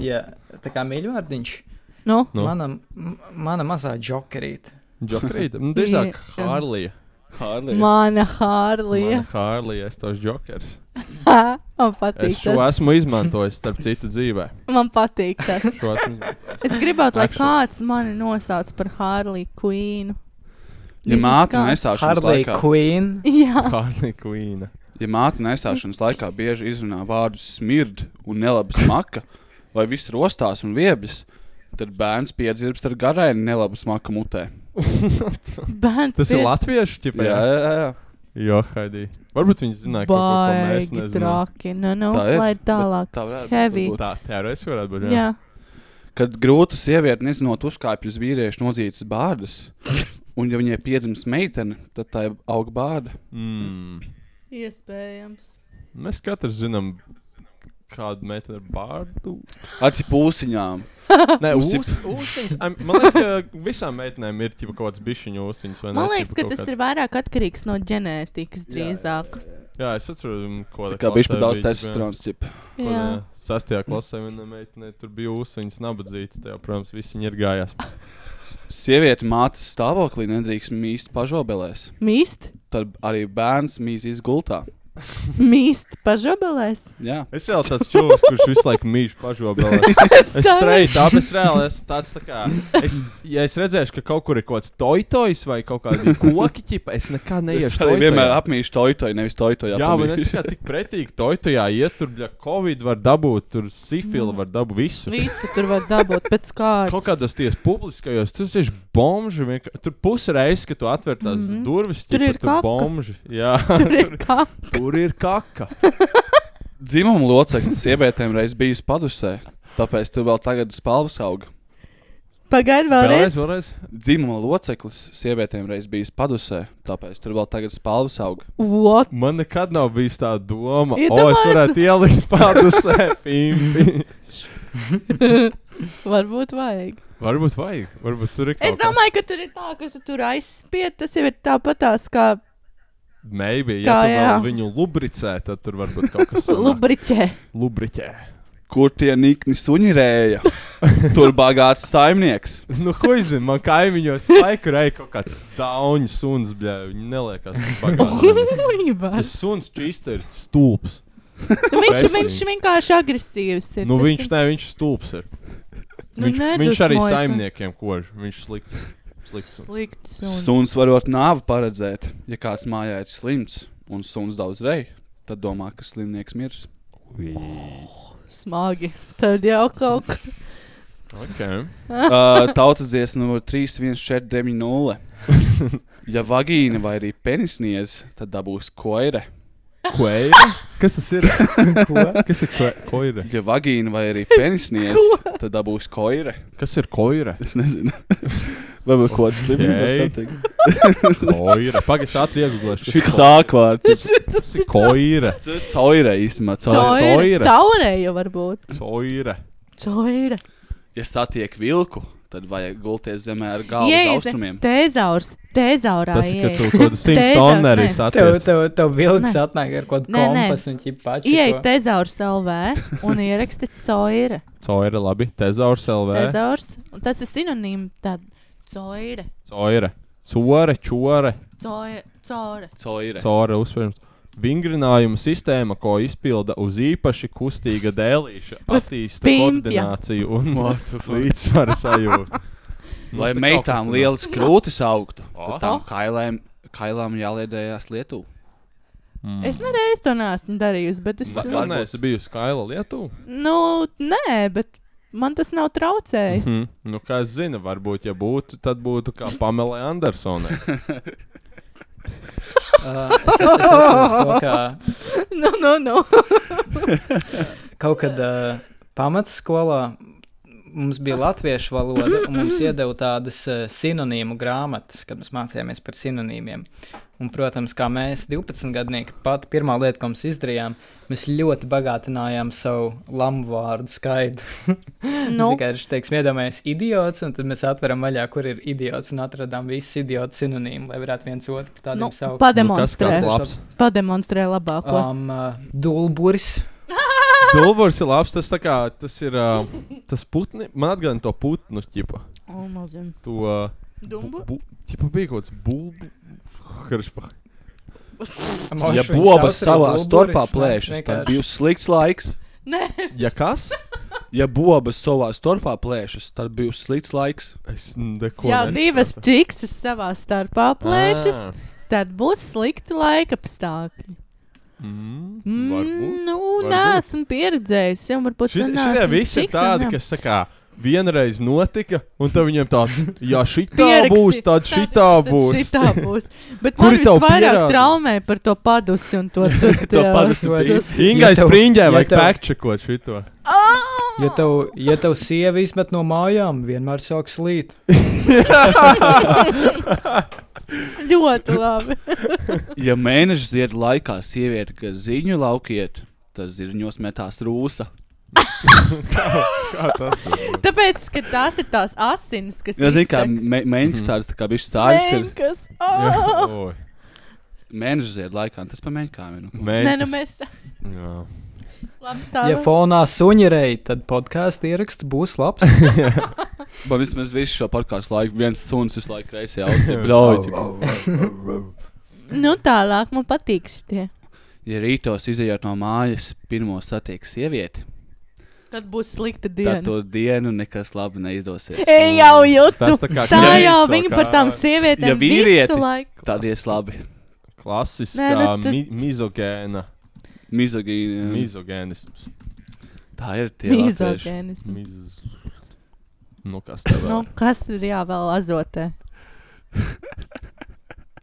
Speaker 3: ja tā kā mīļvārdiņš
Speaker 7: Nu,
Speaker 8: Nu.
Speaker 3: nu. mana, m- mana mazā džokerīte.
Speaker 8: Džokrīt. Nu, Drīzāk
Speaker 7: Jā.
Speaker 8: Hārlija.
Speaker 9: Hārlija.
Speaker 7: mana Hārlija.
Speaker 8: Mana Hārlija, es tos džokers.
Speaker 7: Man patīk
Speaker 8: Es šo
Speaker 7: tas.
Speaker 8: esmu izmantojis starp citu dzīvē.
Speaker 7: Man patīk tas.
Speaker 8: Šo esmu izmantojis.
Speaker 7: Es gribētu, lai
Speaker 8: Actually.
Speaker 7: kāds mani nosauc par Hārliju Queenu.
Speaker 9: Ja māte nesāšanas
Speaker 3: Harley
Speaker 9: laikā,
Speaker 3: Quinn.
Speaker 7: Jā,
Speaker 8: Hārlija Kvīna.
Speaker 9: ja māte nesāšanas laikā bieži izrunā vārdus smird un nelaba smaka, vai viss rostās un viebjas, tad bērns piedzirst ar garainu nelabu smaku mutē.
Speaker 7: bērns.
Speaker 8: Tas ir
Speaker 7: pie-
Speaker 8: latviešu ķipa.
Speaker 9: Jā,
Speaker 8: Jā,
Speaker 9: jā, jā.
Speaker 8: jo, Haidī. Varbūt viņi zināja, ka kaut ko mēs
Speaker 7: Baigi
Speaker 8: nezinām.
Speaker 7: traki. Nu, nu,
Speaker 9: Tā ir,
Speaker 7: lai tālāk.
Speaker 9: Tā varētu
Speaker 7: Heavy.
Speaker 9: būt.
Speaker 8: Tā teorētiski varētu būt. Jā.
Speaker 7: Jā.
Speaker 9: Kad grūta sieviete nezinot, uzkāpj uz vīrieša nodzītas bārdas, un ja viņai piedzimst meitene, tad tā aug bārda.
Speaker 8: Mm.
Speaker 7: Iespējams.
Speaker 8: Mēs katrs zinām. Kādu meiteni ar bārdu?
Speaker 9: Aci pūsiņām.
Speaker 8: Nē,
Speaker 9: Mums ir-
Speaker 8: ūs- ūsiņas. Ai, Man liekas, ka visām meitenēm ir ķipa, kaut kāds bišķiņu ūsiņas. vai ne?
Speaker 7: Man liekas,
Speaker 8: Ķipa
Speaker 7: ka
Speaker 8: kaut
Speaker 7: tas
Speaker 8: kāds-
Speaker 7: ir vairāk atkarīgs no ģenētikas drīzāk.
Speaker 8: Jā, es atceros, mm, ko
Speaker 9: Tā kā
Speaker 8: klasē
Speaker 9: bija pat daudz
Speaker 8: bija, ķipa, jā.
Speaker 9: testosterona cipa.
Speaker 8: Ko,
Speaker 7: Jā.
Speaker 8: nē, Sestajā klasē viena meitene tur bija ūsuņas, nabadzīta. Tajā, protams, visi viņi ir gājās.
Speaker 9: Sieviete mātes stāvoklī nedrīkst mīst pažobelēs.
Speaker 7: Mīst,
Speaker 9: Tad arī bērns mīs izgultā.
Speaker 7: mīst, pažabelēs.
Speaker 9: Jā.
Speaker 8: Es reāli tāds čūlis, kurš visu laiku mīl pašobelē. Es strādāju, tāpēc reāli esmu tāds, tā kā, es, ja es redzēšu, ka kaut kur ir kaut kāds toitojs vai kaut kāda koki ķipa, es nekad
Speaker 9: Es
Speaker 8: neiešu
Speaker 9: arī
Speaker 8: toitojā.
Speaker 9: vienmēr apmīšu toitoju, nevis toitoju.
Speaker 8: Jā, man ir tik pretīgi, toitojā iet tur, ja covid var dabūt, tur sifila var dabūt visu.
Speaker 7: Mm. Visu tur var dabūt pēc
Speaker 8: Kaut
Speaker 7: kārtas.
Speaker 8: kādos tieši publiskajos, tur tieši bomži, vienkār- tur pusreiz, kad tu atver tās mm
Speaker 7: Mhm.
Speaker 8: -hmm. durvis,
Speaker 7: Tur
Speaker 8: ķipa,
Speaker 7: ir
Speaker 8: tur
Speaker 7: kaka.
Speaker 8: bomži. Jā,
Speaker 7: Tur ir kā.
Speaker 8: tur ir kaka.
Speaker 9: Dzimuma loceklis sievietēm reiz bijis padusē. Tāpēc tu vēl tagad spalvas aug.
Speaker 7: Pagaidi
Speaker 8: Vēlreiz,
Speaker 7: vēlreiz.
Speaker 8: vēlreiz.
Speaker 9: Dzimuma loceklis sievietēm reiz bijis padusē, tāpēc tur vēl tagad spalvas aug.
Speaker 7: What?
Speaker 8: Man nekad nav bijusi tā doma, ka oh,
Speaker 7: Iedomājies-
Speaker 8: es varētu ielikt pārdusē pimpi.
Speaker 7: Varbūt vajag.
Speaker 8: Varbūt vajag. Varbūt tur ir kaut
Speaker 7: Es domāju, ka tur ir tā, ka tu tur aizspied. Tas jau ir tāpatās kā
Speaker 8: kas. Maybe, ja
Speaker 7: Tā,
Speaker 8: tu
Speaker 7: jā.
Speaker 8: vēl viņu lubricē, tad tur varbūt kaut kas sanāk.
Speaker 7: lubriķē.
Speaker 8: lubriķē.
Speaker 9: Kur tie nikni suņi rēja? Tur bagāts saimnieks.
Speaker 8: Nu, ko es zinu, man kaimiņos laiku reiķi kaut kāds dauņu suns, bļē, viņi neliekas. tas bagātīgs. Tas
Speaker 7: Viņš,
Speaker 8: suns čīsti ir stulps.
Speaker 7: Nu, viņš
Speaker 8: Besīgi.
Speaker 7: vienkārši agresīvs ir.
Speaker 8: Nu,
Speaker 7: tas
Speaker 8: viņš,
Speaker 7: ir-
Speaker 8: ne, viņš stulps ir.
Speaker 7: Nu,
Speaker 8: Viņš, viņš arī
Speaker 7: nedusmojas, nu.
Speaker 8: saimniekiem kož. Viņš slikts. Slikts. suns.
Speaker 7: Slikts. un-
Speaker 9: Suns var būt nāve paredzēt. Ja kāds mājā ir slims un suns daudz reiļ, tad domā, ka slimnieks mirs.
Speaker 7: Smagi. Tad jau kaut kas.
Speaker 8: Okay.
Speaker 9: Uh, tautas dziesma numur 31490. Ja vagīna vai arī penisniedz, tad dabūs koire.
Speaker 8: Koeira? Kas tas ir? Ko? Kas ir ko- koira?
Speaker 9: Ja vagīna vai arī penisniedz, tad dabūs koire.
Speaker 8: Kas ir koira?
Speaker 9: Es nezinu. Varbūt kaut kas
Speaker 8: Okay.
Speaker 9: slimīgs.
Speaker 8: Koira. Pagaidzi, atvieglēšu.
Speaker 9: Šī sākvārds.
Speaker 8: Tas ir koira.
Speaker 9: Coire īstenībā. Coire.
Speaker 8: Coire.
Speaker 7: Caurēja varbūt.
Speaker 8: Koira.
Speaker 7: Caurēja.
Speaker 9: Ja satiek vilku, tad vajag gulties zemē ar galvu uz
Speaker 7: Ieize.
Speaker 9: austrumiem.
Speaker 7: e Tezaurs. Tezaurā.
Speaker 8: Tas ir, ka tu
Speaker 7: ieize.
Speaker 8: kaut kādu simts
Speaker 7: Tēzā,
Speaker 8: tonu arī
Speaker 7: nē.
Speaker 3: Tev,
Speaker 8: satiec.
Speaker 3: tev, tev vilks
Speaker 7: Nē.
Speaker 3: atnāk ar kaut
Speaker 7: Nē,
Speaker 3: kādu
Speaker 7: nē.
Speaker 3: kompasu un ķipači.
Speaker 7: Iej tezaurs LV un ieraksti caurēja.
Speaker 8: Coira, labi. Tezaurs LV.
Speaker 7: Tezaurs. Un Tas ir sinonīms tad. Caurēja.
Speaker 8: Coira. Core, čore.
Speaker 7: Caurēja.
Speaker 9: Coire.
Speaker 8: Core uzspērums. Vingrinājuma sistēma, ko izpilda uz īpaši kustīga dēlīša,
Speaker 7: Uz
Speaker 8: attīsta
Speaker 7: pimpja.
Speaker 8: koordināciju un
Speaker 9: What the fuck?
Speaker 8: līdzsvaru sajūtu. Nu,
Speaker 9: Lai
Speaker 8: te kaut kas
Speaker 9: meitām
Speaker 8: te
Speaker 9: lielas krūtis augtu,
Speaker 8: Aha.
Speaker 9: tad tām kailēm, kailām jāliedējās Lietuvā. Mm.
Speaker 7: Es
Speaker 8: Mm.
Speaker 7: nereiz to neesmu darījusi, bet es.
Speaker 8: nav. Nē, es biju skaila Lietuvā.
Speaker 7: Nu, nē, bet man tas nav traucējis.
Speaker 8: Mm. Nu, kā es zinu, varbūt, ja būtu, tad būtu kā Pamela Andersone.
Speaker 3: Uh, es, es atceros to, ka
Speaker 7: Nu, nu, nu.
Speaker 3: kaut kad uh, pamatskolā mums bija latviešu valoda, un mums iedeva tādas uh, sinonīmu grāmatas, kad mēs mācījāmies par sinonīmiem. Un, protams, kā mēs, 12 gadnieki, pati pirmā lieta, ko mēs izdarījām, mēs ļoti bagātinājām savu lamu vārdu skaitu.
Speaker 7: Nu.
Speaker 3: Nu. Vienkārši teiksim, iedomājamies, idiots, un tad mēs atveram vaļā, kur ir idiots, un atradām visus idiotu sinonīmus, lai varētu viens otru par tādiem
Speaker 7: nu
Speaker 3: nu, saukt.
Speaker 8: Nu, kas
Speaker 7: pademonstrē.
Speaker 8: kāds labs?
Speaker 7: pademonstrē labākos. Um.
Speaker 3: Um, uh, Dulburis.
Speaker 8: Dulvors ir labs, tas, tā kā, tas ir uh, tas putni. Man atgādina to putnu ķipa.
Speaker 7: Oh, mazin.
Speaker 8: To, uh,
Speaker 7: Dumbu?
Speaker 8: bu, ķipa bija kaut kāds bulbu. Karšpa.
Speaker 9: Ja bobas savā starpā plēšas, tad būs slikts laiks.
Speaker 7: Nē,
Speaker 8: Ja kas?
Speaker 9: Ja bobas savā starpā plēšas, tad būs slikts laiks.
Speaker 8: Es neko
Speaker 7: jā,
Speaker 8: nesapratu.
Speaker 7: divas čikses savā starpā plēšas,
Speaker 8: Ā,
Speaker 7: tad būs slikti laika apstākļi.
Speaker 8: Mm,
Speaker 7: Mm,
Speaker 8: varbūt.
Speaker 7: Nu,
Speaker 8: varbūt.
Speaker 7: neesmu pieredzējis. Jā, varbūt
Speaker 8: Šit- Šitie visi ir tādi, kas tā kā. Vienreiz notika, un tad viņiem tāds - ja šitā būs, tad šitā būs.
Speaker 7: Šitā būs. Bet
Speaker 8: Kuri
Speaker 7: man
Speaker 8: tev
Speaker 7: visvairāk
Speaker 8: pierāda?
Speaker 7: traumē par to padusi un to tur.
Speaker 9: To padusi bija.
Speaker 8: Ingai
Speaker 3: Ja tev-
Speaker 8: spriņģē
Speaker 3: ja
Speaker 8: vajag
Speaker 3: tev-
Speaker 8: pēkšķekot šito.
Speaker 7: Ah,
Speaker 3: Ja tev, ja tev sieva izmet no mājām, vienmēr sāk slīt.
Speaker 7: Ļoti labi.
Speaker 9: Ja mēneša ziedu laikā sieviete, kas ziņu laukiet, tad zirņos metās rūsa.
Speaker 7: Tāpēc, ka tās ir tās asinis, kas
Speaker 9: Ja zini, kā
Speaker 7: iztek.
Speaker 9: mē- mēneša tāds tā kā bijis sāļas ir
Speaker 7: Menkas.
Speaker 8: Jā,
Speaker 7: Oh!
Speaker 8: oi,
Speaker 9: mēneša ziedu laikā, un tas pa mēnkām ir. nu, ko.
Speaker 7: Nē,
Speaker 8: mēģis.
Speaker 7: nu mēs tā.
Speaker 8: Jā.
Speaker 7: Labi, tā.
Speaker 3: Ja fonā suņirei, tad podkāstu ieraksts būs labs.
Speaker 9: Man vismaz visu šo podkāstu laiku viens suns visu laiku kreisajā ausī. Bļauj!
Speaker 7: Nu, tālāk man patīk šitie.
Speaker 9: Ja rītos izejot no mājas, pirmo satiek sievieti,
Speaker 7: Tad būs slikta diena.
Speaker 9: tad to dienu nekas labi neizdosies.
Speaker 7: Ej jau jūtu!
Speaker 8: Tas tā kā
Speaker 7: Tā
Speaker 8: kreis
Speaker 7: jau
Speaker 8: vēl
Speaker 7: viņi
Speaker 8: kā-
Speaker 7: par tām sievietēm
Speaker 9: Ja vīrieti-
Speaker 7: visu laiku.
Speaker 9: Tad ies labi.
Speaker 8: Klasiskā
Speaker 7: Nē, nu tu-
Speaker 8: mi mizogēna.
Speaker 9: Mizogīna.
Speaker 8: Mizogēnisms.
Speaker 9: Tā ir tie latvieši.
Speaker 7: Mizogēnis.
Speaker 8: Miz... Nu, kas tev
Speaker 7: Nu,
Speaker 8: vēl?
Speaker 7: kas ir jāvēl azotē?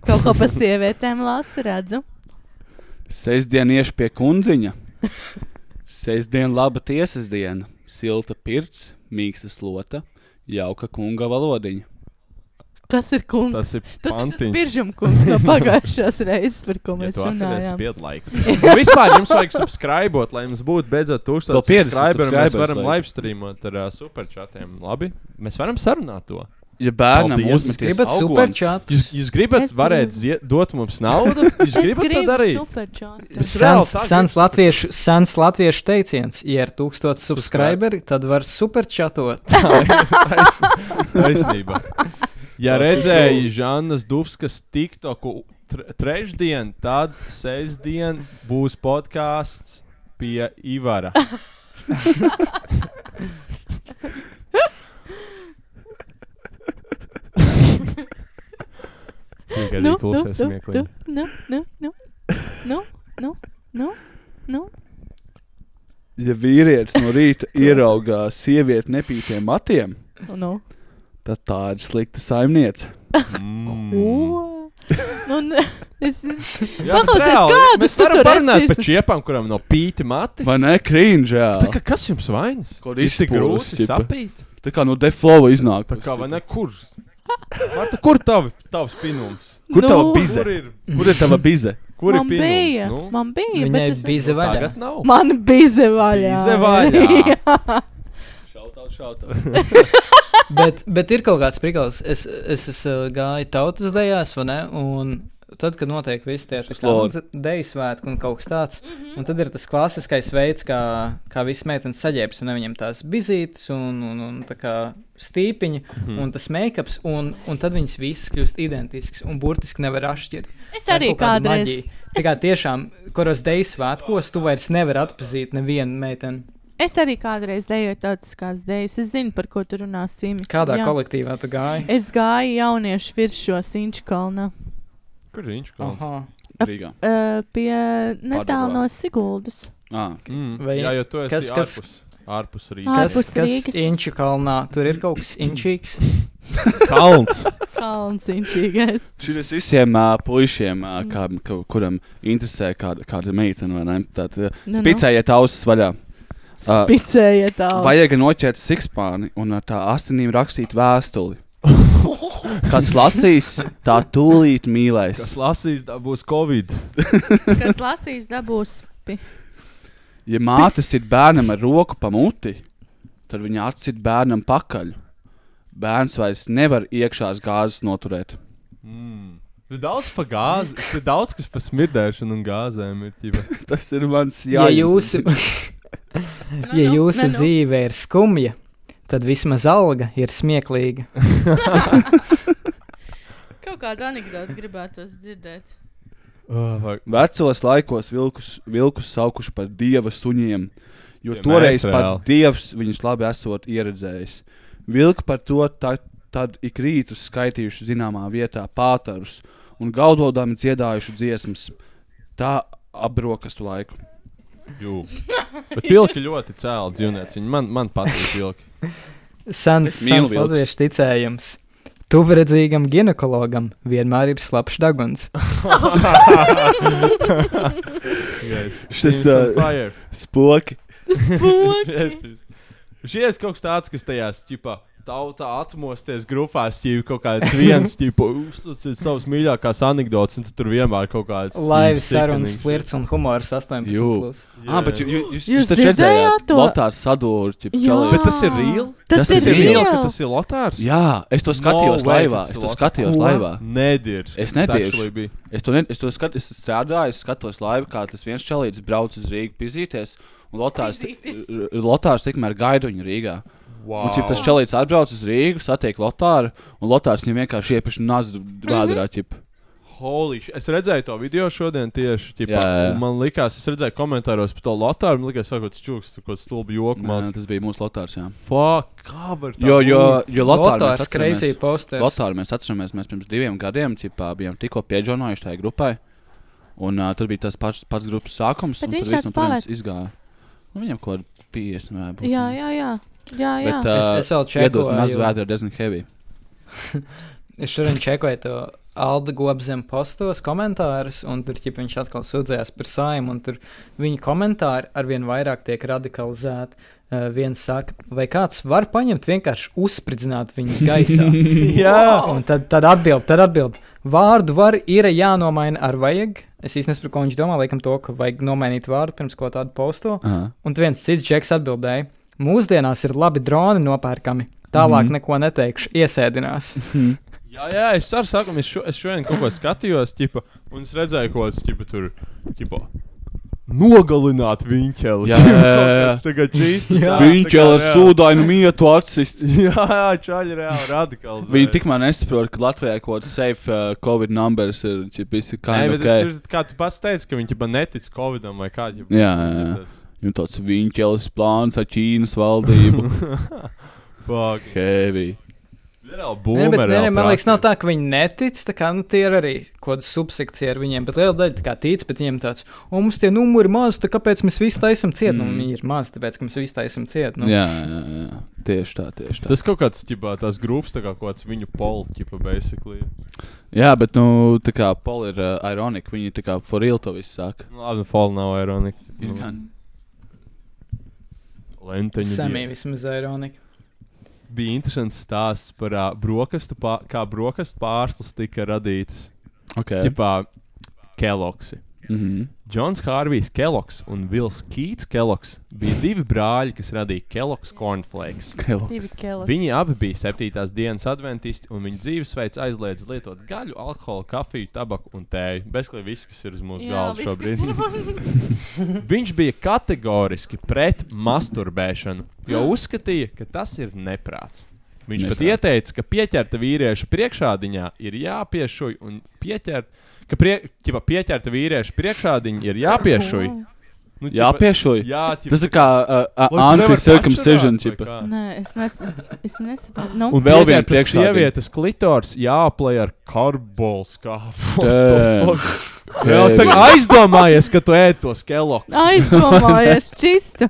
Speaker 7: Kaut ko par sievietēm lasu, redzu.
Speaker 9: Sestdien iešu pie kundziņa. Sestdien laba tiesas diena. silta pirts, mīksta slota, jauka kunga valodiņa.
Speaker 7: Tas ir kungs.
Speaker 8: Tas ir
Speaker 7: Tas ir tas
Speaker 8: pantiņš.
Speaker 7: biržam kungs no pagājušās reizes, par ko
Speaker 8: Ja
Speaker 7: mēs
Speaker 8: tu atceries
Speaker 7: runājām.
Speaker 8: spiedu laiku. Un vispār jums vajag subscribot, lai mums būtu beidzot
Speaker 9: Vēl
Speaker 8: 1000
Speaker 9: 50
Speaker 8: subscriberu. Mēs
Speaker 9: subscribers
Speaker 8: varam
Speaker 9: vajag.
Speaker 8: live streamot ar uh, superčatiem. Labi, mēs varam sarunāt to.
Speaker 9: Ja bērnam
Speaker 8: Paldies.
Speaker 9: uzmeties
Speaker 3: Gribat
Speaker 9: augons-
Speaker 3: superčatu?
Speaker 8: Jūs, jūs gribat,
Speaker 7: Es gribu.
Speaker 8: varētu ziet, dot mums naudu? Jūs gribat to darīt?
Speaker 7: superčānu.
Speaker 8: Es reāli
Speaker 3: Sens,
Speaker 8: tā
Speaker 3: sens,
Speaker 8: gribu.
Speaker 3: latviešu, sens latviešu teiciens, ja ir tūkstots subscriberi, tad var superčatot.
Speaker 8: Taisnība. Ja redzēji Žanas Dubskas TikToku tr trešdien, tad sestdien būs podkāsts pie Ivara. Tikai nu, klausies nu, smieklīgi.
Speaker 7: nu, nu, nu, nu, nu, nu, nu, nu.
Speaker 9: Ja vīrietis no rīta ieraugā sievieti nepītiem matiem,
Speaker 7: nu.
Speaker 9: tad tā ir slikta saimniece.
Speaker 7: Ko? Nu, n- es,
Speaker 8: Jā, bet
Speaker 7: Paklausies,
Speaker 8: reāli,
Speaker 7: kādus
Speaker 8: mēs
Speaker 7: tu
Speaker 8: varam
Speaker 7: tur
Speaker 8: parunāt
Speaker 7: esi-
Speaker 8: par čiepām, kurām nav pīti mati.
Speaker 9: Vai ne? Krīņģē.
Speaker 8: Tā kā kas jums vainas?
Speaker 9: Kaut
Speaker 8: Ir tik
Speaker 9: izpūlis,
Speaker 8: grūti
Speaker 9: ķipa.
Speaker 8: sapīt.
Speaker 9: Tā kā no deflova iznāk.
Speaker 8: Tā kā vai ne kur? Marta, kur tavi, tavs pinums?
Speaker 9: Kur tava
Speaker 7: Nu.
Speaker 9: bize?
Speaker 8: Kur ir,
Speaker 9: Kur ir tava bize?
Speaker 8: kur ir
Speaker 7: man bija.
Speaker 8: pinums? Nu?
Speaker 7: Man bija.
Speaker 3: Viņai
Speaker 7: bet es-
Speaker 3: bija zvaigžņa.
Speaker 8: Tagad nav.
Speaker 7: Man bija zevaļā.
Speaker 8: Bize vaļā.
Speaker 9: Šautā, šautā.
Speaker 3: Bet, bet ir kaut kāds prigals. Es, es, es uh, gāju tautas dejās, vai ne? Un tad, kad notiek visi tie tā kā, nu,
Speaker 9: Slodi.
Speaker 3: t- deju svētki un kaut kas tāds, mm
Speaker 7: Mhm.
Speaker 3: -hmm. un tad ir tas klasiskais veids, kā, kā visas meitenes saģērbs, un ne viņiem tās bizītes un, un, un tā kā stīpiņa, mm
Speaker 8: Mhm.
Speaker 3: -hmm. un tas make-ups, un, un tad viņas visas kļūst identiskas un burtiski nevar atšķirt.
Speaker 7: Es
Speaker 3: Tā ir
Speaker 7: arī
Speaker 3: kaut kāda
Speaker 7: kādreiz.
Speaker 3: maģija. Tā kā tiešām, kuros deju svētkos, tu vairs nevari atpazīt nevienu meiteni.
Speaker 7: Es arī kādreiz dejoju tautiskās dēļas. Es zinu, par ko tu runā, Simi.
Speaker 3: Kādā
Speaker 7: Jā.
Speaker 3: Jā. kolektīvā tu gāji?
Speaker 7: Es gāju jauniešu virsū Sinčkalnā.
Speaker 8: Kur ir viņš? Kalns?
Speaker 9: Rīgā.
Speaker 7: Uh, pie netālu no Siguldas.
Speaker 9: Ah,
Speaker 8: Mm.
Speaker 3: Vai-
Speaker 8: Jā, jo tu esi
Speaker 3: kas- kas-
Speaker 8: ārpus, ārpus
Speaker 7: Ārpus.
Speaker 8: Rīgas.
Speaker 3: Kas, kas
Speaker 7: Rīgas.
Speaker 3: inču kalnā? Tur ir kaut kas inčīgs.
Speaker 8: Kalns.
Speaker 7: Kalns inčīgais.
Speaker 9: Šis visiem uh, puišiem, uh, kā, kā, kuram interesē kāda, kāda meitene, vai ne? Tad uh,
Speaker 7: Nu, nu.
Speaker 9: spicējiet ausis vaļā.
Speaker 3: Ah.
Speaker 9: Ā.
Speaker 7: Spicējiet tā.
Speaker 9: Vajag noķert sikspāni un ar tā asinīm rakstīt vēstuli. Kas lasīs, tā tūlīt
Speaker 8: Kas
Speaker 9: mīlēs.
Speaker 8: lasīs, tā būs Covid.
Speaker 7: Kas lasīs, dabūs. pi-
Speaker 9: Ja māte sit bērnam ar roku pa muti, tad viņa atsit bērnam pakaļ. Bērns vairs nevar iekšās gāzes noturēt.
Speaker 8: Mm. Ir daudz par gāzi, ir daudz kas par smirdēšanu un gāzēm. Ir, ķipa.
Speaker 9: Tas ir mans
Speaker 3: Ja jūsu,
Speaker 7: Nu,
Speaker 3: ja
Speaker 7: nu,
Speaker 3: jūsu
Speaker 7: nu, nu.
Speaker 3: dzīve ir skumja, tad vismaz alga ir smieklīga.
Speaker 7: Kaut kādu anekdoti gribētu dzirdēt.
Speaker 8: oh, fuck.
Speaker 9: Vecos laikos vilkus, vilkus saukuši par dieva suņiem, jo
Speaker 8: Tie
Speaker 9: Tiem toreiz
Speaker 8: mēs
Speaker 9: pats
Speaker 8: vēl.
Speaker 9: dievs viņus labi esot ieredzējis. Vilki par to ta, tad ik rītu skaitījuši zināmā vietā pātarus un gaudodami dziedājuši dziesmas. Tā apbrokastu laiku.
Speaker 8: Jū. Bet vilki ļoti cēlā dzīvnieci. Viņi Man, man patīk vilki.
Speaker 3: Sens,
Speaker 9: Es mīlu
Speaker 3: sens
Speaker 9: vilkus.
Speaker 3: latviešu ticējums. Tuvredzīgam ginekologam vienmēr ir slapjš deguns.
Speaker 9: Šis,
Speaker 8: Teams on
Speaker 9: ā,
Speaker 8: fire.
Speaker 9: Spoki!
Speaker 8: Šis ir kaut kas tāds, kas tajā stipā. Tauta atmosties grupās, jau kaut kāds viens, tipo, uzstāsies savas mīļākās anekdotas, un tu tur vienmēr kaut kāds.
Speaker 3: Laiva sarunas, flirts un humors 18.
Speaker 9: Jū.
Speaker 3: plus.
Speaker 9: Jā, ah, bet jū, jū, jūs,
Speaker 7: Jūs
Speaker 9: jūs taču
Speaker 7: dzirdējāt
Speaker 9: redzējāt,
Speaker 7: to?
Speaker 9: ka Lotārs sadūrīja
Speaker 7: Jā.
Speaker 9: ķelē.
Speaker 8: Bet tas ir real?
Speaker 7: Tas,
Speaker 8: Tas
Speaker 9: Tas
Speaker 7: ir
Speaker 8: ir
Speaker 7: reāli.
Speaker 8: mīļāk, ka tas ir Lotārs.
Speaker 9: Jā, es to skatījos
Speaker 8: No way,
Speaker 9: laivā.
Speaker 8: tas
Speaker 9: Es
Speaker 8: ir
Speaker 9: to
Speaker 8: Lotārs.
Speaker 9: skatījos
Speaker 8: Ko?
Speaker 9: laivā.
Speaker 8: Nedirž.
Speaker 9: Es nediržu.
Speaker 8: Bija.
Speaker 9: Es to, ne, es to skat, es strādāju, es skatos laivu, kā tas viens čalīts brauc uz Rīgas pizīties. un Lotārs ti- r- r- Lotārs tikmēr gaida viņu Rīgā.
Speaker 8: Wow.
Speaker 9: Un cik tas čalīts atbrauc uz Rīgas, satiek Lotāru, un Lotārs viņam vienkārši iepaši nazu vēdā
Speaker 3: Mhm.
Speaker 9: ķip.
Speaker 8: Holy shit. Es redzēju to video šodien tieši. Ķipa, jā,
Speaker 9: Jā, jā,
Speaker 8: jā.
Speaker 9: jā.
Speaker 8: Man liekas, es redzēju komentāros par to Lotāru. Man liekas, sakot, čūks, kaut kāds stulbi joks. Man
Speaker 9: Nē, Tas bija mūsu Lotārs, jā.
Speaker 8: fuck, kā var tā.
Speaker 9: nu Jo, jo, jo Lotārs
Speaker 3: Lotārs crazy posters.
Speaker 9: Lotāru mēs atceramies, mēs pirms diviem gadiem ķipā, bijām tikko pieģonojuši tajā grupai. Un uh, tur bija tas pats, pats grupas sākums,
Speaker 7: Bet
Speaker 9: un
Speaker 7: viņš
Speaker 9: tur
Speaker 7: tāds
Speaker 9: viss no turienes
Speaker 7: palicis.
Speaker 9: izgāja. Nu, viņam kaut kāda 50 vai būt.
Speaker 7: Jā, jā, jā. jā, jā.
Speaker 9: Bet,
Speaker 7: Bet,
Speaker 9: uh,
Speaker 3: Es- es vēl čekoju,
Speaker 9: Maz
Speaker 3: jo-
Speaker 9: vēdā ir diezgan heavy.
Speaker 3: Es šodien čekoju to Alda Gobzem postos komentārus, un tur ķip, viņš atkal sūdzējās par saimu, un tur viņa komentāri arvien vairāk tiek radikalizēti. Uh, viens saka, vai kāds var paņemt vienkārši uzspridzināt viņus gaisā?
Speaker 8: Jā.
Speaker 3: un tad, tad atbild, tad atbild. Vārdu var ir jānomaina ar vajag. Es īsti nesaprotu, ko viņš domā, laikam to, ka vajag nomainīt vārdu pirms ko tādu posto.
Speaker 9: Aha.
Speaker 3: Un viens cits džeks atbildēja, mūsdienās ir labi droni nopērkami. Tālāk mm -hmm. neko neteikšu, iesēdinās.
Speaker 8: Jā, jā, es ar sākumu es, šo, es šodien kaut ko skatījos, ķipa, un es redzēju, ko tas ķipa, tur ķipa, nogalināt viņķeli.
Speaker 9: Jā,
Speaker 8: ķipa, kaut
Speaker 9: jā, jā, jā.
Speaker 8: kāds tagad čīsti. tā,
Speaker 9: Viņš
Speaker 8: tā
Speaker 9: jau
Speaker 8: kā
Speaker 9: ar
Speaker 8: reāli.
Speaker 9: sūdainu mietu atsist.
Speaker 8: Jā, jā, čaļi reāli radikāli.
Speaker 9: Viņi tikmēr nesaprot, ka Latvijā kaut kāds safe uh, covid numbers ir ķip, visi nu,
Speaker 8: Nē,
Speaker 9: kind
Speaker 8: bet
Speaker 9: of ok.
Speaker 8: okay. kāds pats teica, ka viņi ķipa netic Covidam vai kā. Ķipa,
Speaker 9: Jā, jā, jā. Viņam tāds viņķelis plāns ar Ķīnas valdību.
Speaker 8: Fuck.
Speaker 9: Heavy.
Speaker 8: Reāli
Speaker 3: Nē, bet,
Speaker 8: boomer.
Speaker 3: nē, nē,
Speaker 8: reāli
Speaker 3: man liekas, nav
Speaker 8: praktiski.
Speaker 3: tā, ka viņi netic. tā Kā, nu, tie ir arī kaut kāda subsekcija ar viņiem, bet liela daļa tā kā tic, bet viņiem tāds, un mums tie numuri ir mazi, tad kāpēc mēs visi taisam ciet? Mm. Nu, viņi ir mazi, tāpēc, ka mēs visi taisam ciet. Nu.
Speaker 9: Jā, jā, jā. Tieši tā, tieši tā.
Speaker 8: Tas kaut kāds, ķipā, tās grupas, tā kā kaut kāds viņu polķipa, basically.
Speaker 9: Jā, bet, nu, tā kā Pola ir uh, ironika, viņi tā kā for real to visu saka.
Speaker 8: Nu, Labi, fall nav ironika.
Speaker 9: Ir gan.
Speaker 8: Lenteņu
Speaker 3: Samī
Speaker 8: dienu.
Speaker 3: vismaz ironika.
Speaker 8: bija interesants stāsts par uh, brokastu, pā, kā brokastu pārslas tika radītas.
Speaker 9: Ok.
Speaker 8: Tipā Keloksi.
Speaker 9: Mhm.
Speaker 8: Džons Hārvijs Keloks un Vils Kīts Keloks bija divi brāļi, kas radīja Keloks cornflakes.
Speaker 9: Keloks.
Speaker 7: Divi kelas.
Speaker 8: uh, Viņi abi bija septītās dienas adventisti, un viņu dzīvesveids aizliedz lietot gaļu, alkoholu, kafiju, tabaku un tēju. Bezklīgi viss, kas ir uz mūsu galda šobrīd. Viņš bija kategoriski pret masturbēšanu, jo uzskatīja, ka tas ir neprāts. Viņš pat
Speaker 9: Neprāts.
Speaker 8: ieteica, ka pieķerta vīrieša priekšādiņā ir jāpiešuj un pieķert, ka prie, ķipa, pieķerta vīrieša priekšādiņa ir jāpiešuj. Nu, ķipa-
Speaker 9: Jāpiešuj?
Speaker 8: Jā, ķipa,
Speaker 9: Tas ir kā uh, uh, anti-circumcision. ķipa.
Speaker 7: Nē, es, nes... es nesaprotu. Nu,
Speaker 9: Un vēl viena
Speaker 8: priekšā.
Speaker 9: priekšā.
Speaker 8: Sievietes klitors jāaplē ar karbols kāpu.
Speaker 9: Damn.
Speaker 8: Jā, tā kā aizdomājies, ka tu ēd to skeloku.
Speaker 7: aizdomājies, čistu.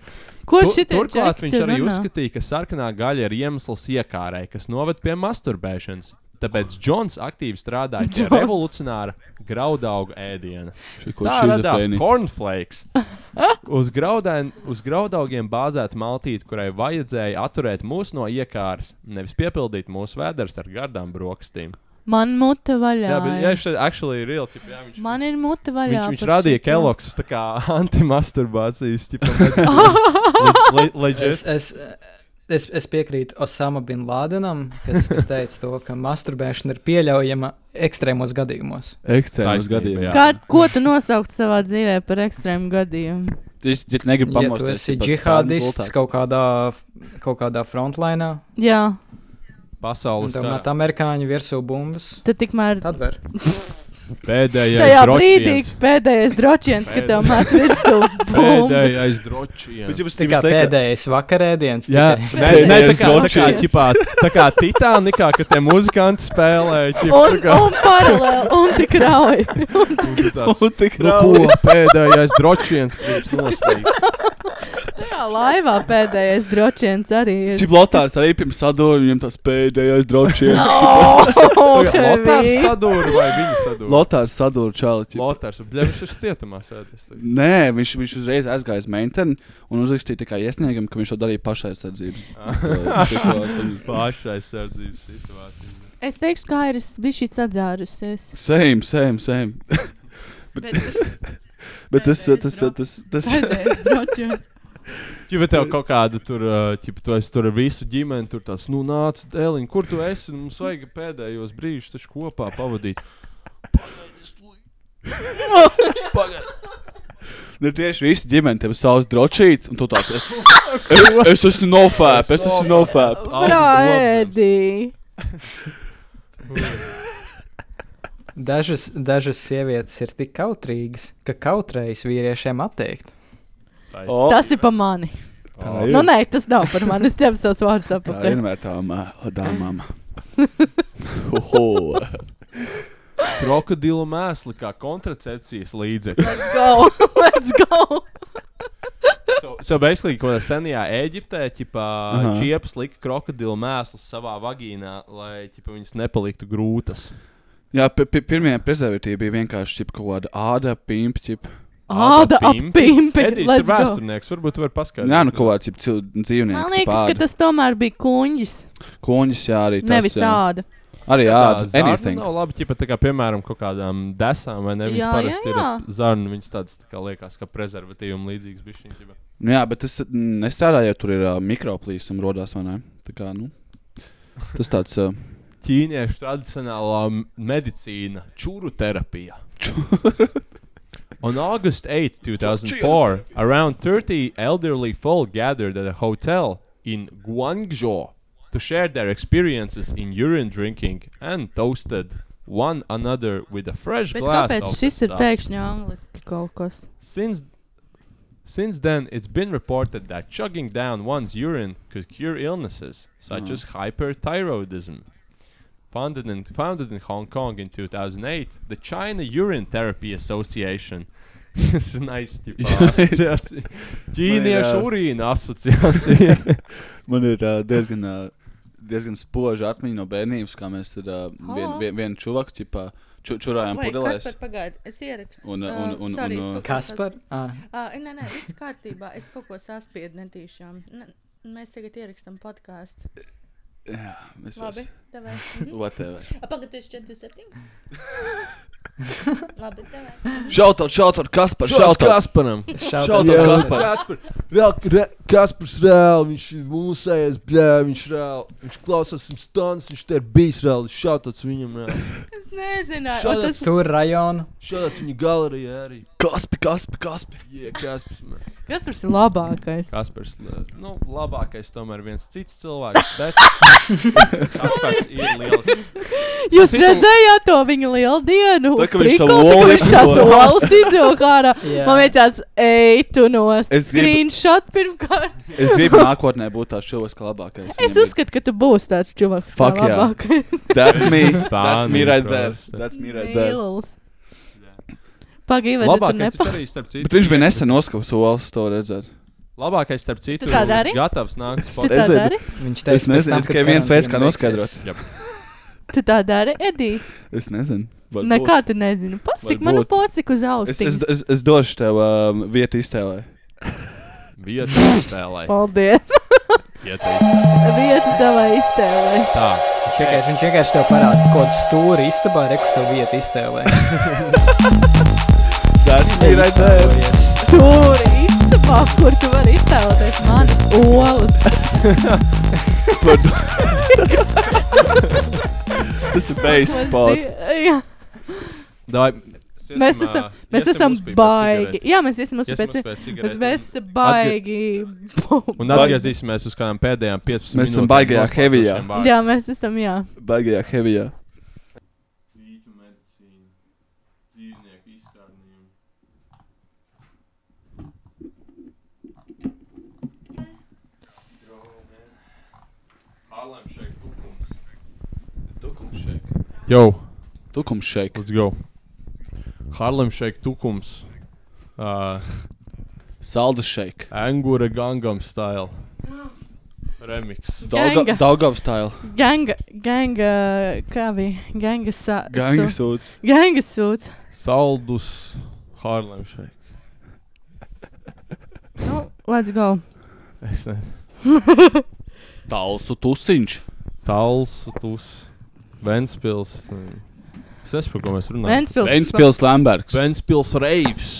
Speaker 7: Ko
Speaker 8: Tu-
Speaker 7: šī tā
Speaker 8: Turklāt viņš arī uzskatīja, ka sarkanā gaļa ir iemesls iekārai, kas noved pie masturbēšanas. Tāpēc Džons aktīvi strādāja pie
Speaker 7: Džons.
Speaker 8: revolucionāra graudauga ēdiena.
Speaker 9: Šiko
Speaker 8: Tā radās
Speaker 9: šizofrēni.
Speaker 8: cornflakes. Uz, graudain, uz graudaugiem bāzēta maltīte, kurai vajadzēja atturēt mūs no iekāras, nevis piepildīt mūsu vēders ar gardām brokastīm.
Speaker 7: Man mute vaļā.
Speaker 8: Jā, bet
Speaker 7: ir.
Speaker 8: viņš actually ir real. Tip, jā, viņš,
Speaker 7: Man ir mute vaļā.
Speaker 8: viņš, viņš
Speaker 7: par
Speaker 8: radīja
Speaker 7: šito.
Speaker 8: Keloks tā kā antimasturbācijas tipu. Leģis.
Speaker 3: Es, es, es, es piekrītu Osama Bin Ladenam, kas, kas teica to, ka masturbēšana ir pieļaujama ekstrēmos gadījumos.
Speaker 9: Ekstrēmas
Speaker 8: Taisnība, jā.
Speaker 9: gadījumā.
Speaker 7: Kā, ko tu nosaukt savā dzīvē par ekstrēmu gadījumu?
Speaker 9: Viņš ja negrib
Speaker 3: Ja tu
Speaker 9: pamosties.
Speaker 3: esi
Speaker 9: ķipa,
Speaker 3: džihādists
Speaker 9: spārnu gultā.
Speaker 3: kaut kādā, kaut kādā frontlainā,
Speaker 7: Jā,
Speaker 8: Pasaules
Speaker 3: tad met
Speaker 8: karā.
Speaker 3: amerikāņu virsū bumbas,
Speaker 7: tad tikmēr
Speaker 3: tad var.
Speaker 8: pēdējais
Speaker 7: tajā brīdī
Speaker 8: dročiens.
Speaker 7: pēdējais drošiens, ka tev met virsū bumbu.
Speaker 8: Pēdējais dročiens.
Speaker 3: Tā kā pēdējais vakarēdienas.
Speaker 8: Jā,
Speaker 3: tikai.
Speaker 8: nē, nē, tā kā, tā kā, ķipā, tā kā Titanikā, kad tie muzikanti spēlēja, ķipā,
Speaker 7: Un,
Speaker 8: tā kā,
Speaker 7: un paralēli, un tik rauji.
Speaker 8: tāds, nu, ko, pēdējais dročiens pirms noslīd.
Speaker 7: Tajā laivā pēdējais drošiens arī ir.
Speaker 9: Čip Lotārs arī pirms sadūrījuma viņam tas pēdējais drošies.
Speaker 7: Oh,
Speaker 8: Tagad Lotārs
Speaker 7: heavy.
Speaker 8: sadūra vai viņi sadūra?
Speaker 9: Lotārs sadūrīja čāli.
Speaker 8: Lotārs, bļa, viņš ir cietumā sēdēs. tagad.
Speaker 9: Nē, viņš, viņš uzreiz aizgāja uz Menteni un uzrakstīja tikai iesniegam, ka viņš to darīja pašaizsardzības.
Speaker 8: Pašaizsardzības situācija.
Speaker 7: Es teikšu, kā ir bijusi šī atdzārusies.
Speaker 9: Same, same, same.
Speaker 7: Bet
Speaker 9: Bet tas,
Speaker 7: Pēdējais
Speaker 9: tas,
Speaker 7: drop.
Speaker 9: tas, tas,
Speaker 7: pēdējais drošiens.
Speaker 8: Ķipa tev kaut kāda tur, ā, ķipa, tu esi tur ar visu ģimeni, tur tas, nu, nāc, dēliņ, kur tu esi? Nu, Mums vajag pēdējos brīžus taču kopā pavadīt.
Speaker 9: nu tieši visi ģimeni tev savus drošīt, un tu tāds, es esmu nofēp, es esmu nofēp.
Speaker 7: Jā, Edi.
Speaker 3: Dažas, dažas sievietes ir tik kautrīgas, ka kautrējas vīriešiem atteikt.
Speaker 8: O,
Speaker 7: Tas ir pa mani.
Speaker 9: Tā ir.
Speaker 7: Nu, nē, tas nav par mani. Es tev savus vārdus
Speaker 9: Tā
Speaker 7: apakaļ.
Speaker 9: vienmēr tām ā, dāmām. Oho.
Speaker 8: Krokodilu mēsli kā kontracepcijas līdzekļi.
Speaker 7: Let's go! Let's go!
Speaker 8: So, basically, ko senajā Eģiptē, ķipā,
Speaker 9: Aha.
Speaker 8: čiepes lika krokodilu mēslus savā vagīnā, lai, ķipā, viņas nepaliktu grūtas.
Speaker 9: Jā, pi- pi- pirmie prezervatīvi bija vienkārši ķip, kaut kāda āda, pimpa, ķip.
Speaker 7: Āda
Speaker 8: pimpi.
Speaker 7: apimpi.
Speaker 8: Edijs ir
Speaker 7: Let's go.
Speaker 8: vēsturnieks, varbūt var paskaidrot.
Speaker 9: Jā, nu kaut kāds ir cil- dzīvnieks.
Speaker 7: Man liekas, ka tas tomēr bija kuņģis,
Speaker 9: Koņas, jā, arī tas.
Speaker 7: nevis
Speaker 9: jā.
Speaker 7: āda.
Speaker 9: Arī
Speaker 8: Tā
Speaker 9: āda.
Speaker 8: zarna
Speaker 9: Anything.
Speaker 8: nav labi, ja tā kā, piemēram, kaut kādām desām vai ne. Viņas
Speaker 7: Jā,
Speaker 8: parasti
Speaker 7: jā, jā.
Speaker 8: ir zarnu, viņas tādas tā kā liekas, ka prezervatīvam līdzīgs bija šī ģipa.
Speaker 9: Nu, jā, bet tas mm, nestrādā, ja tur ir uh, mikroplīsums rodās, vai ne? Tā kā, nu, tas tāds. Uh,
Speaker 8: Ķīniešu tradicionālā m- medicīna, čūru terapija. On August 8, 2004, around 30 elderly folk gathered at a hotel in Guangzhou to share their experiences in urine drinking and toasted one another with a fresh
Speaker 7: Bet
Speaker 8: glass
Speaker 7: kāpēc
Speaker 8: of the
Speaker 7: šis ir
Speaker 8: stuff.
Speaker 7: pēkšņi angliski kaut kas?
Speaker 8: Since since then, it's been reported that chugging down one's urine could cure illnesses such as hyperthyroidism. Founded in, founded in Hong Kong in 2008, the China Urine Therapy Association. Tas ir nice. tipo, asociācija. Ķīniešu
Speaker 9: jā.
Speaker 8: urīna asociācija.
Speaker 9: Man ir uh, diezgan, uh, diezgan spoža atmiņa no bērnības, kā mēs tur uh, vienu
Speaker 7: Halo?
Speaker 9: vien, vien čuvaku čipā ču, čurājām pudelēs.
Speaker 7: pagaidu, es ierakstu.
Speaker 9: Un, uh, un- un-
Speaker 7: sorry, es
Speaker 9: un, uh,
Speaker 7: kaut ko
Speaker 3: Kas par? Ah,
Speaker 7: Ā, Nē, nē, viss kārtībā. Es kaut ko saspiedu netīšām. Ne- Mēs tagad ierakstām podkāstu.
Speaker 9: Jā, mēs
Speaker 7: Labi, tev vajag.
Speaker 9: Whatever.
Speaker 7: Pagaidies, 47. Labi, tev vajag.
Speaker 9: Šautot, šautot, kas par šautot?
Speaker 8: Kasparam.
Speaker 3: shout out
Speaker 9: Šautot,
Speaker 3: Kaspar.
Speaker 9: kas par?
Speaker 8: Kaspars reāli, viņš ir mūsējais, bļē, viņš reāli. Viņš klausās stundas, viņš te ir bijis reāli. Šāds viņam reāli.
Speaker 7: Es nezināju,
Speaker 8: Šādā
Speaker 7: un tas
Speaker 3: Tur rajonu.
Speaker 8: Šāds viņa galerijā arī.
Speaker 9: Kaspi, kaspi, kaspi.
Speaker 8: Jā, Kaspars. man.
Speaker 7: kas mums ir labākais.
Speaker 8: Kaspars, l- nu, labākais tomēr viens cits cilvēks, bet Kaspars ir liels.
Speaker 7: Jūs
Speaker 8: Citu-
Speaker 7: redzējāt to viņa lielo dienu.
Speaker 9: Tā, ka viņš
Speaker 7: Prikolu,
Speaker 9: savu
Speaker 7: ka
Speaker 9: olu
Speaker 7: viņš tās
Speaker 9: izvilka.
Speaker 7: olas izvilka ārā.
Speaker 3: Jā.
Speaker 7: Man bija tāds, ej, tu nos.
Speaker 9: Es gribu-
Speaker 7: Screenshot pirmkārt.
Speaker 9: Es gribu nākotnē būt tāds šovs, kā labākais.
Speaker 7: Es
Speaker 9: Viņam ir-
Speaker 7: uzskatu, ka tu būsi tāds čuvaks. kā
Speaker 9: Fuck jā.
Speaker 7: labākais.
Speaker 9: That's me. That's me
Speaker 8: Spānija
Speaker 9: right there.
Speaker 8: prosta.
Speaker 9: That's me right there.
Speaker 7: Mīlulis. Pagaidām, tu
Speaker 8: Labākais
Speaker 7: nepa...
Speaker 8: taču arī starp citu.
Speaker 9: Bet viņš bija nesen noskaps olas, to redzēt.
Speaker 8: Labākais starp citu.
Speaker 7: tā dari?
Speaker 8: Gatavs nākt spēlēt.
Speaker 7: Šitā
Speaker 9: Es-
Speaker 7: dari?
Speaker 3: Viņš
Speaker 9: Es
Speaker 3: teica,
Speaker 9: nezinu, tikai viens veids, kā noskaidrot.
Speaker 7: Tu tā dari, Edī.
Speaker 9: Es nezinu. Varbūt.
Speaker 7: Nekā tu nezini. Pasik
Speaker 9: Varbūt.
Speaker 7: manu posiku uz
Speaker 9: Es, es,
Speaker 7: austiņas.
Speaker 9: es, es došu tev um, vietu iztēlē.
Speaker 8: Bija tā spēlē.
Speaker 7: Paldies. Vieta tavā iztēlē.
Speaker 8: Tā.
Speaker 3: Viņš vienkārši- viņš vienkārši tev parāda kaut kādu stūri istabā, rekurto vietu iztēlē.
Speaker 9: That's me right there.
Speaker 7: Tur istabā, kur tu vari iztēloties manas olas.
Speaker 9: Tas ir beigas
Speaker 7: Ko
Speaker 9: spēlē.
Speaker 7: es di- Jā.
Speaker 8: Dai,
Speaker 7: Mēs esam, mēs esam baigi. Jā, mēs esam uz pēc
Speaker 8: Mēs
Speaker 7: cigaretēm.
Speaker 8: esam
Speaker 7: Bet Mēs esam baigi.
Speaker 8: Un atgriezīsimies uz kādām pēdējām 15
Speaker 9: Mēs esam
Speaker 8: minūtēm
Speaker 9: baigajā
Speaker 8: noslēdzošiem
Speaker 9: heavyjā.
Speaker 8: vārdiem.
Speaker 7: Jā, mēs esam, jā.
Speaker 9: Baigajā, heavijā.
Speaker 8: Dīķu medicīna, dzīvnieku izkārnījumu. Jau,
Speaker 9: Tukums šeit.
Speaker 8: let's go. Harlem Shake tukums. Uh,
Speaker 9: Saldus šeit.
Speaker 8: Angura Gangam style. Remix.
Speaker 7: Ganga.
Speaker 9: Daugavs stila.
Speaker 7: Ganga, ganga, kā bija? Ganga sā.
Speaker 9: Gangi sūds.
Speaker 7: sū- Ganga sūds.
Speaker 8: Saldus Harlem Shake.
Speaker 7: Nu, let's go.
Speaker 8: Es nezinu.
Speaker 9: Talsu tusiņš.
Speaker 8: Talsu, Tūs, Ventspils. Es nezinu, Es nezinu, par ko mēs runājam.
Speaker 7: Ventspils.
Speaker 9: Ventspils Lambergs.
Speaker 8: Ventspils reivs.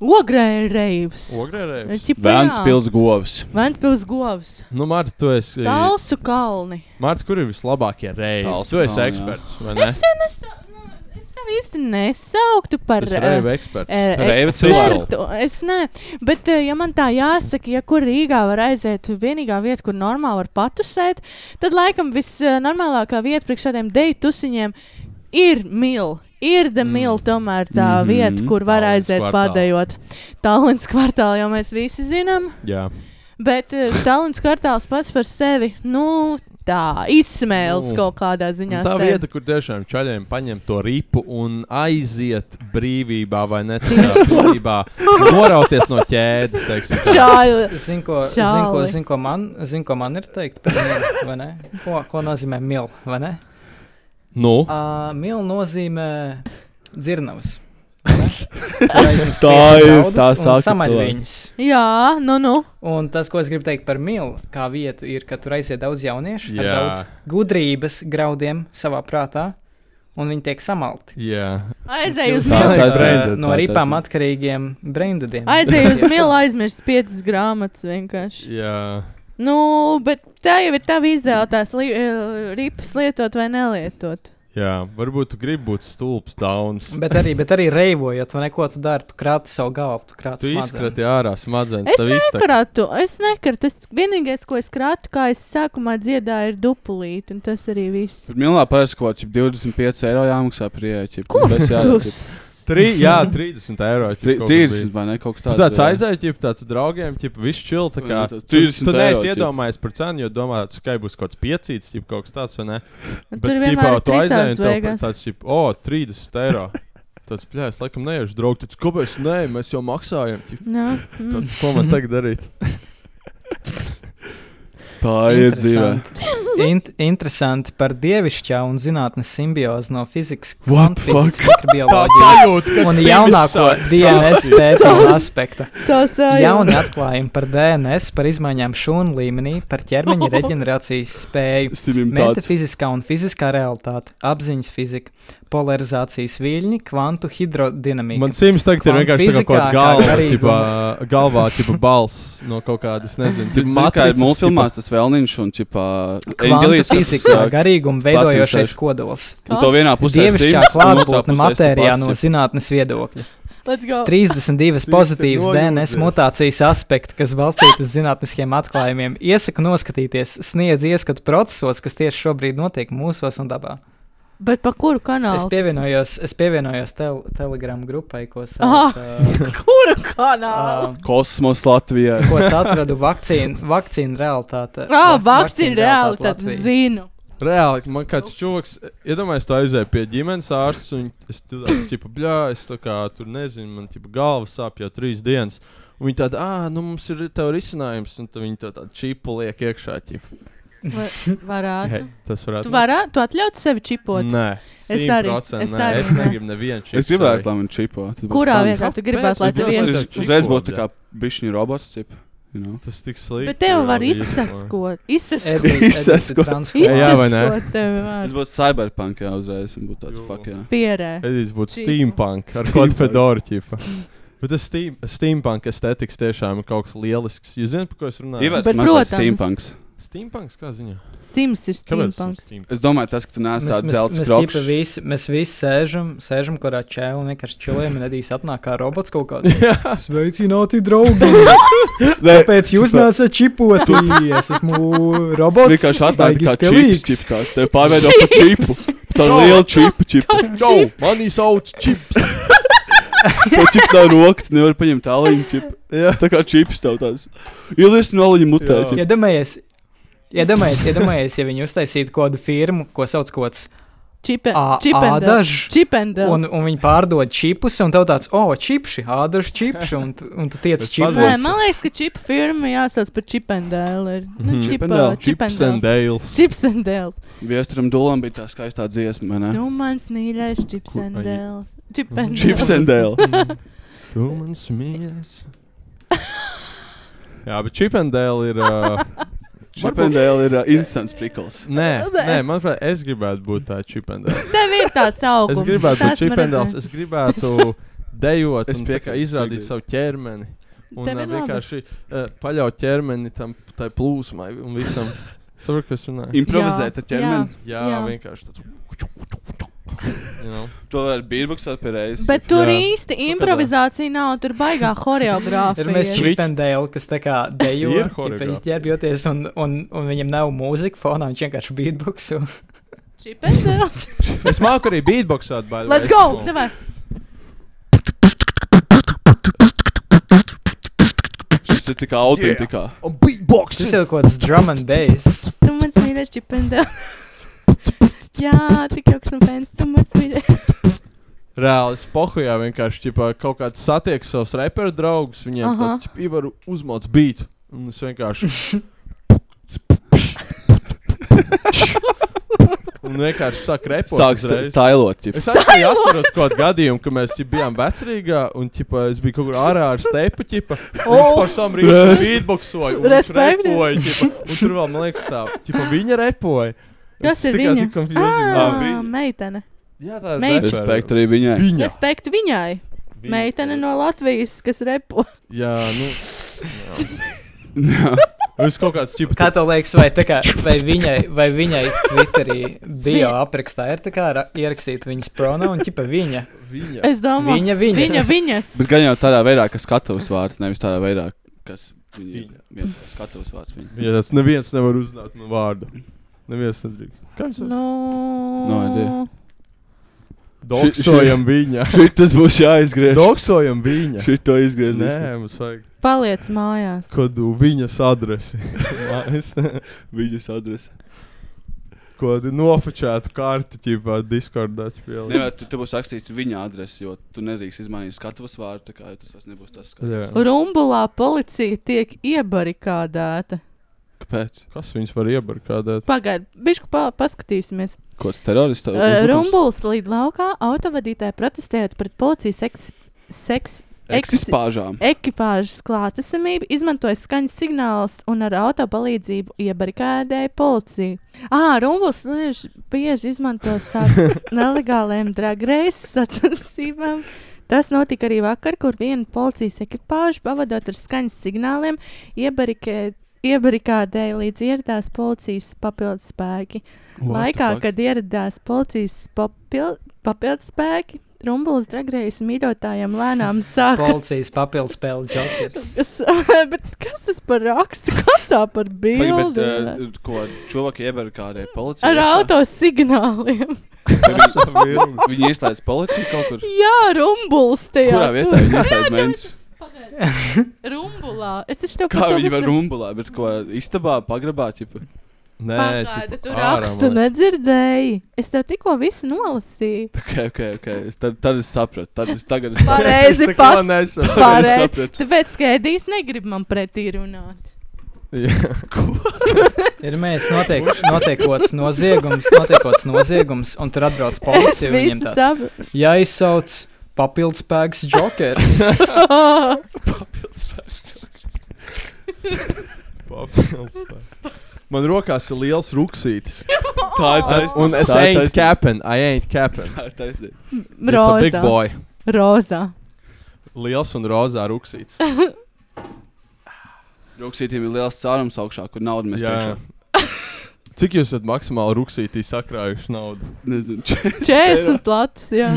Speaker 7: Ogrē reivs.
Speaker 8: Ogrē reivs.
Speaker 7: Čipa, Nu jā.
Speaker 9: Ventspils govs.
Speaker 7: Ventspils govs.
Speaker 8: Nu, Mārta, tu esi.
Speaker 7: Talsu kalni.
Speaker 8: Mārta, kur ir vislabākie reivi?
Speaker 9: Talsu
Speaker 8: Tu esi
Speaker 9: kalni, jā.
Speaker 8: eksperts, vai ne?
Speaker 7: Es jau nesauktu, nu, es tev īsti nesauktu par.
Speaker 8: Tu esi
Speaker 7: eh,
Speaker 8: reivi eksperts.
Speaker 7: Eh,
Speaker 9: Reiva
Speaker 7: ekspertu. Es ne, bet, eh, ja man tā jāsaka, ja kur Rīgā var aiziet, vienīgā vieta, kur normāli var patusēt, tad laikam visnormālākā vieta priekš šādiem deitusiņiem ir mīl. Ir de mīl, tomēr tā
Speaker 8: Mhm.
Speaker 7: mm -hmm. vieta, kur var
Speaker 8: Tallinas
Speaker 7: aiziet
Speaker 8: kvartālā.
Speaker 7: padējot. Tallinas kvartālā jau mēs visi zinām,
Speaker 8: Jā.
Speaker 7: bet eh, Tallinas kvartāls pats par sevi, nu, tā izsmēlis
Speaker 8: Nu,
Speaker 7: kaut kādā ziņā.
Speaker 8: Un tā
Speaker 7: sevi.
Speaker 8: vieta, kur tiešām čaļiem paņem to ripu un aiziet brīvībā, vai ne? Tikai brīvībā. Norauties no ķēdes, teiksim. tā.
Speaker 7: Čāli.
Speaker 3: Zinu, ko, zin, ko,
Speaker 7: Čāli.
Speaker 3: zin, ko, man, zin, ko man ir teikt par milu, vai ne? Ko, ko nozīmē mil, vai ne?
Speaker 8: Nu,
Speaker 3: Uh, mil nozīmē dzirnavas.
Speaker 9: Tā ir tā saka
Speaker 3: samaļ
Speaker 9: cilvēki.
Speaker 3: viņus.
Speaker 7: Jā, nu, nu.
Speaker 3: Un tas, ko es gribu teikt par milu, kā vietu, ir, ka tur aiziet daudz jauniešu
Speaker 8: Jā.
Speaker 3: ar daudz gudrības graudiem savā prātā, un viņi tiek samalti.
Speaker 8: Jā,
Speaker 7: Aizēju uz
Speaker 9: Tā-
Speaker 7: milu.
Speaker 9: tā
Speaker 3: Par,
Speaker 9: ir brenda,
Speaker 3: eh, no
Speaker 9: tā- tā
Speaker 3: ripām
Speaker 9: ir-
Speaker 3: atkarīgiem braindudiem.
Speaker 7: Aizēju uz milu, aizmirst piecas grāmatas vienkārši.
Speaker 8: jā.
Speaker 7: Nu, bet tā jau ir tava izvēle, tās li eh, ripas lietot vai nelietot.
Speaker 8: Jā, varbūt tu gribi būt stulbs, dauns.
Speaker 3: Bet arī, bet arī reivojot, vai neko tu dari, tu krāti savu galvu, tu krāti
Speaker 8: Tu
Speaker 3: savu
Speaker 8: izkrati ārā smadzenes.
Speaker 7: Es
Speaker 8: tev iztek.
Speaker 7: nekratu, es nekratu. Es vienīgais, ko es kratu, kā es sākumā dziedāju, ir dupulīti, un tas arī viss.
Speaker 9: Tur milā parasti kaut kāds 25 eiro jāmaksā par ieeju.
Speaker 7: Ko
Speaker 9: tas
Speaker 7: tu?
Speaker 8: Trī, jā, 30 eiro. ķip, kaut kas bija.
Speaker 9: 30 vai ne kaut kas
Speaker 8: Tu
Speaker 9: tāds.
Speaker 8: tāds
Speaker 9: jā.
Speaker 8: aizēji, jau tāds draugiem, jau viss čil. Tā kā
Speaker 9: Jā, tas
Speaker 8: tu,
Speaker 9: 30
Speaker 8: tu neesi
Speaker 9: eiro, ķip.
Speaker 8: iedomājies par cenu, jo domā, ka būs kaut kāds piecīts, jau kaut kas tāds, vai ne?
Speaker 7: Tur vienmēr ir
Speaker 8: tu aizēji,
Speaker 7: trīcārs
Speaker 8: un tev pat
Speaker 7: beigās.
Speaker 8: tāds, jau, o, 30 eiro. Tāds, jā, es laikam neiešu draugu, tad kāpēc nē, mēs jau maksājam. Ķip,
Speaker 7: Jā, mm.
Speaker 8: tāds, ko man tagad darīt?
Speaker 9: Tā ir dzīve.
Speaker 3: Int interesanti par dievišķā un zinātnes simbiozi no fizikas,
Speaker 9: What the fuck?
Speaker 3: mikrobioloģijas
Speaker 8: kad
Speaker 3: un
Speaker 8: simis
Speaker 3: jaunāko
Speaker 8: sāk
Speaker 3: DNS
Speaker 8: stāstīt.
Speaker 3: pētījuma aspekta.
Speaker 7: Tas ir
Speaker 3: Jauni atklājumi par DNS, par izmaiņām šūnu līmenī, par ķermeņa reģenerācijas spēju,
Speaker 9: Simim tāds.
Speaker 3: metafiziskā un fiziskā realitāte, apziņas fizika, polarizācijas viļņi, kvantu hidrodinamika.
Speaker 8: Man sims tagad ir
Speaker 3: Kvantu
Speaker 8: vienkārši tā
Speaker 3: fizikā,
Speaker 8: kā
Speaker 3: kā
Speaker 8: galva,
Speaker 3: garīguma.
Speaker 8: ķipā, galvā, tipa balss no kaut kādas, nezinu,
Speaker 9: Cik
Speaker 8: ķip,
Speaker 9: kā ir
Speaker 8: matricas, ķipā.
Speaker 9: multfilmās tas vēlniņš un ķipā
Speaker 3: Kvantu
Speaker 9: eņģelīts, kas,
Speaker 3: fizikā
Speaker 9: ā,
Speaker 3: garīguma veidojošais
Speaker 9: sēž.
Speaker 3: kodols.
Speaker 9: Un to vienā pusē ir
Speaker 3: Dievišķā
Speaker 9: Sims, un otrā
Speaker 3: klātbūtne
Speaker 9: pusē ir
Speaker 3: matērijā
Speaker 9: Sims.
Speaker 3: no zinātnes viedokļa.
Speaker 7: Let's go.
Speaker 3: 32
Speaker 8: Sims ir
Speaker 3: pozitīvas DNS
Speaker 8: nojūdzies.
Speaker 3: mutācijas aspekti, kas balstīti uz zinātniskiem atklājumiem, iesaka noskatīties, sniedz ieskatu procesos, kas tieši šobrīd notiek mūsos un dabā.
Speaker 7: Bet pa kuru kanālu?
Speaker 3: Es pievienojos, es pievienojos tel Telegram grupai, ko
Speaker 7: Aha.
Speaker 3: sauc. ā,
Speaker 7: Kuru kanālu?
Speaker 3: ā,
Speaker 9: Kosmos Latvijā.
Speaker 3: Ko es atradu vakcīnu, vakcīnu realitāte.
Speaker 7: Ā, Ah,
Speaker 3: Vak-
Speaker 7: vakcīna reāli,
Speaker 3: realitāte
Speaker 7: tad
Speaker 3: Latvijā.
Speaker 7: Oh, zinu.
Speaker 8: Reāli, man kāds čūlis, iedomājieties, tā aizēja pie ģimenes ārsta, un es tur biju, bļā, es tā kā tur nezinu, man tipa, galva sāp jau trīs dienas. Un viņi tāda, ah, nu mums ir tev risinājums, un tad viņi tā tādu čipu liek iekšā. Ķipa.
Speaker 7: Va- Varētu.
Speaker 8: Hei, tas varētu
Speaker 7: Tu varētu, tu atļautu sevi čipot.
Speaker 8: Nē,
Speaker 7: Es arī,
Speaker 8: 100%
Speaker 7: es
Speaker 8: nē,
Speaker 7: arī,
Speaker 8: Es
Speaker 7: nē.
Speaker 8: negribu nevienu čipu.
Speaker 9: Es gribētu, lai man čipo. tas būtu
Speaker 7: Kurā
Speaker 9: fun.
Speaker 7: vietā tu gribētu, lai tev
Speaker 8: Kāpēc?
Speaker 7: viens?
Speaker 9: Uzreiz
Speaker 8: vienkārši
Speaker 9: uzreiz
Speaker 8: čipo,
Speaker 9: būtu tā
Speaker 8: jā.
Speaker 9: kā bišķiņa robots, tip. You know?
Speaker 8: Tas tik slikti.
Speaker 7: Bet tev var
Speaker 8: reāli, īstenībā.
Speaker 7: izsaskot. Izsaskot.
Speaker 3: Edijs- Edijs ir
Speaker 9: Izsasko.
Speaker 3: transformēts.
Speaker 8: Jā, vai ne?
Speaker 7: Izsaskot tevi
Speaker 9: Es
Speaker 7: var.
Speaker 9: būtu cyberpunk, jā, uzreiz. un Būtu tāds
Speaker 8: Jū.
Speaker 9: fuck, jā.
Speaker 7: Pierē.
Speaker 8: Edijs būtu
Speaker 7: Čipu.
Speaker 8: steampunk ar
Speaker 9: Steampunk.
Speaker 8: kādu fedoru ķipa. Bet tas steam, steampunk estētikas tiešām ir kaut kas lielisks. Jūs zināt, par ko es runāju?
Speaker 9: Ivars,
Speaker 7: Bet,
Speaker 9: man
Speaker 7: protams.
Speaker 9: liekas, steampunks.
Speaker 8: Steampunks kā ziņā?
Speaker 7: Sims ir
Speaker 8: Kāpēc?
Speaker 7: steampunk.
Speaker 8: steampunk?
Speaker 9: Es domāju, tas, ka tu nes
Speaker 3: Mēs,
Speaker 9: tādu
Speaker 3: mēs,
Speaker 9: zelta
Speaker 3: mēs, ķipa,
Speaker 9: skroku.
Speaker 3: visi, mēs visi sēžam, sēžam kurā čēlā un vienkārši čilējam. Un Edijs atnāk kā robots kaut kāds. Sveicināti, draugi! Kāpēc jūs nesat čipoti? Es esmu robots.
Speaker 9: Vienkārši atnāk
Speaker 3: baigi
Speaker 9: kā
Speaker 3: stilīgs.
Speaker 9: čips, čips, kā tev pārveido par čipu. Tā
Speaker 8: Kā?
Speaker 9: liela čipa, čipa.
Speaker 8: Čau, mani sauc Čips.
Speaker 9: Tā čipa nav rokas, tu nevari paņemt aliņu čipu. Tā kā čips tev tāds. Ielies no aliņa mutē.
Speaker 8: Jā.
Speaker 9: ķip.
Speaker 3: Iedomājies, iedomājies, iedomājies, ja viņi uztaisītu kādu firmu, ko sauc par
Speaker 7: Čipe- Čipendels.
Speaker 3: ādažu.
Speaker 7: Čipendels.
Speaker 3: Un, un viņi pārdod čipus, un tev tāds, oh, čipši, ādažs čipši, un, tu- un tu tiec
Speaker 8: Es
Speaker 3: čipus.
Speaker 8: pazvanu.
Speaker 7: Nē,
Speaker 8: Avots.
Speaker 7: man liekas, ka čipa firma jāsauc par čipendēlu.
Speaker 8: Mhm. Mm,
Speaker 7: Nu,
Speaker 9: Čipendēl.
Speaker 8: Čips
Speaker 7: čipendēls.
Speaker 8: and Dales.
Speaker 7: Čipsendēls.
Speaker 9: Viesturam dulam bija tā skaistā dziesma, vai ne?
Speaker 7: Tu Nu, mans mīļais čipsendēls. Čipendēls.
Speaker 9: Čips and dēl.
Speaker 8: Tu man smies. Jā, bet Chip and Dale ir. Uh,
Speaker 9: Čip and dēl ir uh, instants prikals.
Speaker 8: nē,
Speaker 7: Nē.
Speaker 8: nē, manuprāt, es gribētu būt tā Chip and Dale.
Speaker 7: Tev ir tāds
Speaker 8: Es
Speaker 7: augums.
Speaker 8: gribētu
Speaker 7: es
Speaker 8: būt
Speaker 7: esmu
Speaker 8: Chip and Dale.
Speaker 7: redzējis.
Speaker 8: Es gribētu dejot,
Speaker 9: Es
Speaker 8: un tā kā
Speaker 9: piekrītu,
Speaker 8: izrādīt
Speaker 9: piekrītu.
Speaker 8: savu ķermeni. Un
Speaker 7: Tev ir
Speaker 8: uh,
Speaker 7: labi.
Speaker 8: vienkārši uh, paļaut ķermeni tam tai plūsmai un visam. Saprotu, kas runā?
Speaker 9: Improvizēt ar ķermeni.
Speaker 8: Jā,
Speaker 7: Jā.
Speaker 8: vienkārši tāds. You know?
Speaker 9: To var beatboxēt pēreiz.
Speaker 7: Bet tur
Speaker 8: Jā.
Speaker 7: īsti improvizācija nav, tur baigā
Speaker 3: Ir mēs
Speaker 7: choreogrāfija.
Speaker 3: čipendēli, kas tā kā
Speaker 8: Ir
Speaker 3: dejo, ķipa,
Speaker 8: choreogrāfi.
Speaker 3: izģērbjoties, un, un, un viņam nav mūzika fonā, viņš vienkārši beatboxu.
Speaker 7: Čipendēls.
Speaker 8: Es māku arī beatboxot, bet.
Speaker 7: Let's go! Davai.
Speaker 9: Šis ir tik autentikā.
Speaker 3: Tas ir kaut kāds drum and bass.
Speaker 7: Tu mans mīļais čipendēls. Jā, tik jauks un fans. Tu mans mīļais.
Speaker 8: Reāli spohujā vienkārši ķipā, kaut kāds satiek savus reperu draugus. Viņiem
Speaker 7: Aha.
Speaker 8: tas ir varu uzmoc beat. Un es vienkārši. un un vienkārši sāk repot.
Speaker 9: Sāk sta-
Speaker 8: uzreiz.
Speaker 9: stailot. ķip.
Speaker 8: Es arī atceros kaut kādu gadījumu, kad mēs ķip, bijām vecrīgā, un ķipa, es biju kaut kur ārā ar stepu. Ķipa, oh.
Speaker 7: Oh.
Speaker 8: Es par savu rītu beatboxoju, un viņš
Speaker 7: Respekt.
Speaker 8: repoja. Ķipa, un tur vēl, man liekas, tā, ķipa, viņa repoja.
Speaker 7: Kas
Speaker 8: Es
Speaker 7: ir
Speaker 8: tikai
Speaker 7: viņa?
Speaker 8: tik confusing. Ā,
Speaker 7: Ah,
Speaker 8: viņa.
Speaker 7: meitene.
Speaker 8: Jā, tā ir
Speaker 7: Meitene.
Speaker 8: repere.
Speaker 9: Respekt arī viņai.
Speaker 8: Viņa.
Speaker 7: Respekt viņai.
Speaker 8: Viņa.
Speaker 7: Meitene no Latvijas, kas repo.
Speaker 8: Jā, nu. Viņš kaut kāds čipa.
Speaker 3: Kā tev liekas, vai, tā kā, vai viņai, vai viņai Twitterī bio aprakstā ir tā kā ra- ierakstīta viņas pronomu, ķipa viņa?
Speaker 8: Viņa.
Speaker 7: Es domāju,
Speaker 3: Viņa, viņas.
Speaker 7: Viņa, viņas.
Speaker 9: Bet gan jau tādā veidā, ka skatavs vārds, nevis tādā veidā, kas viņa ir.
Speaker 8: Viņa.
Speaker 9: Vienkārši Skatavs vārds viņa.
Speaker 8: Jā, tas neviens nevar uzzināt no vārda. Neviens nedrīkst. Kā viņš to
Speaker 7: Nu,
Speaker 9: No idea.
Speaker 8: doksojam viņa?
Speaker 9: Šitas būs jāizgriež.
Speaker 8: Doksojam viņa.
Speaker 9: Šito
Speaker 8: Nē,
Speaker 9: izgriezīsim.
Speaker 8: mums vajag
Speaker 7: paliec mājās.
Speaker 8: kaut kādu viņas adresi. Mājas.
Speaker 9: Viņas adrese.
Speaker 8: Ko tu nofočētu karti, ķipā, Discordā
Speaker 9: Nē,
Speaker 8: spēlē.
Speaker 9: tu, tu būs rakstīts viņa adrese, jo tu nedrīkst izmainīt skatavs vārdu, tā kā jo tas vairs nebūs tas skatavs.
Speaker 8: Jā.
Speaker 7: Rumbulā policija tiek iebarikādēta.
Speaker 9: Kāpēc?
Speaker 8: Kas viņus var iebarkādēt?
Speaker 7: Pagaid, bišku pa paskatīsimies.
Speaker 9: Kāds terorists tev?
Speaker 7: Uh, Rumbuls līd laukā autovadītāji protestējot pret policijas eks, seks, eks,
Speaker 9: Eksispāžām.
Speaker 7: ekipāžas klātesamību, izmantoja skaņas signālus un ar auto palīdzību iebarikādēja policiju. Ā, Rumbuls liež- bieži izmanto savu nelegāliem dragreisa sacensībām. Tas notika arī vakar, kur viena policijas ekipāža pavadot ar skaņas signāliem iebarikē- iebarikādēja līdz ieradās policijas papildus spēki. Laikā, kad ieradās policijas papil- papildus spēki, Rumbuls dragreisa mīļotājiem lēnām sāka
Speaker 3: Policijas papildus spēle jokers.
Speaker 7: Kas, bet kas tas par rakstu? Kas tā par
Speaker 9: Pagaid, bet,
Speaker 7: bildi?
Speaker 9: uh, ko cilvēki ievēr kādai policijai?
Speaker 7: Ar autosignāliem.
Speaker 9: automašīnu. Viņi ieslēdz policiju kaut kur.
Speaker 7: Jā, rumbuls tajā.
Speaker 9: Kurā vietā viņi ieslēdz
Speaker 7: Jā, jā,
Speaker 9: mēnesi?
Speaker 7: Rumbulā. Es taču tev
Speaker 9: Kā viņi var rumbulā, bet ko istabā, pagrabā, ķipa?
Speaker 8: Nē,
Speaker 7: Pagaidu,
Speaker 8: ķipa,
Speaker 7: tu
Speaker 8: ārā,
Speaker 7: rakstu
Speaker 8: man liekas.
Speaker 7: nedzirdēji. Es tev tikko visu nolasīju.
Speaker 9: Ok, ok, ok. Es tad, tad es sapratu. Tad es tagad es sapratu.
Speaker 7: Pareizi
Speaker 8: Es
Speaker 7: pat.
Speaker 8: neko nesaprotu.
Speaker 7: Pareizi.
Speaker 9: sapratu.
Speaker 7: Tāpēc skēdīs negrib man pretī runāt.
Speaker 8: Jā.
Speaker 3: Ir mēs notiek, notiekots noziegums, notiekots noziegums, un tur atbrauc
Speaker 7: Es
Speaker 3: policija
Speaker 7: visu
Speaker 3: viņiem tāds.
Speaker 7: saprotu.
Speaker 3: Jā, izsauc papildus spēks jokers.
Speaker 8: Papildus spēks. Man rokās ir liels ruksītis.
Speaker 9: Tā ir taisnība.
Speaker 8: Un es
Speaker 9: Tā ir
Speaker 8: ain't
Speaker 9: taisnība.
Speaker 8: capping, I ain't capping.
Speaker 9: Tā ir taisnība.
Speaker 8: It's a big
Speaker 7: Rozā.
Speaker 8: boy.
Speaker 7: Rozā.
Speaker 8: Liels un rozā ruksītis.
Speaker 9: Rūksītiem ir liels cārums augšā, kur naudu mēs
Speaker 8: Jā.
Speaker 9: tiešām.
Speaker 8: Cik jūs esat maksimāli ruksītī sakrājuši naudu?
Speaker 9: Nezinu, čest.
Speaker 7: 40 platus, jā.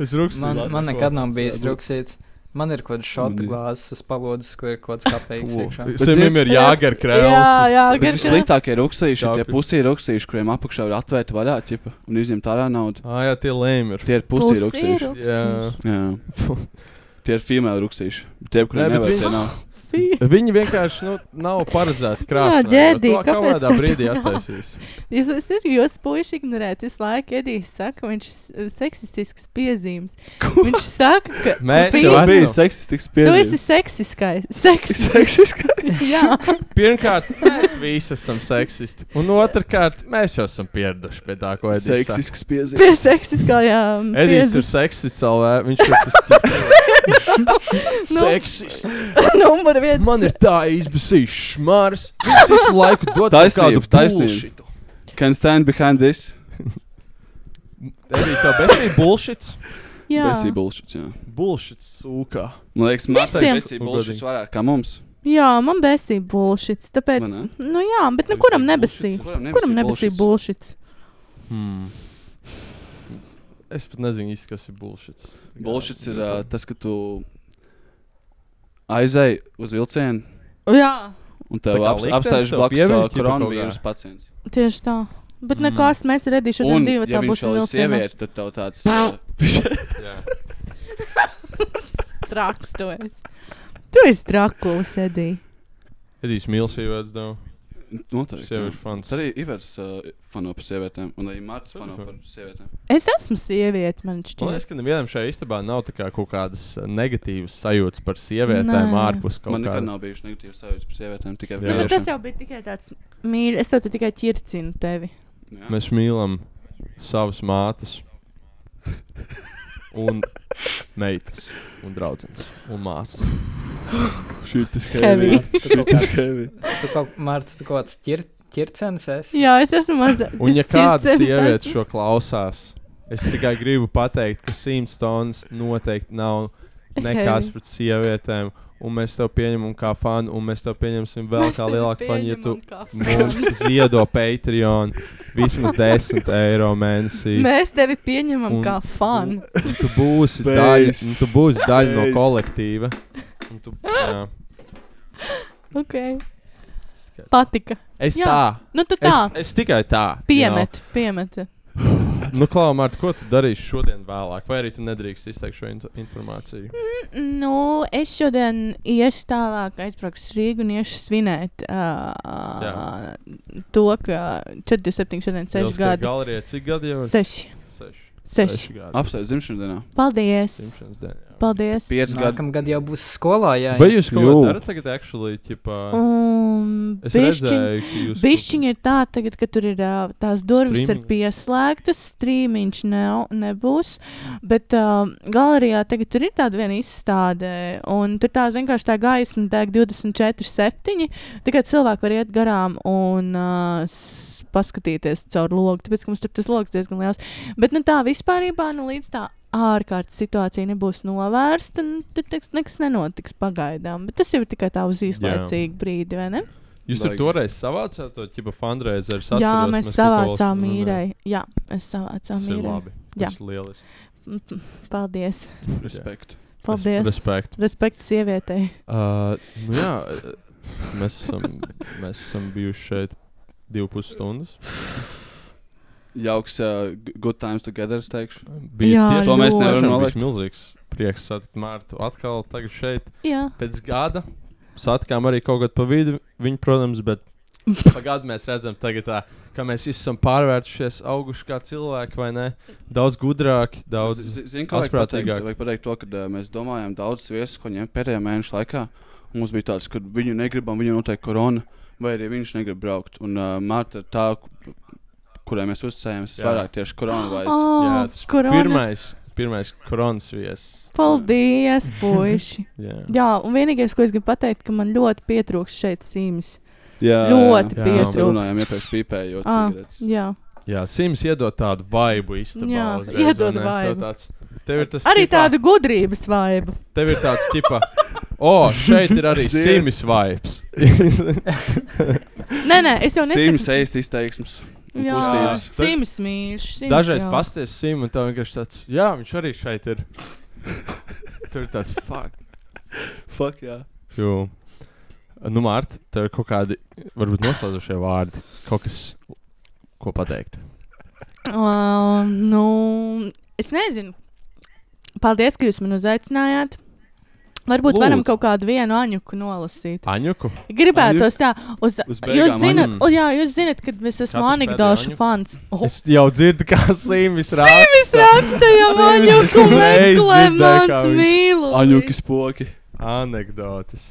Speaker 8: Es ruksīju.
Speaker 3: Man, man nekad nav bijis druksīts. Man ir kaut kāds šāda
Speaker 9: Mm.
Speaker 3: glāzes uz palodzes, kur ir kaut kāds kapeiks iekšā.
Speaker 8: Viņam ir jāgar
Speaker 7: Jā,
Speaker 8: krēls.
Speaker 7: jā,
Speaker 9: Bet
Speaker 7: gan
Speaker 9: Vissliktākie rūksīši ir tie
Speaker 8: Šāpi.
Speaker 9: pusī rūksīši, kuriem apakšā ir atvērta vaļā, ķipa, un izņemt ārā naudu.
Speaker 8: Ah, jā, tie lēmi ir.
Speaker 9: Tie ir pusī rūksīši.
Speaker 8: Jā.
Speaker 9: Jā. Tie ir female rūksīši. Tie,
Speaker 8: Nē,
Speaker 9: kuriem
Speaker 8: bet
Speaker 9: nevar,
Speaker 8: viņi-
Speaker 9: tie nav.
Speaker 7: Fī.
Speaker 8: Viņi vienkārši nu, nav paredzēti krāšņā.
Speaker 7: ģēdī,
Speaker 8: Kaut
Speaker 7: kāpēc
Speaker 8: kādā
Speaker 7: tā
Speaker 8: brīdī
Speaker 7: tā nav?
Speaker 8: attaisīs.
Speaker 7: Jūs esat jūs puiši ignorēt. Visu laiku Edijs saka, viņš ir seksistisks piezīmes. Viņš saka, ka
Speaker 8: Mēs
Speaker 7: Fī,
Speaker 8: jau
Speaker 9: Tev
Speaker 8: esam.
Speaker 9: bija seksistisks
Speaker 7: tu esi
Speaker 9: pieredzējums.
Speaker 7: seksiskais. Seksis,
Speaker 9: Seksistisks.
Speaker 7: jā.
Speaker 8: Pirmkārt, mēs visi esam seksisti. Un otrkārt, mēs jau esam pieraduši pie tā, ko Edijs saka.
Speaker 9: Seksistisks pieredzējums.
Speaker 7: Pie seksiskajām.
Speaker 8: Edijs ir seksists, LV. Viņš ir tas seksists.
Speaker 7: numur viens.
Speaker 8: Man ir tā izbēsīs šmārs. Viņš visu laiku dod
Speaker 9: Taisnība,
Speaker 8: taisnību,
Speaker 9: taisnība.
Speaker 8: taisnību.
Speaker 9: Can stand behind this.
Speaker 8: Edijs, tā besīja bullshits.
Speaker 7: jā.
Speaker 9: Besī bullshit, jā.
Speaker 8: Bullshits sūkā.
Speaker 9: Man liekas, māsai
Speaker 7: Visiem.
Speaker 9: besī bullshit vairāk kā mums.
Speaker 7: jā, man besīja bullshits. Tāpēc,
Speaker 9: Vai ne?
Speaker 7: nu jā, bet nu kuram nebesīja?
Speaker 9: Kuram nebesī
Speaker 7: Kuram nebesīja bullshits?
Speaker 8: Hmm. Es pat nezinu, īsti, kas ir bullshits.
Speaker 9: Bullshits ir uh, tas, ka tu aizēji uz vilcienu
Speaker 7: Jā,
Speaker 9: un
Speaker 8: Tā
Speaker 9: tev
Speaker 8: kā
Speaker 9: ap,
Speaker 8: liktenis
Speaker 9: apstājas
Speaker 8: tev
Speaker 9: blakus
Speaker 8: pieviļ,
Speaker 9: uh,
Speaker 8: ķipa,
Speaker 9: koronavīrus
Speaker 8: kaut kā.
Speaker 9: pacients.
Speaker 7: tieši tā. Bet mm. nekās mēs redzīšu, tad
Speaker 9: Un,
Speaker 7: divi
Speaker 9: ja
Speaker 7: tā
Speaker 9: viņš
Speaker 7: būs
Speaker 9: vēl ir
Speaker 7: vilcienā.
Speaker 9: sieviete, tad tev tāds uh,
Speaker 7: traks. Tu esi, tu esi trakulis, Edī.
Speaker 8: Edijs Mils ievēdz devu.
Speaker 9: noteikti. jā.
Speaker 8: Sieviešu fans.
Speaker 9: Tad arī Ivers uh, fano par sievietēm, un arī Mārcis fano par sievietēm.
Speaker 7: Es esmu sieviete, man
Speaker 8: Man
Speaker 7: šķiet.
Speaker 8: liekas, ka nevienam šajā istabā nav tā kā kaut kādas eh, negatīvas sajūtas par sievietēm
Speaker 7: Nē.
Speaker 8: ārpus kaut
Speaker 9: Man
Speaker 8: kā.
Speaker 9: nekad nav bijuši negatīvas sajūtas par sievietēm, tikai
Speaker 8: Jā.
Speaker 7: Nu, bet
Speaker 8: Vienkārši.
Speaker 7: tas
Speaker 9: vīriešiem.
Speaker 7: jau bija tikai tāds mīļš. Es tev te tikai ķircinu tevi.
Speaker 9: Jā.
Speaker 8: Mēs mīlam savas mātes, un meitas, un draugs, un māsas.
Speaker 9: Šī tas
Speaker 7: Heavy.
Speaker 3: Marta, tu kaut kāds- tu kaut- Marta, tu kaut kāds ķir- ķircenis esi.
Speaker 7: Jā, es esmu maza.
Speaker 8: Un, ja
Speaker 7: es circenis
Speaker 8: kāda sieviete
Speaker 7: esmu.
Speaker 8: šo klausās, es tikai gribu pateikt, ka Simpsons noteikti nav nekas
Speaker 7: Heavy.
Speaker 8: pret sievietēm. Un mēs tev pieņemam kā fanu, un mēs tev pieņemsim vēl
Speaker 7: Mēs
Speaker 8: kā
Speaker 7: tevi
Speaker 8: lielāku fanu, ja tu
Speaker 7: pieņemam kā
Speaker 8: mums
Speaker 7: fanu.
Speaker 8: ziedo Patreon vismaz 10 eiro mēnesī.
Speaker 7: Mēs tevi pieņemam
Speaker 8: Un-
Speaker 7: kā fanu.
Speaker 8: Un tu būsi daļa,
Speaker 9: Beist.
Speaker 8: un tu būsi daļa no
Speaker 9: Beist.
Speaker 8: kolektīva. Un Tu, jā,
Speaker 7: Okay.
Speaker 8: skaidrs.
Speaker 7: Patika.
Speaker 8: es
Speaker 7: Jā,
Speaker 8: tā.
Speaker 7: Nu, tu tā.
Speaker 8: Es, es tikai tā. you know.
Speaker 7: Piemet, piemet.
Speaker 8: Nu, Klau, Mārta, ko tu darīsi šodien vēlāk? Vai arī tu nedrīkst izteikt šo in
Speaker 7: Mm,
Speaker 8: informāciju?
Speaker 7: Nu, es šodien iešu tālāk, aizbraukšu uz Rīgā un iešu svinēt uh,
Speaker 8: Jā.
Speaker 7: to, ka 47, šodien 6 gadi.
Speaker 8: Galerijā cik gadi jau ir?
Speaker 7: 6.
Speaker 8: Seši.
Speaker 7: Seši.
Speaker 8: Seši gadi.
Speaker 9: Apstāties dzimšanas dienā.
Speaker 7: Paldies!
Speaker 8: Dzimšanas diena. jā.
Speaker 7: Paldies!
Speaker 9: 5 gadi.
Speaker 3: Nākamgad jau būs skolā, jā.
Speaker 8: Vai jūs kaut ko
Speaker 9: Jū.
Speaker 8: darat tagad, actually? Ķipa,
Speaker 7: Um,
Speaker 8: es
Speaker 7: bišķiņ-
Speaker 8: redzēju, ka jūs.
Speaker 7: Bišķiņi ir tā, tagad, ka tur ir ā, tās durvis ir
Speaker 8: Streaming.
Speaker 7: pieslēgtas, strīmiņš nav, nebūs. Bet uh, galerijā tagad tur ir tāda viena izstāde, un tur tās vienkārši tā gaisma deg 24,7. Tikai cilvēki var iet garām un uh, paskatīties caur logu, tāpēc ka mums tur tas logs diezgan liels. Bet nu, tā vispār nu, līdz tā ārkārtas situācija nebūs novērsta, un tur teiks, nekas nenotiks pagaidām. Bet tas jau ir tikai tā uz īslaicīgu brīdi, vai ne?
Speaker 8: Jūs tur
Speaker 9: Baigi.
Speaker 8: toreiz savācāt to ķipa fundraizeru. es
Speaker 7: Jā,
Speaker 8: atceros,
Speaker 7: mēs
Speaker 8: kaut ko vēl
Speaker 7: savācām
Speaker 8: šodien runājām.
Speaker 7: īrai. Jā, mēs savācām
Speaker 8: nu, Tas ir
Speaker 7: īrai.
Speaker 8: labi.
Speaker 7: Jā.
Speaker 8: Tas ir lieliski.
Speaker 7: Mhm. Paldies.
Speaker 9: Respekt.
Speaker 7: Paldies. Res,
Speaker 8: Respekt.
Speaker 7: Respekts sievietei.
Speaker 8: Uh, nu jā, eh, mēs esam, mēs esam bijuši šeit divu pus stundas.
Speaker 9: Jauks, uh, good times together, es teikšu.
Speaker 8: Bija
Speaker 7: Jā,
Speaker 8: tiešām-
Speaker 9: To mēs
Speaker 7: ļoti.
Speaker 9: nevaram
Speaker 8: Tiešām
Speaker 9: nolikt.
Speaker 8: bija milzīgs prieks satikt Mārtu atkal tagad šeit.
Speaker 7: Jā.
Speaker 8: Pēc gada satikām arī kaut kādu pa vidu viņu, protams, bet pa gadu mēs redzam tagad, tā, ka mēs visi esam pārvērtušies, auguši kā cilvēki, vai ne? Daudz gudrāki, daudz.
Speaker 9: Z- Zini, kā vajag pateikt,
Speaker 8: Atprātīgāk.
Speaker 9: vajag pateikt to, ka uh, mēs domājām daudz viesus, ko ņemt pēdējā mēneša laikā. Un Mums bija tāds, ka viņu negribam, viņu noteikti korona, vai arī viņš negrib braukt. Un uh, Marta ir tā, ku- kurai mēs uzticējāmies, tas
Speaker 8: Jā.
Speaker 9: vairāk tieši korona vairs.
Speaker 7: Oh,
Speaker 8: jā, tas
Speaker 7: korona.
Speaker 8: Pirmais, pirmais koronas viesis.
Speaker 7: Paldies, puiši.
Speaker 8: Jā.
Speaker 7: jā, un vienīgais, ko es gribu pateikt, ka man ļoti pietrūkst šeit sīmes.
Speaker 9: Jā,
Speaker 7: Ļoti
Speaker 8: jā.
Speaker 9: Mēs
Speaker 7: pietrūkst.
Speaker 9: runājām iepriekš pīpējot
Speaker 7: Ah,
Speaker 9: cigaretes.
Speaker 7: Jā.
Speaker 8: Jā, Sims iedod tādu vibu īstenībā.
Speaker 7: Jā,
Speaker 8: uzreiz, vai
Speaker 7: iedod
Speaker 8: ne? Tev
Speaker 7: vibu.
Speaker 8: Tāds, tev ir tas
Speaker 7: Arī
Speaker 8: ķipā-
Speaker 7: tādu gudrības vaibu.
Speaker 8: Tev ir tāds tipa, o, šeit ir arī
Speaker 9: Zini.
Speaker 8: Sims vibes.
Speaker 7: Nē, nē, es jau nesaku.
Speaker 9: Simts ejas izteiksmes. un
Speaker 7: Jā,
Speaker 9: kustības.
Speaker 7: Sims mīļš. Sims,
Speaker 8: Dažreiz
Speaker 7: jā.
Speaker 8: pasties Sims un tev vienkārši tāds, jā, viņš arī šeit ir. Tur ir tāds, fuck.
Speaker 9: Fuck, jā.
Speaker 8: Jū. Nu, Mārta, tev ir kaut kādi, varbūt noslēdzošie vārdi, kaut kas, ko pateikt.
Speaker 7: Uh, nu, es nezinu. Paldies, ka jūs mani uzaicinājāt. Varbūt
Speaker 8: Lūdzu.
Speaker 7: Lūdzu. varam kaut kādu vienu aņuku nolasīt.
Speaker 8: Aņuku?
Speaker 7: Gribētu tā, uz,
Speaker 9: Uz
Speaker 7: jūs
Speaker 9: beigām
Speaker 7: zinat,
Speaker 8: aņuku.
Speaker 7: un, jā, jūs zinat, kad es esmu
Speaker 8: Katrs
Speaker 7: anekdošu
Speaker 8: pēdējo aņuku.
Speaker 7: fans. Oh.
Speaker 8: Es jau dzirdu, kā Sims rāda.
Speaker 7: Simis rakstīja
Speaker 8: Simis
Speaker 7: aņuku
Speaker 8: reiz
Speaker 7: meklē
Speaker 8: dzirdēju, kā
Speaker 7: mans
Speaker 8: viņš-
Speaker 7: mīlu.
Speaker 9: Aņuki spoki.
Speaker 8: Anekdotis.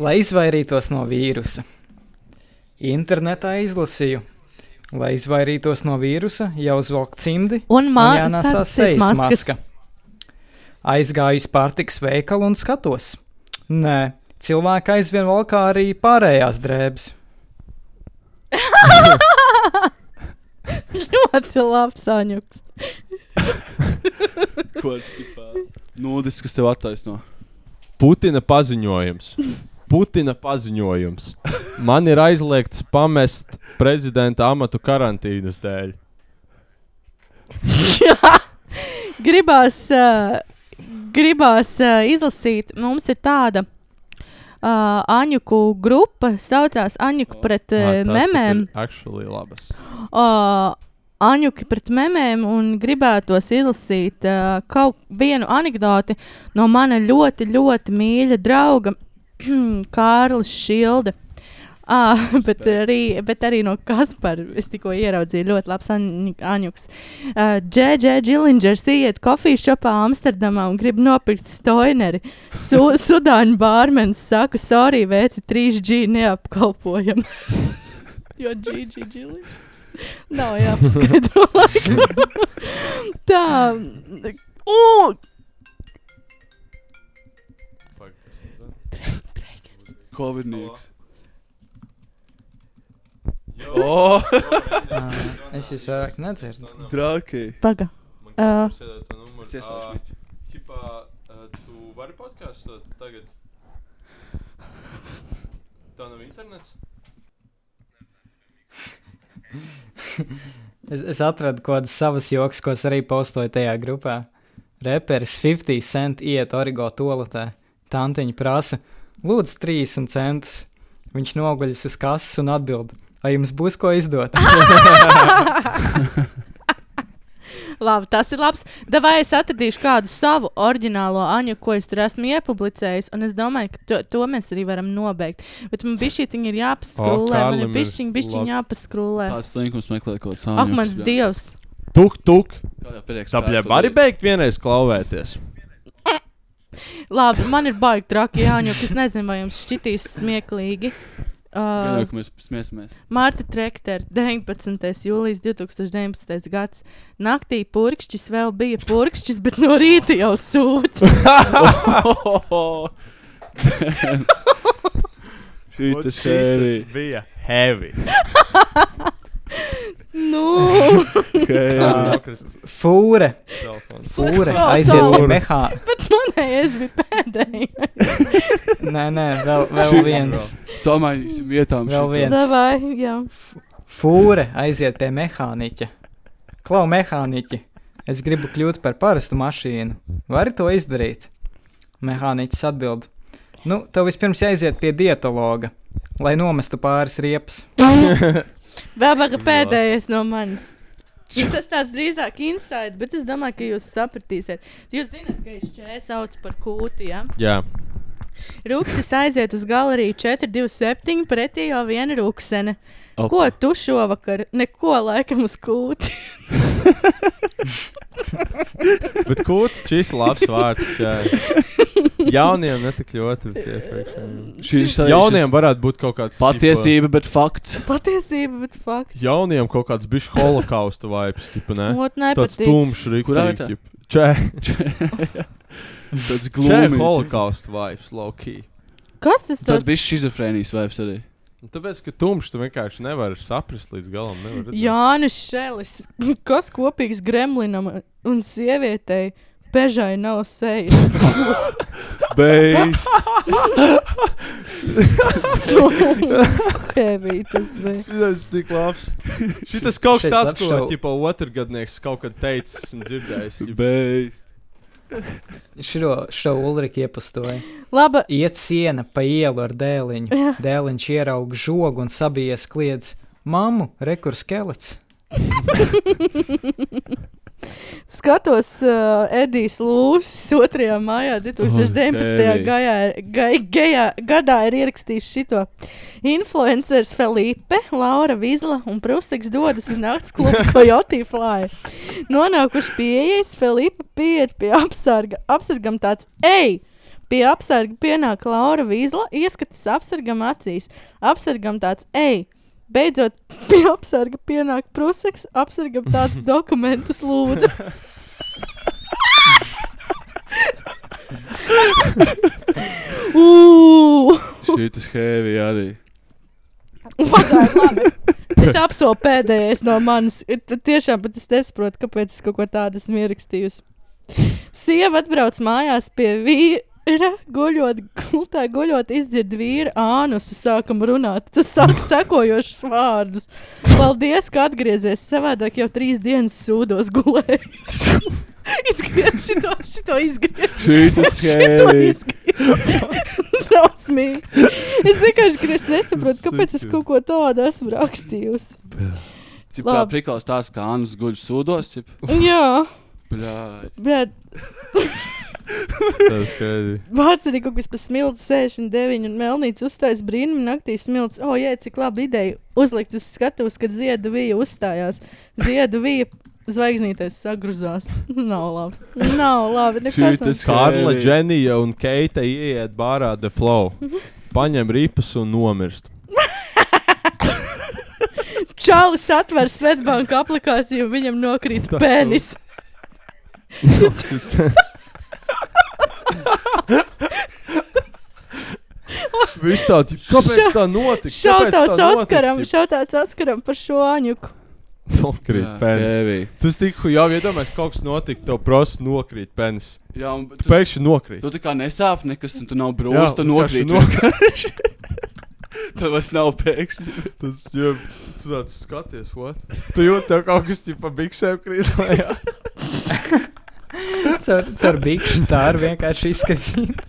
Speaker 3: Lai izvairītos no vīrusa. Internetā izlasīju. Lai izvairītos no vīrusa, jāuzvelk cimdi
Speaker 7: Un
Speaker 3: un jānāsā
Speaker 7: mākslinieks
Speaker 3: sejas maska. Aizgāju uz pārtiks veikalu un skatos. Nē, cilvēki aizvien valkā arī pārējās drēbes.
Speaker 7: Ļoti labs aņuks.
Speaker 9: Ko tas ir? Nūdis, kas tev attaisno.
Speaker 8: Putina paziņojums. Putina paziņojums. Man ir aizliegts pamest prezidenta amatu karantīnas dēļ.
Speaker 7: gribās, uh, gribās uh, izlasīt, mums ir tāda uh, Aņuku grupa, saucās Aņuku pret uh,
Speaker 8: Ā, tās pat
Speaker 7: memēm.
Speaker 8: Ah, ir Actually, labas.
Speaker 7: Uh, Aņuki pret memēm un gribētos izlasīt uh, kaut vienu anekdoti no mana ļoti, ļoti mīļa drauga Kārlis Šilde. Ah, bet, arī, bet arī no Kaspara es tikko ieraudzīju ļoti labs anjuks. Džēdžē Džilingers iet kofijas šopā Amsterdamā un grib nopirkt stoineri. Su, Sudāņu bārmenis saka, sorry, veci 3G neapkalpojam. jo GG Džilingers nav jāpaskaidro. laikam. Tā. Uh!
Speaker 9: Covidnieks.
Speaker 8: O,
Speaker 3: Ā, Es jūs vairāk nedzirdu.
Speaker 9: Traki.
Speaker 7: Paga. Ā.
Speaker 8: kas ir tā numurs?
Speaker 9: Es ieslēgšu viņu.
Speaker 8: Tipā, tu vari podkāstot tagad? Tā nav internets?
Speaker 3: Es, es atradu kaut kādas savas joks, ko es arī postoju tajā grupā. Reperis 50 cent iet origo toaletē. Tantiņa prasa, lūdzu, 30 centus. Viņš noguļas uz kases un atbild, vai jums būs ko izdot?
Speaker 7: Labi, tas ir labs. Davai es atradīšu kādu savu oriģinālo aņu, ko es tur esmu iepublicējis. Un es domāju, ka to, to mēs arī varam nobeigt. Bet man bija šī tiņa
Speaker 8: O,
Speaker 7: jāpaskrūlē. Man ir
Speaker 8: Kārlim ir
Speaker 7: bišķiņa, bišķiņa jāpaskrūlē.
Speaker 9: Tāds slinkums meklē kaut kādu
Speaker 7: Ak, mans dievs!
Speaker 8: Tuk, tuk.
Speaker 9: Kādā priekšā.
Speaker 8: Tāpēc vari beigt vienreiz klauvēties.
Speaker 7: Labi, man ir baigi traki aņu, kas nezinu, vai jums šķitīs smieklīgi.
Speaker 9: Jā,
Speaker 7: Uh,
Speaker 9: ka mēs smiesamies.
Speaker 7: Mārta Trekter, 19. jūlijas 2019. gads. Naktī purkšķis vēl bija purkšķis, bet no rīta jau sūds.
Speaker 9: Šī tas heavy.
Speaker 8: bija heavy.
Speaker 7: nu!
Speaker 9: heavy.
Speaker 3: Fūre, fūre,
Speaker 7: Fūre.
Speaker 3: aiziet pie
Speaker 7: Fūre.
Speaker 3: mehā.
Speaker 7: Bet nu, manējais bija pēdējais.
Speaker 3: Nē, nē, vēl, vēl
Speaker 9: Šī-
Speaker 3: viens.
Speaker 9: Samaiņosim vietām.
Speaker 3: Vēl
Speaker 9: šito.
Speaker 3: viens.
Speaker 7: Davai, jā.
Speaker 3: Fūre, aiziet pie mehāniķa. Klau, mehāniķi, es gribu kļūt par parastu mašīnu. Vari to izdarīt? Mehāniķis atbild: Nu, tev vispirms jāiziet pie dietologa, lai nomestu pāris riepas.
Speaker 7: Vēl vēl pēdējais no manis. Nu, tas tāds drīzāk insight, bet es domāju, ka jūs sapratīsiet. Jūs zināt, ka es čēsu sauc par kūti, ja?
Speaker 8: Jā,
Speaker 7: Rūksis aiziet uz galeriju 427, pretī jau viena rūksene.
Speaker 9: Opa.
Speaker 7: Ko tu šovakar? Neko laikam uz kūti.
Speaker 8: bet kūts šis labs vārds. Jā. Jauniem netik ļoti, bet iepriekšējiem.
Speaker 9: Šis arī
Speaker 8: Jauniem
Speaker 9: šis
Speaker 8: varētu būt kaut kāds
Speaker 9: Patiesība, bet fakts.
Speaker 7: Patiesība, bet fakts.
Speaker 8: tipa, Jauniem kaut kāds bišķi holokausta vibes, tipa,
Speaker 9: Eh?
Speaker 8: ne?
Speaker 7: Ot,
Speaker 8: Tāds
Speaker 7: nepatīk.
Speaker 8: tumšs
Speaker 9: Kurā vietā?
Speaker 8: rīkojums. Čē,
Speaker 9: Tāds
Speaker 8: čē
Speaker 9: glūmīgs.
Speaker 8: holokausta vibes, low-key.
Speaker 7: Kas tas
Speaker 9: Tad
Speaker 7: tāds?
Speaker 9: bija šizofrēnijas vibes arī.
Speaker 8: Nu, Tāpēc, ka tumšs tu vienkārši nevari saprast līdz galam. nevari redzēt.
Speaker 7: Jānis Šelis. Kas kopīgs gremlinam un sievietei? Pežai nav sejas.
Speaker 9: Beigts.
Speaker 7: Sūkēvī tas bija.
Speaker 8: Tas ir tik labs. Šis kaut kas tāds,
Speaker 3: Šis labs
Speaker 8: ko
Speaker 3: šov.
Speaker 8: jau otrs gadnieks kaut kad teicis, esmu dzirdējis. ģip,
Speaker 9: Beigts.
Speaker 3: Šo, šo Ulriku iepastoja.
Speaker 7: Laba.
Speaker 3: Iet siena pa ielu ar dēliņu.
Speaker 7: Jā.
Speaker 3: Dēliņš ieraug žogu un sabijies kliedz: Māmu, rekurs skelets!
Speaker 7: Skatos, uh, Edijs Lūsis 2. maijā 2019.
Speaker 9: Tevi.
Speaker 7: Gajā, gai, gajā, gadā ir ierakstījis šito. Influenceris Felipe, Laura Vizla un Prūseks dodas uz nakts klubu Coyote Fly. Nonākuši pieejas, Felipe pieiet pie apsarga. Apsargam tāds, ej! Pie apsarga pienāk Laura Vizla, ieskatas apsargam acīs. Apsargam tāds, ej! Beidzot, pie apsarga pienāk prusaks, apsargam tāds dokumentus lūdzu. Ugh!
Speaker 9: Šī tas heavy arī.
Speaker 7: Es apsolu pēdējais no manis. Ir t- Tiešām, bet es nesaprotu, kāpēc es kaut ko tādu esmu ierakstījusi. Sieva atbrauc mājās pie vīra, guļot, gultā guļot, izdzird vīra ānusu, sākam runāt. Tas sāk sekojošus vārdus. Paldies, ka atgriezies. Savādāk jau trīs dienas sūdos gulēju. Izgriež šito, šito izgriež.
Speaker 9: Šī tas
Speaker 7: Šito
Speaker 9: heavy.
Speaker 7: izgriež. Trausmīgi. Es vienkārši ka es nesaprotu, kāpēc es kaut ko tādu esmu rakstījusi.
Speaker 9: Čip, kā
Speaker 7: Labi.
Speaker 9: priklās tās, kā Anus guļ sūdos. Čip.
Speaker 7: Jā,
Speaker 9: Bļā.
Speaker 7: bet
Speaker 8: Tas skaidri.
Speaker 7: Vācijā kaut kas par smilšu 69 un melnīcu uzstājas brīnum naktī smilšu. O, jē, cik laba ideja uzlikt uz skatuves, kad ziedu vīja uzstājās. Ziedu vīja zvaigznītēs sagruzās. Nav labi. Nav labi. Nekas
Speaker 9: Šitas-
Speaker 7: nav.
Speaker 8: Kārla, Dženija un Keita ieiet bārā The Flow. Paņem ripas un nomirst.
Speaker 7: Čālis atver Svetbanka aplikāciju un viņam nokrīt
Speaker 8: Tas
Speaker 7: penis.
Speaker 8: Viss tāds, kāpēc tā notic?
Speaker 7: Šautāts Oskaram, šautāts Oskaram par šo aņuku.
Speaker 8: Nokrīt
Speaker 9: Jā,
Speaker 8: penis.
Speaker 9: Tevī.
Speaker 8: Tu tikko jau iedomājies, kaut kas notika, tev prasa nokrīt penis.
Speaker 9: Jā, un tu,
Speaker 8: Tu pēkšņi nokrīt.
Speaker 9: tu tā kā nesāp nekas, un tu nav
Speaker 8: Jā,
Speaker 9: brūns, tu
Speaker 8: vienkārši
Speaker 9: nokrīt. vienkārši. Tev vairs nav pēkšņi.
Speaker 8: Tas, jā, tu tāds skaties, what? Tu jūti, tev kaut kas pa biksēm krīt lejā.
Speaker 3: Cer, cer bikšu stāru vienkārši izskrīt.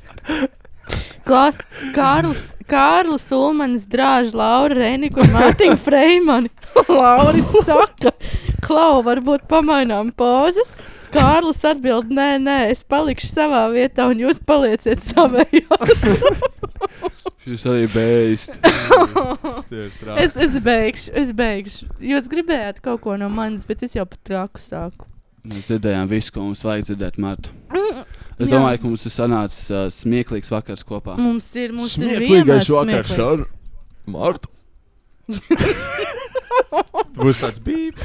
Speaker 7: Klās, Kārlis, Kārlis Ulmans drāž Laura Reniku un Mārtiņu Freimani. Lauris saka, Klau, varbūt pamainām pozas. Kārlis atbild, nē, nē, es palikšu savā vietā un jūs palieciet savējā.
Speaker 9: Šis arī beigst.
Speaker 7: Es, es beigšu, es beigšu. Jūs gribējāt kaut ko no manis, bet es jau pat traku sāku.
Speaker 9: Mēs dzirdējām visu, ko mums vajag dzirdēt, Marta. Es
Speaker 7: Jā. Mm,
Speaker 9: domāju, ka mums ir sanācis uh, smieklīgs vakars kopā.
Speaker 7: Mums ir, mums ir vienmēr smieklīgi.
Speaker 8: ar Martu. Būs tāds bīp.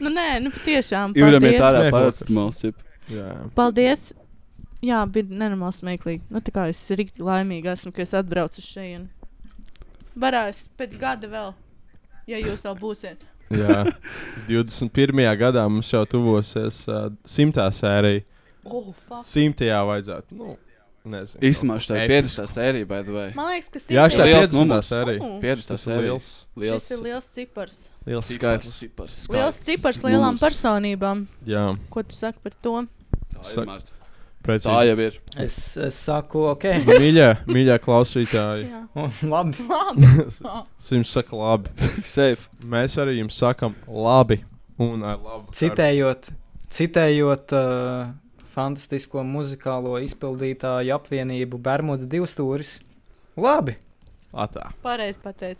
Speaker 7: Nu nē, nu patiešām.
Speaker 9: Jūram
Speaker 7: paldies.
Speaker 9: ir tādā
Speaker 8: Smieklīgs vakars.
Speaker 9: paracetamals. jeb.
Speaker 8: Jā.
Speaker 7: Paldies! Jā, bija nenormāli smieklīgi. Nu, tā kā es rīkti laimīga esmu, ka es atbraucu šeit. Varēs pēc gada vēl, ja jūs vēl būsiet.
Speaker 8: Jā. 21. gadā mums jau tuvosies uh, simtā sērija.
Speaker 7: Oh, fuck.
Speaker 8: Simtajā vajadzētu. Nu, nezinu.
Speaker 9: Īsumā šī ir
Speaker 8: Episki.
Speaker 9: 50. sērija, by the way.
Speaker 7: Man liekas, ka
Speaker 8: Jā,
Speaker 7: simtā-
Speaker 8: šī ir
Speaker 9: Liels
Speaker 8: 50.
Speaker 9: numurs.
Speaker 8: sērija.
Speaker 7: Mm,
Speaker 9: 50.
Speaker 8: Tas ir liels.
Speaker 9: sērijas. Liels,
Speaker 7: šis ir liels cipars.
Speaker 8: Liels
Speaker 9: skaitlis.
Speaker 8: skaitlis.
Speaker 9: Cipars,
Speaker 7: Liels cipars lielām
Speaker 9: Mums.
Speaker 7: personībām.
Speaker 8: Jā,
Speaker 7: Ko tu saki par to?
Speaker 9: Tā
Speaker 8: Sak-
Speaker 9: ir, Marta. Tā
Speaker 8: precīzi. Nu,
Speaker 9: jau ir.
Speaker 3: Es, es saku, ok.
Speaker 8: Mīļā, mīļā klausītāji,
Speaker 7: Jā,
Speaker 3: Labi.
Speaker 7: labi.
Speaker 8: es jums saku labi.
Speaker 9: Safe.
Speaker 8: Mēs arī jums sakam labi. Un ar labu.
Speaker 3: Citējot, citējot uh, fantastisko muzikālo izpildītāju apvienību Bermuda divstūris. Labi.
Speaker 8: Atā.
Speaker 7: Pareizi pateicis.